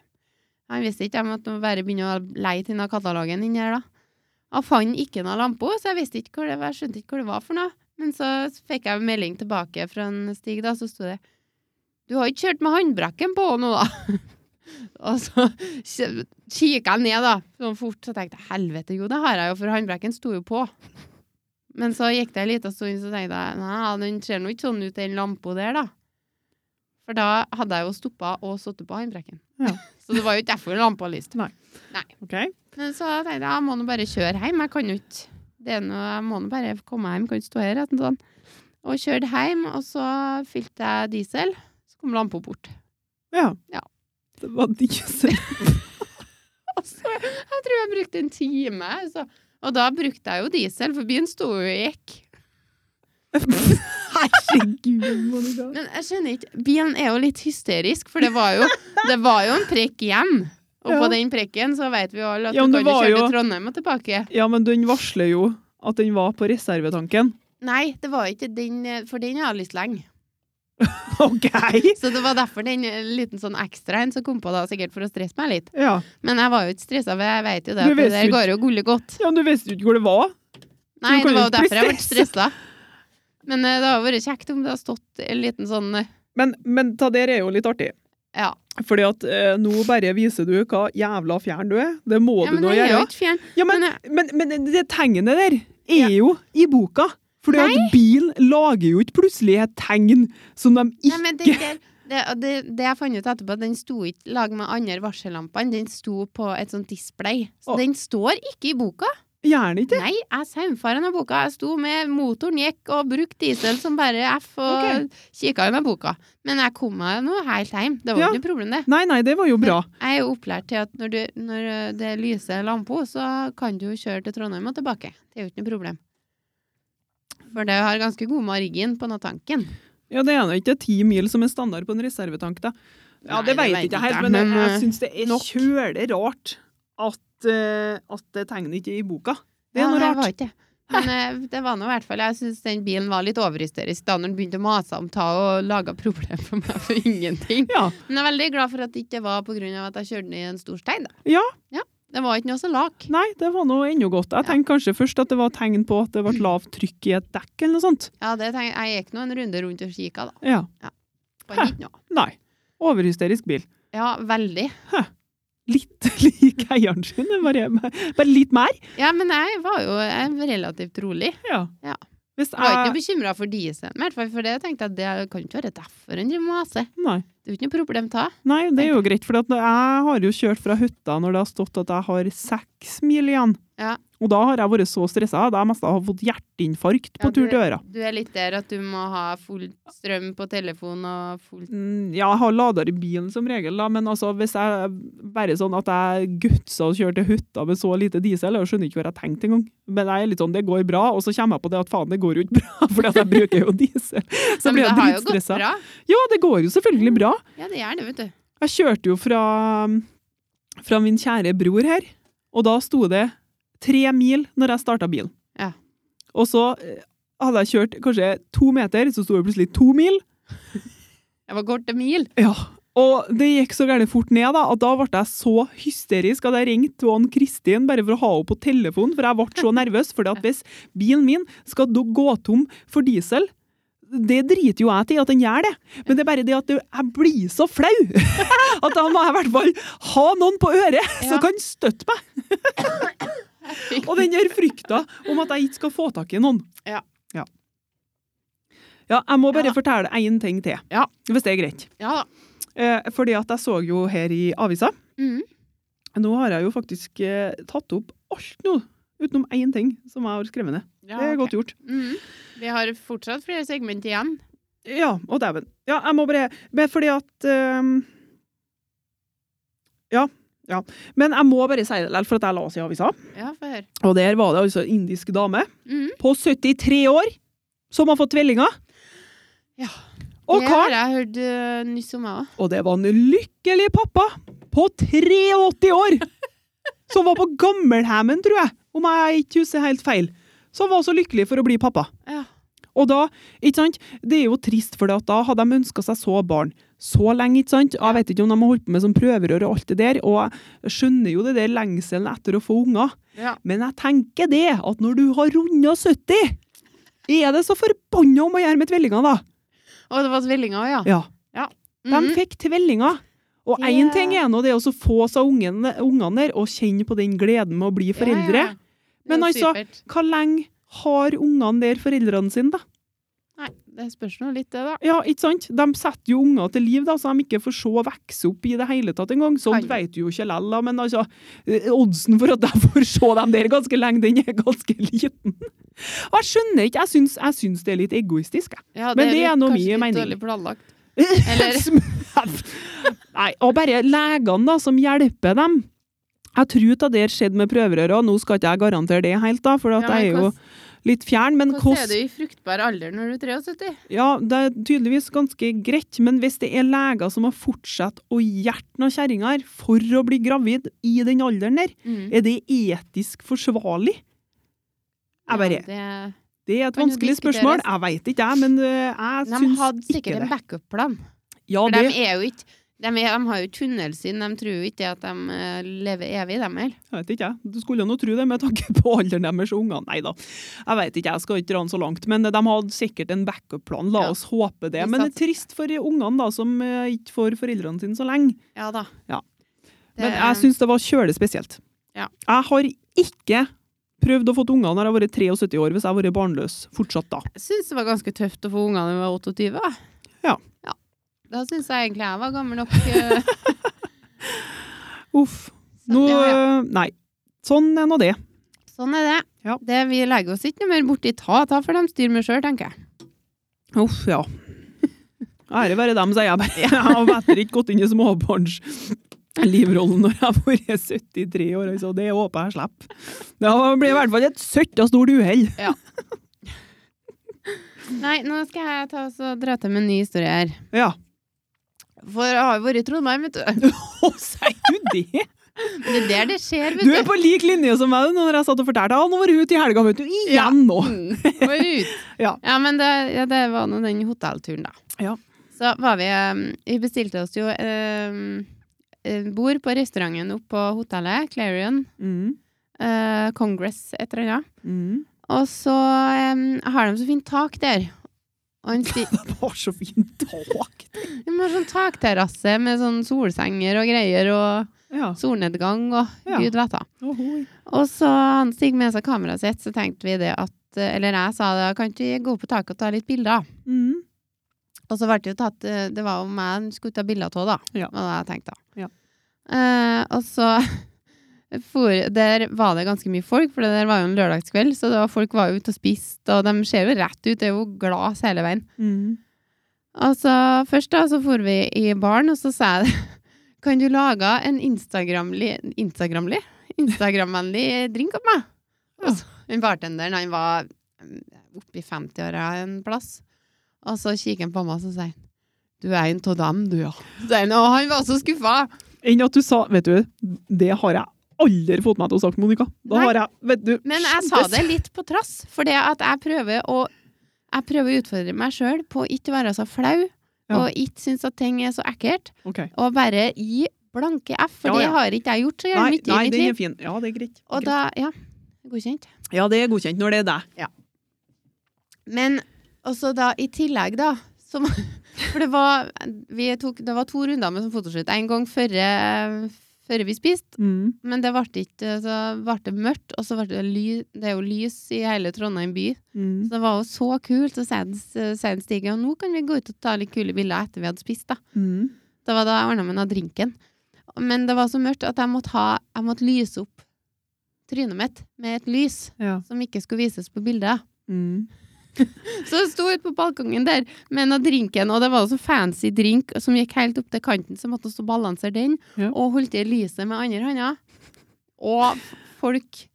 Speaker 1: Han visste ikke. Jeg måtte bare begynne å leie til denne katalogen inni her, da. Jeg fant ikke noe lampe, så jeg visste ikke hvor det var. Jeg skjønte ikke hvor det var for noe. Men så fikk jeg melding tilbake fra en Stig, da, så sto det Du har ikke kjørt med håndbrekken på nå, da? og så kj- kikket jeg ned, da, sånn fort, så tenkte jeg helvete, jo, det har jeg jo, for håndbrekken sto jo på. Men så gikk det en liten stund, så tenkte jeg nei, den ser nå ikke sånn ut, den lampa der, da. For da hadde jeg jo stoppa og sittet på håndbrekken.
Speaker 2: Ja.
Speaker 1: så det var jo ikke derfor lampa lyste.
Speaker 2: Ok.
Speaker 1: Men så tenkte jeg jeg må nå bare kjøre hjem. Jeg kan jo ikke det er noe, Jeg må nå bare komme hjem, kan ikke stå her. Sånn. Og kjørte hjem, og så fylte jeg diesel. Så kom lampa bort.
Speaker 2: Ja.
Speaker 1: Ja.
Speaker 2: Det var diesel.
Speaker 1: Og så, jeg tror jeg brukte en time. Så. Og da brukte jeg jo diesel, for bilen sto jo og gikk.
Speaker 2: Herregud, Monica.
Speaker 1: Men jeg skjønner ikke Bilen er jo litt hysterisk, for det var jo, det var jo en prekk igjen. Og
Speaker 2: Ja.
Speaker 1: på den prekken så vet vi jo alle at
Speaker 2: Ja, men
Speaker 1: du
Speaker 2: det
Speaker 1: kan jo
Speaker 2: var
Speaker 1: kjøre
Speaker 2: jo-
Speaker 1: til Trondheim og tilbake.
Speaker 2: Ja, men den varsler jo at den var på reservetanken.
Speaker 1: Nei, det var ikke den, eh, for den har jeg lyst lenge.
Speaker 2: OK!
Speaker 1: Så det var derfor den eh, liten sånn ekstra en som kom på da, sikkert for å stresse meg litt.
Speaker 2: Ja.
Speaker 1: Men jeg var jo ikke stressa, for jeg vet jo det.
Speaker 2: Du
Speaker 1: at Det
Speaker 2: vet jo
Speaker 1: der
Speaker 2: ikke-
Speaker 1: går jo gullig godt.
Speaker 2: ja, men du visste jo ikke hvor det var.
Speaker 1: Nei, det var
Speaker 2: kan
Speaker 1: jo
Speaker 2: jo ikke bli
Speaker 1: derfor jeg ble stressa. Men eh, det hadde vært kjekt om det hadde stått en liten sånn eh,
Speaker 2: Men, men ta der er jo litt artig.
Speaker 1: Ja.
Speaker 2: Fordi at eh, nå bare viser du hva jævla fjern du er. Det må
Speaker 1: ja
Speaker 2: du
Speaker 1: men
Speaker 2: nå
Speaker 1: det er jo
Speaker 2: gjøre.
Speaker 1: ikke fjern.
Speaker 2: Ja, men,
Speaker 1: men
Speaker 2: men, men det tegnet der
Speaker 1: Ja.
Speaker 2: er jo i boka. Fordi at bil lager jo ikke plutselig et tegn som de
Speaker 1: Nei,
Speaker 2: ikke
Speaker 1: men den der, det, og det, det jeg fant ut etterpå, den sto ikke lag med andre varsellampene. Den sto på et sånt display. Så
Speaker 2: Å.
Speaker 1: den står ikke i boka.
Speaker 2: Gjerne ikke.
Speaker 1: Nei, jeg saumfaren av boka. Jeg sto med motoren gikk og brukte diesel som bare F og
Speaker 2: Ok.
Speaker 1: kikka gjennom boka. Men jeg kom meg nå helt hjem. Det var
Speaker 2: Ja.
Speaker 1: jo ikke noe problem, det.
Speaker 2: Nei, nei, det var jo bra.
Speaker 1: Jeg er jo opplært til at når, du, når eh, det lyser lamper, så kan du jo kjøre til Trondheim og tilbake. Det er jo ikke noe problem. For det har ganske god margin på natanken.
Speaker 2: Ja, Det er nå ikke ti mil som er standard på en reservetank, da.
Speaker 1: Nei,
Speaker 2: Ja, det
Speaker 1: det vet
Speaker 2: veit ikke jeg
Speaker 1: ikke
Speaker 2: helt,
Speaker 1: jeg,
Speaker 2: men jeg,
Speaker 1: men,
Speaker 2: jeg
Speaker 1: eh,
Speaker 2: syns det er
Speaker 1: nok.
Speaker 2: kjølig rart at, eh, at det tegnet ikke er i boka. Det er
Speaker 1: Ja,
Speaker 2: noe
Speaker 1: nei,
Speaker 2: rart.
Speaker 1: Var ikke. det. Men eh, det var nå i hvert fall Jeg syns den bilen var litt overhysterisk da når den begynte å mase om ta og lage problemer for meg for ingenting.
Speaker 2: Ja,
Speaker 1: Men jeg er veldig glad for at det ikke var på grunn av at jeg kjørte den i en stor stein, da.
Speaker 2: Ja.
Speaker 1: Det var ikke noe som lak.
Speaker 2: Nei, det var nå ennå godt.
Speaker 1: Ja.
Speaker 2: Jeg tenkte kanskje først at det var tegn på at det ble lavt trykk i et dekk eller noe sånt.
Speaker 1: Ja, det tenk, jeg gikk nå en runde rundt og kikka, da.
Speaker 2: Ja.
Speaker 1: Fant ikke noe.
Speaker 2: Nei. Overhysterisk bil.
Speaker 1: Ja, veldig.
Speaker 2: Litt lik eieren sin, det er bare, bare litt mer.
Speaker 1: Ja, men jeg var jo jeg var relativt rolig.
Speaker 2: Ja.
Speaker 1: Ja.
Speaker 2: Hvis
Speaker 1: Jeg var ikke noe
Speaker 2: jeg
Speaker 1: bekymra for dieselen, i hvert fall for det tenkte jeg at det kan ikke være derfor en driver med AC.
Speaker 2: Nei.
Speaker 1: Det er jo ikke noe problem ta.
Speaker 2: Nei, det er jo greit, for at jeg har jo kjørt fra hytta når det har stått at jeg har seks mil igjen.
Speaker 1: Ja.
Speaker 2: Og da har jeg vært så stressa at jeg mest har fått hjerteinfarkt på
Speaker 1: Ja,
Speaker 2: tur til øra.
Speaker 1: Du er litt der at du må ha full strøm på telefon og full
Speaker 2: Mm, Ja, jeg har lader i bilen som regel, da, men altså, hvis jeg bare sånn at jeg gutsa og kjørte til hytta med så lite diesel, jeg skjønner ikke hva jeg tenkte engang. Men jeg er litt sånn, det går bra, og så kommer jeg på det at faen, det går jo ikke bra, fordi at jeg bruker jo diesel. Så
Speaker 1: Men
Speaker 2: blir
Speaker 1: det
Speaker 2: jeg
Speaker 1: har jo gått
Speaker 2: dritstressa.
Speaker 1: bra.
Speaker 2: Ja, det går jo selvfølgelig bra.
Speaker 1: Ja, det gjør det, vet du.
Speaker 2: Jeg kjørte jo fra, fra min kjære bror her, og da sto det tre mil når jeg starta bilen.
Speaker 1: Ja.
Speaker 2: Og så eh, hadde jeg kjørt kanskje to meter, så sto det plutselig to mil.
Speaker 1: Jeg var kort en mil.
Speaker 2: Ja. Og det gikk så gærent fort ned da, at da ble jeg så hysterisk at jeg ringte til han Kristin bare for å ha henne på telefonen, for jeg ble så nervøs. fordi at hvis bilen min skal da gå tom for diesel det driter jo jeg til at den gjør det, men det er bare det at det- jeg blir så flau! At da må jeg i hvert fall ha noen på øret
Speaker 1: Ja.
Speaker 2: som kan støtte meg! Og den der frykta om at jeg ikke skal få tak i noen.
Speaker 1: Ja.
Speaker 2: Ja, ja jeg må bare
Speaker 1: Ja.
Speaker 2: fortelle én ting til,
Speaker 1: Ja.
Speaker 2: hvis det er greit.
Speaker 1: Ja da.
Speaker 2: Eh, fordi at jeg så jo her i avisa.
Speaker 1: Mhm.
Speaker 2: Nå har jeg jo faktisk eh, tatt opp alt nå, utenom én ting som jeg har skrevet ned.
Speaker 1: Ja,
Speaker 2: det er
Speaker 1: ok.
Speaker 2: godt gjort.
Speaker 1: Mhm. Vi har fortsatt flere segment igjen.
Speaker 2: Ja, og dæven. Ja, jeg må bare men Fordi at ehm, Ja. Ja. Men jeg må bare si det likevel, for at jeg la oss i avisa.
Speaker 1: Ja, få høre.
Speaker 2: Og der var det altså en indisk dame
Speaker 1: Mhm.
Speaker 2: på 73 år som har fått tvillinger.
Speaker 1: Ja.
Speaker 2: Og
Speaker 1: det har
Speaker 2: kar
Speaker 1: jeg hørt øh, nyss om, jeg òg.
Speaker 2: Og det var en lykkelig pappa på 83 år, som var på gammelheimen, tror jeg, om jeg ikke husker helt feil, som var så lykkelig for å bli pappa.
Speaker 1: Ja.
Speaker 2: Og da, ikke sant, det er jo trist, for da hadde de ønska seg så barn. Så lenge, ikke sant? Jeg vet ikke om de har holdt på med sånn prøverør og alt det der, og jeg skjønner jo det der lengselen etter å få unger,
Speaker 1: Ja.
Speaker 2: men jeg tenker det, at når du har runda 70, er det så forbanna om å gjøre med tvillinger, da?
Speaker 1: Og det var tvillinger òg, ja.
Speaker 2: Ja. De
Speaker 1: Mhm.
Speaker 2: fikk tvillinger. Og
Speaker 1: Ja.
Speaker 2: én ting er nå det å så få seg ungene, ungene der og kjenne på den gleden med å bli foreldre.
Speaker 1: Ja, ja. Det
Speaker 2: Men
Speaker 1: er
Speaker 2: altså-
Speaker 1: supert.
Speaker 2: Hvor lenge har ungene der foreldrene sine, da?
Speaker 1: Nei, det spørs nå litt, det, da.
Speaker 2: Ja, ikke sant? De setter jo unger til liv, da, så de ikke får se og vokse opp i det hele tatt engang.
Speaker 1: Kan.
Speaker 2: Sånt vet du jo ikke lell, da, men altså, eh, oddsen for at de får se dem der ganske lenge, den er ganske liten. Og jeg skjønner ikke, jeg syns, jeg syns det er litt egoistisk, jeg.
Speaker 1: Ja,
Speaker 2: Men det er
Speaker 1: litt-
Speaker 2: nå
Speaker 1: kanskje
Speaker 2: min
Speaker 1: litt Dårlig
Speaker 2: mening.
Speaker 1: planlagt. Eller-
Speaker 2: Nei, og bare legene da, som hjelper dem. Jeg tror det der skjedde med prøverøra, nå skal ikke jeg garantere det helt da, for at
Speaker 1: Ja, men
Speaker 2: jeg er jo
Speaker 1: hvordan-
Speaker 2: litt fjern, men
Speaker 1: Hvordan er
Speaker 2: hvordan
Speaker 1: du i fruktbar alder når du er 73?
Speaker 2: Ja, det er tydeligvis ganske greit, men hvis det er leger som har fortsatt å hjerte noen kjerringer for å bli gravid i den alderen der,
Speaker 1: Mm.
Speaker 2: er det etisk forsvarlig? Jeg bare,
Speaker 1: Ja, det-
Speaker 2: Det er et
Speaker 1: kan jo
Speaker 2: vanskelig spørsmål.
Speaker 1: diskuteres.
Speaker 2: Jeg veit ikke, jeg, men øh, jeg
Speaker 1: De hadde
Speaker 2: syns ikke
Speaker 1: sikkert en
Speaker 2: det.
Speaker 1: backup-plan.
Speaker 2: Ja,
Speaker 1: For
Speaker 2: det,
Speaker 1: de er jo ikke de, er, de har jo tunnelsyn, de tror jo ikke at de eh, lever evig, de heller.
Speaker 2: jeg vet ikke, jeg. Du skulle nå tro det med tanke på alderen deres og ungene. Nei da, jeg vet ikke, jeg skal ikke dra den så langt. Men de hadde sikkert en backup-plan, la
Speaker 1: Ja.
Speaker 2: oss håpe det.
Speaker 1: Vi
Speaker 2: Men det er
Speaker 1: satser.
Speaker 2: trist for ungene da, som øh, ikke får foreldrene sine så lenge.
Speaker 1: Ja da.
Speaker 2: Ja.
Speaker 1: Det-
Speaker 2: Men jeg syns det var kjølig spesielt.
Speaker 1: Ja.
Speaker 2: Jeg har ikke prøvd å få unger når jeg har vært 73 år, hvis jeg har vært barnløs fortsatt da.
Speaker 1: jeg syns det var ganske tøft å få unger da jeg var 28. da.
Speaker 2: Ja.
Speaker 1: ja. Da syns jeg egentlig jeg var gammel nok. eh,
Speaker 2: Uff.
Speaker 1: Så
Speaker 2: Nå,
Speaker 1: det har jeg-
Speaker 2: øh, nei. Sånn er nå det.
Speaker 1: Sånn er det.
Speaker 2: Ja.
Speaker 1: det. Vi legger oss ikke noe mer borti ta, ta for de styrer med sjøl, tenker jeg.
Speaker 2: Uff, ja. Ære være dem, sier jeg bare. Jeg har etter ikke gått inn i småbarnslivrollen når jeg har vært 73 år, så det håper jeg slipper. Det blir i hvert fall et søtt og stort uhell. Mm.
Speaker 1: Nei, nå skal jeg ta oss og dra til med en ny historie her.
Speaker 2: Ja.
Speaker 1: For jeg har jo vært i Trondheim, vet du.
Speaker 2: Å, sier du det?
Speaker 1: Det er der det skjer,
Speaker 2: Du er
Speaker 1: vet du.
Speaker 2: på lik linje som meg når jeg satt og fortalte. Ja, nå var du ute i helga, vet du.
Speaker 1: Ja.
Speaker 2: Igjen nå.
Speaker 1: Mm, var ut.
Speaker 2: Ja.
Speaker 1: men det, ja, det var nå den hotellturen, da.
Speaker 2: Ja.
Speaker 1: Så var vi eh, Vi bestilte oss jo um, bord på restauranten oppe på hotellet, Clarion
Speaker 2: Mm.
Speaker 1: eh, Congress, et eller annet.
Speaker 2: Mm.
Speaker 1: Og så eh, har de så fint tak der. Og han sier
Speaker 2: Det var så fint tak.
Speaker 1: De har sånn takterrasse med sånn solsenger og greier, og
Speaker 2: Ja.
Speaker 1: solnedgang og
Speaker 2: Ja.
Speaker 1: gud vet da.
Speaker 2: Ohoi.
Speaker 1: Og så han Stig med seg kameraet sitt, så tenkte vi det at eh, Eller jeg sa det, kan ikke vi gå opp på taket og ta litt bilder?
Speaker 2: Mm.
Speaker 1: Og så ble det jo tatt eh, Det var jo meg han skulle ta bilder av, da.
Speaker 2: Ja.
Speaker 1: var det jeg tenkte. da.
Speaker 2: Ja.
Speaker 1: Eh, og så for, Der var det ganske mye folk, for det der var jo en lørdagskveld, så det var, folk var jo ute og spiste, og de ser jo rett ut, det er jo glass hele veien.
Speaker 2: Mm.
Speaker 1: Og så først da, så for vi i baren, og så sa jeg det. Kan du lage en Instagram-li- Instagram-li? Instagram-vennlig drink opp meg?
Speaker 2: Ja.
Speaker 1: Og så, en bartenderen, han var mm, oppi 50-åra en plass. Og så kikker han på meg og så sier han, du er en av dem, du, ja. Så sier han, og han var så skuffa.
Speaker 2: Enn at du sa Vet du, det har jeg aldri fått meg til å sagt, Monica. Da
Speaker 1: Nei.
Speaker 2: har jeg Vet du
Speaker 1: Men jeg sa
Speaker 2: skjemtes.
Speaker 1: det litt på trass, for det at jeg prøver å jeg prøver å utfordre meg sjøl på å ikke være så flau,
Speaker 2: Ja.
Speaker 1: og ikke synes at ting er så ekkelt.
Speaker 2: Ok.
Speaker 1: og bare gi blanke F, for
Speaker 2: Ja, ja.
Speaker 1: det har ikke jeg gjort så
Speaker 2: Nei,
Speaker 1: gjerne mye i
Speaker 2: nei
Speaker 1: mitt
Speaker 2: den er
Speaker 1: liv.
Speaker 2: fin. Ja, det er greit.
Speaker 1: Og da, ja, godkjent.
Speaker 2: Greit. Ja, det er godkjent når det er deg.
Speaker 1: Men
Speaker 2: altså,
Speaker 1: også da, i tillegg da, som, for det var, vi tok, det var to runder med sånn fotoshoot, en gang før, før vi spiste,
Speaker 2: Mm.
Speaker 1: men det ble ikke, så ble det mørkt, og så ble det lys, det er jo lys i hele Trondheim by,
Speaker 2: Mm.
Speaker 1: så det var jo så kult, så sen, sen stiger, og nå kan vi gå ut og ta litt kule bilder etter vi hadde spist da.
Speaker 2: Mm.
Speaker 1: Det var da jeg ordna meg noe av drinken. Men det var så mørkt at jeg måtte, ha, jeg måtte lyse opp trynet mitt med et lys
Speaker 2: Ja.
Speaker 1: som ikke skulle vises på bildet.
Speaker 2: Mm.
Speaker 1: Så jeg sto ute på balkongen der med noe av drinken, og det var jo så fancy drink som gikk helt opp til kanten, så jeg måtte stå og balansere den,
Speaker 2: Ja.
Speaker 1: og holdt i lyset med andre hånda. Og f- folk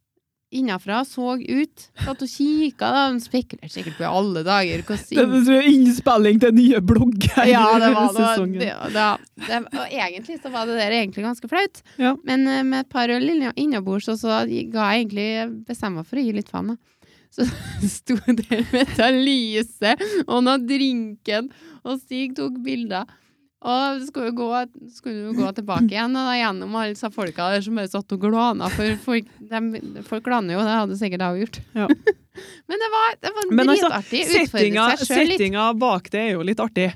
Speaker 1: innafra så ut, satt og kikka, da. De spekulerte sikkert på i alle dager
Speaker 2: Det
Speaker 1: hvordan
Speaker 2: er innspilling til nye blogger.
Speaker 1: Ja, det var
Speaker 2: sesongen.
Speaker 1: det. det, da- det og egentlig så var det der egentlig ganske flaut.
Speaker 2: Ja.
Speaker 1: Men eh, med et par øl inne- innabords, og så ga jeg egentlig bestemma for å gi litt faen, da. Så sto jeg der med ta lyset og noe drinken, og Stig tok bilder. Og så skulle vi gå, skulle vi gå tilbake igjen og da gjennom alle disse folka der som bare satt og glana. For folk, dem- folk glaner jo, det hadde sikkert jeg òg gjort.
Speaker 2: Ja.
Speaker 1: Men det var, det var
Speaker 2: Men altså,
Speaker 1: dritartig.
Speaker 2: Settinga,
Speaker 1: Utfordre seg sjøl litt.
Speaker 2: settinga bak det er jo litt artig.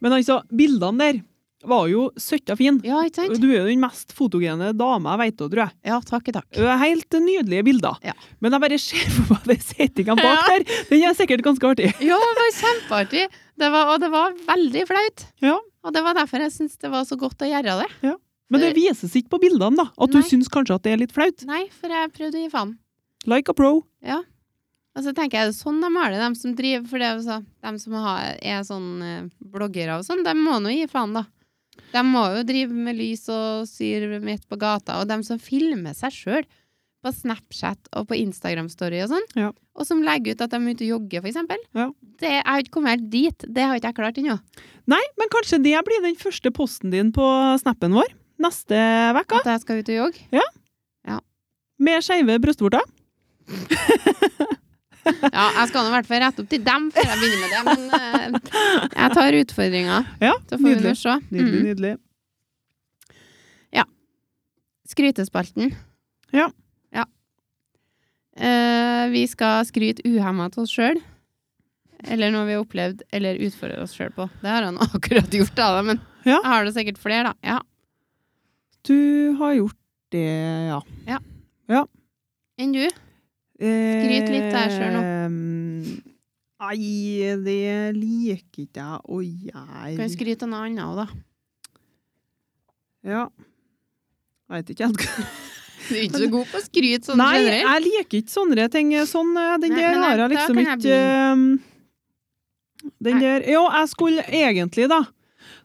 Speaker 2: Men altså, bildene der var jo søtta fine.
Speaker 1: Ja, ikke sant?
Speaker 2: Du er jo den mest fotogene dama jeg vet om, tror jeg.
Speaker 1: Ja, takk i takk.
Speaker 2: Det er Helt nydelige bilder.
Speaker 1: Ja.
Speaker 2: Men jeg bare ser for meg den settinga bak der. Den er sikkert ganske artig.
Speaker 1: Ja, det var kjempeartig. Det var, og det var veldig flaut.
Speaker 2: Ja.
Speaker 1: Og det var derfor jeg syntes det var så godt å gjøre det.
Speaker 2: Men det vises ikke på bildene, da. At
Speaker 1: Nei.
Speaker 2: du syns kanskje at det er litt flaut.
Speaker 1: Nei, for jeg prøvde å gi faen.
Speaker 2: Like a pro.
Speaker 1: Og så tenker jeg, det er sånn de har det, de som driver For det er jo så, de som har, er sånn eh, bloggere og sånn, de må nå gi faen, da. De må jo drive med lys og syr midt på gata. Og de som filmer seg sjøl på Snapchat og på Instagram-story og sånn,
Speaker 2: Ja.
Speaker 1: og som legger ut at de er ute og jogger, for eksempel.
Speaker 2: Ja.
Speaker 1: Det, jeg har ikke kommet helt dit. Det har ikke jeg klart ennå.
Speaker 2: Nei, men kanskje det blir den første posten din på snappen vår neste uke.
Speaker 1: At jeg skal ut og jogge.
Speaker 2: Med skeive brystvorter.
Speaker 1: Ja, jeg skal nå i hvert fall rette opp til dem før jeg begynner med det, men eh, jeg tar utfordringa.
Speaker 2: Ja,
Speaker 1: Så får vi nå
Speaker 2: nydelig.
Speaker 1: se.
Speaker 2: Nydelig,
Speaker 1: Mm.
Speaker 2: nydelig.
Speaker 1: Skrytespalten.
Speaker 2: Ja.
Speaker 1: Ja. Eh, vi skal skryte uhemma til oss sjøl. Eller noe vi har opplevd eller utfordrer oss sjøl på. Det har han akkurat gjort, da, men
Speaker 2: Ja.
Speaker 1: jeg har det sikkert flere, da. Ja.
Speaker 2: Du har gjort det, ja.
Speaker 1: Enn du?
Speaker 2: Skryt
Speaker 1: litt der selv
Speaker 2: Eh, Nei, det liker ikke jeg å
Speaker 1: Kan
Speaker 2: gjøre.
Speaker 1: skryte av noe annet òg, da.
Speaker 2: Ja. Jeg vet ikke helt hva
Speaker 1: Du er ikke så god på å skryte sånn
Speaker 2: Nei,
Speaker 1: generelt.
Speaker 2: jeg liker ikke sånne ting. Sånn, eh, den
Speaker 1: Nei,
Speaker 2: der
Speaker 1: men
Speaker 2: har
Speaker 1: da
Speaker 2: jeg liksom
Speaker 1: kan jeg
Speaker 2: ikke eh, Den
Speaker 1: Nei.
Speaker 2: der Jo, jeg skulle egentlig, da,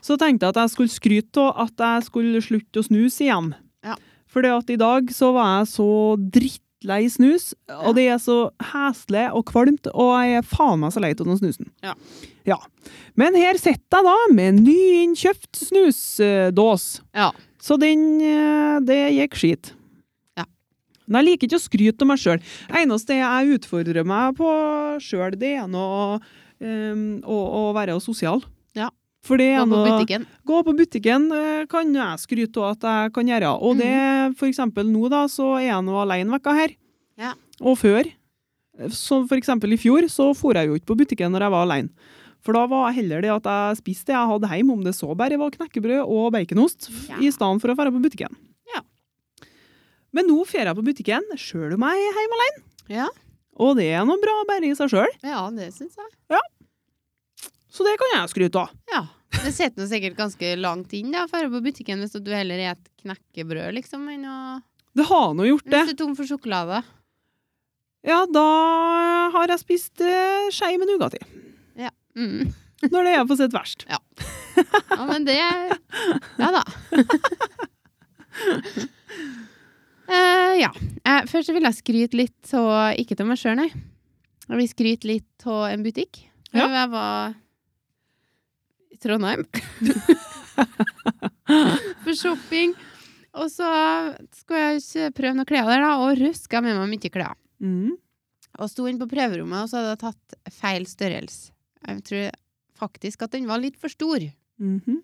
Speaker 2: så tenkte jeg at jeg skulle skryte av at jeg skulle slutte å snuse igjen.
Speaker 1: Ja.
Speaker 2: For i dag så var jeg så drittlei snus, og det er så heslig og kvalmt, og jeg er faen meg så lei av den snusen.
Speaker 1: Ja.
Speaker 2: Ja. Men her sitter jeg da med en nyinnkjøpt snusdås.
Speaker 1: Ja.
Speaker 2: Så den, eh, det gikk skit.
Speaker 1: Ja.
Speaker 2: Men jeg liker ikke å skryte av meg sjøl. Eneste jeg utfordrer meg på sjøl, det er noe, em, å, å være sosial.
Speaker 1: Ja.
Speaker 2: For det
Speaker 1: Gå
Speaker 2: er
Speaker 1: på
Speaker 2: noe
Speaker 1: butikken.
Speaker 2: Gå på butikken eh, kan jeg skryte av at jeg kan gjøre. Og det, for eksempel nå, da, så er jeg nå alene vekka her.
Speaker 1: Mhm. Ja.
Speaker 2: Og før. Som for eksempel i fjor, så for jeg jo ikke på butikken når jeg var alene. For da var heller det at jeg spiste det jeg hadde hjemme, om det så bare var knekkebrød og baconost, f-
Speaker 1: Ja.
Speaker 2: i stedet for å dra på butikken.
Speaker 1: Ja.
Speaker 2: Men nå drar jeg på butikken, sjøl om jeg er hjemme alene.
Speaker 1: Ja.
Speaker 2: Og det er noe bra bare i seg sjøl,
Speaker 1: Ja, det syns jeg.
Speaker 2: så det kan jeg skryte av.
Speaker 1: Ja. Det sitter nå sikkert ganske langt inn da, for å være på butikken hvis du heller spiser knekkebrød, liksom, enn å
Speaker 2: Det har nå gjort det.
Speaker 1: Hvis du er tom for sjokolade.
Speaker 2: Ja, da har jeg spist eh, skei med nougat i.
Speaker 1: Mm.
Speaker 2: Når det er på sitt verst.
Speaker 1: Ja, men det Ja da. Eh, ja. Eh, først så vil jeg skryte litt av Ikke til meg sjøl, nei. Jeg vil skryte litt av en butikk.
Speaker 2: Ja.
Speaker 1: Ja. Jeg var i Trondheim for shopping. Og så skulle jeg ikke prøve noen klær der, da, og røska med meg mye klær.
Speaker 2: Mm.
Speaker 1: Og sto inn på prøverommet, og så hadde jeg tatt feil størrelse. Jeg tror faktisk at den var litt for stor.
Speaker 2: Mhm.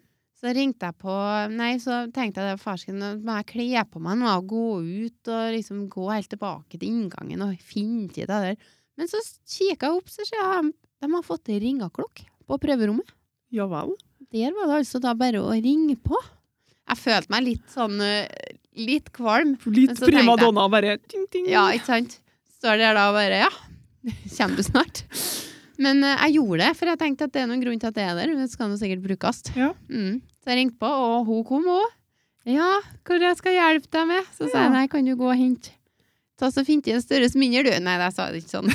Speaker 1: Så ringte jeg på Nei, så tenkte jeg det var farsken, nå må jeg kle på meg nå og gå ut og liksom gå helt tilbake til inngangen og finne til det der. Men så kikka jeg opp, så ser jeg de har fått ei ringeklokke på prøverommet.
Speaker 2: Ja vel.
Speaker 1: Der var det altså da bare å ringe på. Jeg følte meg litt sånn eh, Litt kvalm. Men
Speaker 2: Litt
Speaker 1: så tenkte jeg-
Speaker 2: primadonna, bare ting, ting.
Speaker 1: Ja, ikke sant? Står der da og bare Ja, kommer du snart? Men eh, jeg gjorde det, for jeg tenkte at det er noen grunn til at det er der. Det skal nå sikkert brukes.
Speaker 2: Ja.
Speaker 1: Mm. Så jeg ringte på, og hun kom òg. Ja, hva jeg skal hjelpe deg med? Så sa
Speaker 2: Ja.
Speaker 1: jeg nei, kan du gå og hente Ta så fint i en størrelse mindre, du. Nei, jeg sa det ikke sånn.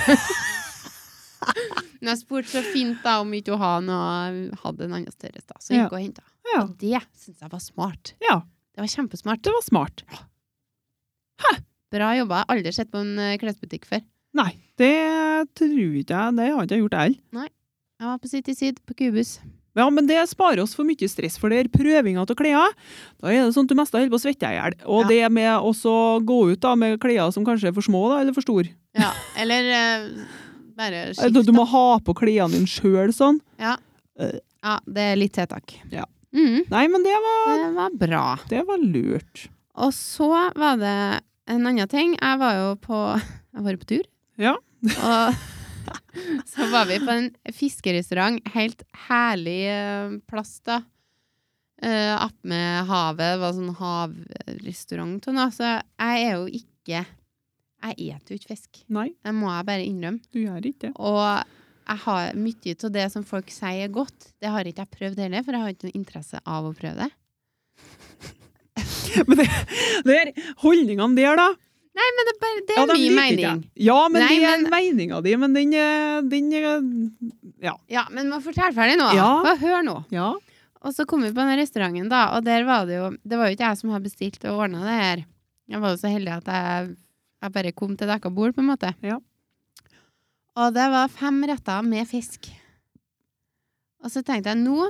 Speaker 1: Men jeg spurte så fint da om ikke hun hadde noe- hadde en annen størrelse, da. Så jeg
Speaker 2: Ja.
Speaker 1: gikk og henta.
Speaker 2: Ja.
Speaker 1: Og det syns jeg var smart.
Speaker 2: ja.
Speaker 1: Det var kjempesmart.
Speaker 2: Det var smart.
Speaker 1: Bra jobba. Jeg har aldri sett på en eh, klesbutikk før.
Speaker 2: Nei, det tror ikke jeg. Det har ikke jeg gjort jeg heller.
Speaker 1: Jeg var på City Syd, på Kubus.
Speaker 2: Ja, men det sparer oss for mye stress, for det er prøvinga av klær. Da er det sånn at du mest holder på å svette i hjel. Og
Speaker 1: Ja.
Speaker 2: det med å så gå ut da med klær som kanskje er for små da, eller for store.
Speaker 1: Ja, eller eh, bare skift.
Speaker 2: Du må ha på klærne dine sjøl sånn.
Speaker 1: Ja, det er litt tiltak.
Speaker 2: Ja.
Speaker 1: Mm,
Speaker 2: Nei, men det var,
Speaker 1: det var bra.
Speaker 2: det var lurt.
Speaker 1: Og så var det en annen ting. Jeg var jo på Jeg var jo på tur.
Speaker 2: Ja.
Speaker 1: Og så var vi på en fiskerestaurant. Helt herlig eh, plass, da. Uh, Attmed havet. Det var sånn havrestaurant og noe. Så jeg er jo ikke Jeg eter jo ikke fisk.
Speaker 2: Nei,
Speaker 1: Det må jeg bare innrømme.
Speaker 2: du gjør ikke det.
Speaker 1: Og jeg har mye av det som folk sier er godt, det har ikke jeg prøvd heller, for jeg har ikke noe interesse av å prøve det.
Speaker 2: Men det, det er holdningene der, da.
Speaker 1: Men det, er bare, det
Speaker 2: Ja,
Speaker 1: er
Speaker 2: de
Speaker 1: min
Speaker 2: liker ikke
Speaker 1: mening.
Speaker 2: jeg. Ja, men
Speaker 1: Nei,
Speaker 2: det er
Speaker 1: men-
Speaker 2: meninga di, men den, eh, den eh, Ja.
Speaker 1: Ja, men må fortelle ferdig nå.
Speaker 2: Ja.
Speaker 1: Hva, hør nå.
Speaker 2: ja.
Speaker 1: Og så kom vi på den restauranten, da, og der var det jo Det var jo ikke jeg som hadde bestilt og ordna det her. Jeg var jo så heldig at jeg Jeg bare kom til dekka bord, på en måte.
Speaker 2: Ja.
Speaker 1: Og det var fem retter med fisk. Og så tenkte jeg, nå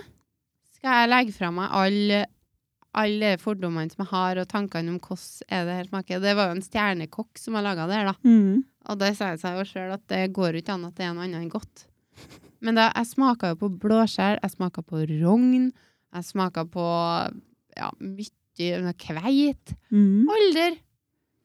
Speaker 1: skal jeg legge fra meg alle, alle fordommene som jeg har, og tankene om hvordan er det her smaker. Det var jo en stjernekokk som har laga det her, da.
Speaker 2: Mm.
Speaker 1: Og det sier seg jo sjøl at det går jo ikke an at det er noe annet enn godt. Men da, jeg smaka jo på blåskjell, jeg smaka på rogn, jeg smaka på ja, mye kveit.
Speaker 2: Mm.
Speaker 1: Alder!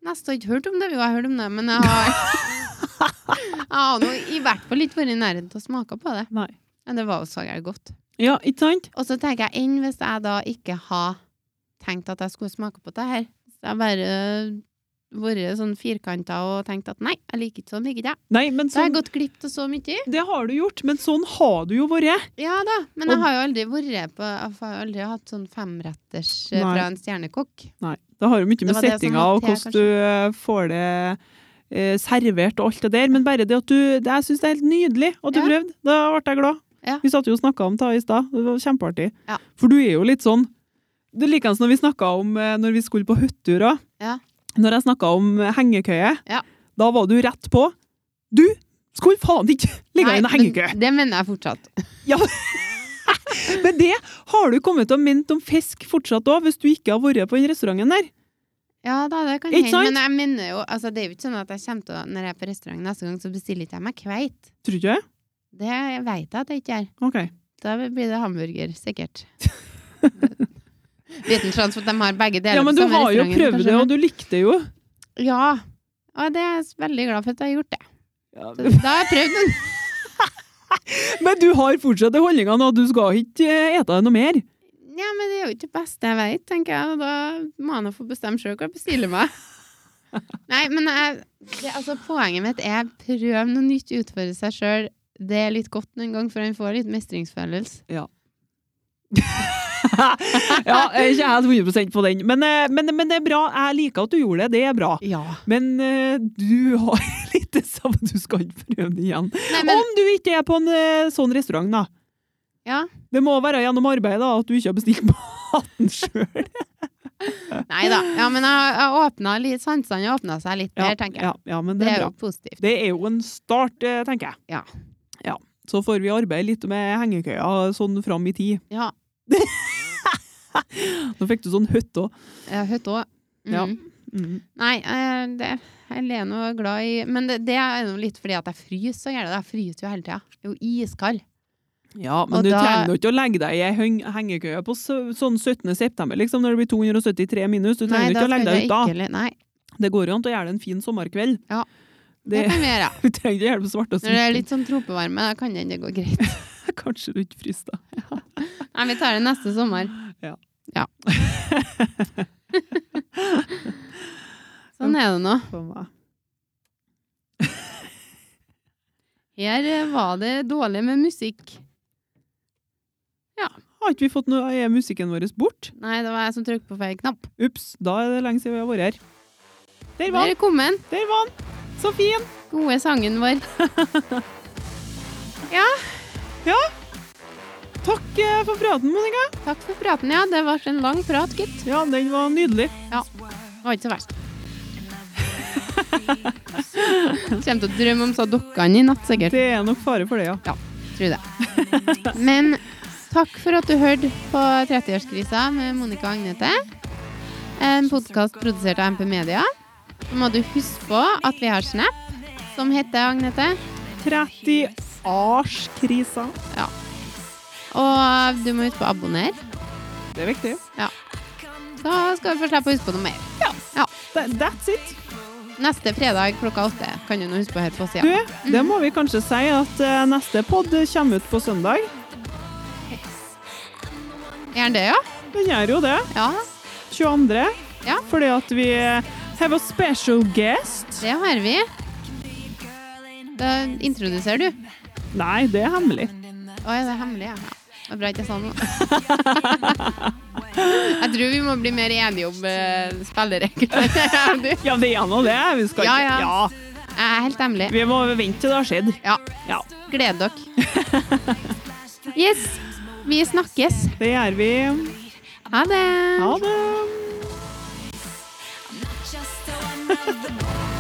Speaker 1: Nesten ikke hørt om det. Jo, jeg har hørt om det, men jeg har Jeg har nå i hvert fall ikke vært i nærheten til å smake på det.
Speaker 2: Nei.
Speaker 1: Men det var jo så gærent godt.
Speaker 2: Ja, ikke sant?
Speaker 1: Og så tenker jeg enn hvis jeg da ikke har tenkt at jeg skulle smake på det her. Så jeg bare eh, vært sånn firkanta og tenkt at nei, jeg liker ikke sånn, liker ikke jeg.
Speaker 2: Nei, men
Speaker 1: Så jeg har
Speaker 2: sånn,
Speaker 1: gått glipp av så mye.
Speaker 2: det har du gjort, men sånn har du jo vært.
Speaker 1: Ja da, men
Speaker 2: Og-
Speaker 1: jeg har jo aldri vært på Jeg har aldri hatt sånn femretters eh,
Speaker 2: Nei.
Speaker 1: fra en stjernekokk.
Speaker 2: Nei, det har jo mye
Speaker 1: Det
Speaker 2: med
Speaker 1: var det som
Speaker 2: settinga
Speaker 1: var
Speaker 2: og
Speaker 1: til,
Speaker 2: hvordan du eh, får det eh, servert og alt det der, men bare det at du det, Jeg syns det er helt nydelig at du
Speaker 1: Ja.
Speaker 2: prøvde. Da ble jeg glad.
Speaker 1: Ja.
Speaker 2: Vi satt jo og snakka om det i stad, det var kjempeartig.
Speaker 1: Ja.
Speaker 2: For du er jo litt sånn Det er likeens når vi snakka om eh, når vi skulle på hytteturer.
Speaker 1: Ja.
Speaker 2: Når jeg snakka om eh, hengekøye,
Speaker 1: Ja.
Speaker 2: da var du rett på. Du skulle faen ikke ligge i en
Speaker 1: Nei, men
Speaker 2: hengekøye!
Speaker 1: Det mener jeg fortsatt.
Speaker 2: Men det har du kommet til å minne om fisk fortsatt òg, hvis du ikke har vært på den restauranten der.
Speaker 1: Ja da, det kan
Speaker 2: Ikke
Speaker 1: hende,
Speaker 2: sant?
Speaker 1: men jeg mener jo altså, Det er jo ikke sånn at jeg kommer til å Når jeg er på restaurant neste gang, så bestiller ikke jeg meg kveit.
Speaker 2: Tror du ikke det?
Speaker 1: Det vet jeg at jeg ikke gjør.
Speaker 2: Ok.
Speaker 1: Da blir det hamburger, sikkert. Liten sjanse for at de har begge deler
Speaker 2: Ja, men
Speaker 1: på
Speaker 2: du
Speaker 1: samme
Speaker 2: har jo
Speaker 1: restaurant,
Speaker 2: prøvd det,
Speaker 1: kanskje.
Speaker 2: og du likte jo.
Speaker 1: Ja. Og det er jeg veldig glad for at jeg har gjort det.
Speaker 2: Ja,
Speaker 1: Så Da har jeg prøvd den.
Speaker 2: Men du har fortsatt de holdningene, og du skal ikke eh, ete noe mer.
Speaker 1: Ja, men det er jo ikke det beste jeg vet, tenker jeg. Og da må jeg nå få bestemme sjøl hva jeg bestiller meg. Nei, men jeg, det, altså, poenget mitt er prøv noe nytt, utfordre seg sjøl. Det er litt godt noen gang, for en får litt mestringsfølelse.
Speaker 2: ja, jeg er ikke helt 100 på den, men, eh, men, men det er bra. Jeg liker at du gjorde det, det er bra.
Speaker 1: Ja.
Speaker 2: Men eh, du har litt det samme, du skal ikke prøve det igjen.
Speaker 1: Nei, men,
Speaker 2: Om du ikke er på en eh, sånn restaurant, da.
Speaker 1: ja.
Speaker 2: Det må være gjennom arbeid da, at du ikke har bestilt maten sjøl.
Speaker 1: Nei da. Ja, men jeg, jeg åpna litt, sansene åpna seg litt mer, tenker jeg.
Speaker 2: Ja, ja, men
Speaker 1: Det
Speaker 2: det
Speaker 1: er
Speaker 2: er bra.
Speaker 1: jo positivt.
Speaker 2: Det er jo en start, eh, tenker jeg.
Speaker 1: Ja.
Speaker 2: Ja. Så får vi arbeide litt med hengekøya sånn fram i tid.
Speaker 1: Ja.
Speaker 2: Nå fikk du sånn høtt òg.
Speaker 1: Jeg har hørt òg.
Speaker 2: Ja. Mm.
Speaker 1: Nei, eh, det, jeg er nå glad i Men det, det er jo litt fordi at jeg fryser så gærent. Jeg fryser jo hele tida. Jeg er jo iskald.
Speaker 2: Ja, men
Speaker 1: Og
Speaker 2: du
Speaker 1: da-
Speaker 2: trenger jo ikke å legge deg i ei heng- hengekøye på så, sånn 17. september, liksom, når det blir 273 minus. Du trenger
Speaker 1: da
Speaker 2: jo ikke å
Speaker 1: skal
Speaker 2: legge deg
Speaker 1: jeg
Speaker 2: ut da.
Speaker 1: ikke le- Nei,
Speaker 2: Det går jo an til å gjøre det en fin sommerkveld.
Speaker 1: Ja. det
Speaker 2: Det,
Speaker 1: kan vi gjøre.
Speaker 2: du trenger ikke gjøre det på svarte
Speaker 1: Når det er litt sånn tropevarme, da kan det gå greit.
Speaker 2: Kanskje du ikke fryser da.
Speaker 1: Nei, vi tar det neste sommer.
Speaker 2: Ja.
Speaker 1: Ja. sånn er det nå.
Speaker 2: For meg.
Speaker 1: Her eh, var det dårlig med musikk.
Speaker 2: Har ikke vi fått noe Er musikken vår bort?
Speaker 1: Nei, det var jeg som trykte på feil knapp.
Speaker 2: Ups, da er det lenge siden vi har vært her. Der var den!
Speaker 1: Velkommen.
Speaker 2: Der var den! Så fin!
Speaker 1: Gode sangen vår. Ja,
Speaker 2: Ja. Takk eh, for praten, Monica.
Speaker 1: takk for praten. Ja, det ble en lang prat, gitt.
Speaker 2: Ja, den var nydelig.
Speaker 1: Ja, det var ikke så verst. Kommer til å drømme om så dokkene i natt, sikkert.
Speaker 2: Det er nok fare for det, ja.
Speaker 1: Ja, tror det. Men takk for at du hørte på 30-årskrisa med Monica og Agnete. En podkast produsert av MP Media. Så må du huske på at vi har Snap, som heter Agnete.
Speaker 2: 30-årskrisa.
Speaker 1: Ja. Og du må huske på å abonnere.
Speaker 2: Det er viktig.
Speaker 1: Ja. Så skal du få slippe å huske på noe mer. Ja.
Speaker 2: Tha- That's it.
Speaker 1: Neste fredag klokka åtte kan du nå huske på her på
Speaker 2: Du,
Speaker 1: sida.
Speaker 2: det må vi kanskje si at eh, neste pod kommer ut på søndag.
Speaker 1: Gjør det, ja?
Speaker 2: Den gjør jo det.
Speaker 1: Ja,
Speaker 2: 22.
Speaker 1: Ja.
Speaker 2: Fordi at vi have a special guest.
Speaker 1: det har vi. Da introduserer du.
Speaker 2: Nei, det er hemmelig.
Speaker 1: Å, er det hemmelig? Ja. Det var bra at jeg sa noe. jeg tror vi må bli mer enige om eh, spilleregler. Du,
Speaker 2: Ja, det er nå det. Vi skal
Speaker 1: Ja,
Speaker 2: ikke
Speaker 1: ja. Jeg er helt hemmelig.
Speaker 2: Vi må vente til det har skjedd.
Speaker 1: Ja.
Speaker 2: Ja.
Speaker 1: Gled dere. Yes. Vi snakkes.
Speaker 2: Det gjør vi.
Speaker 1: Ha det.
Speaker 2: Ha det.
Speaker 3: I'm not just another boy.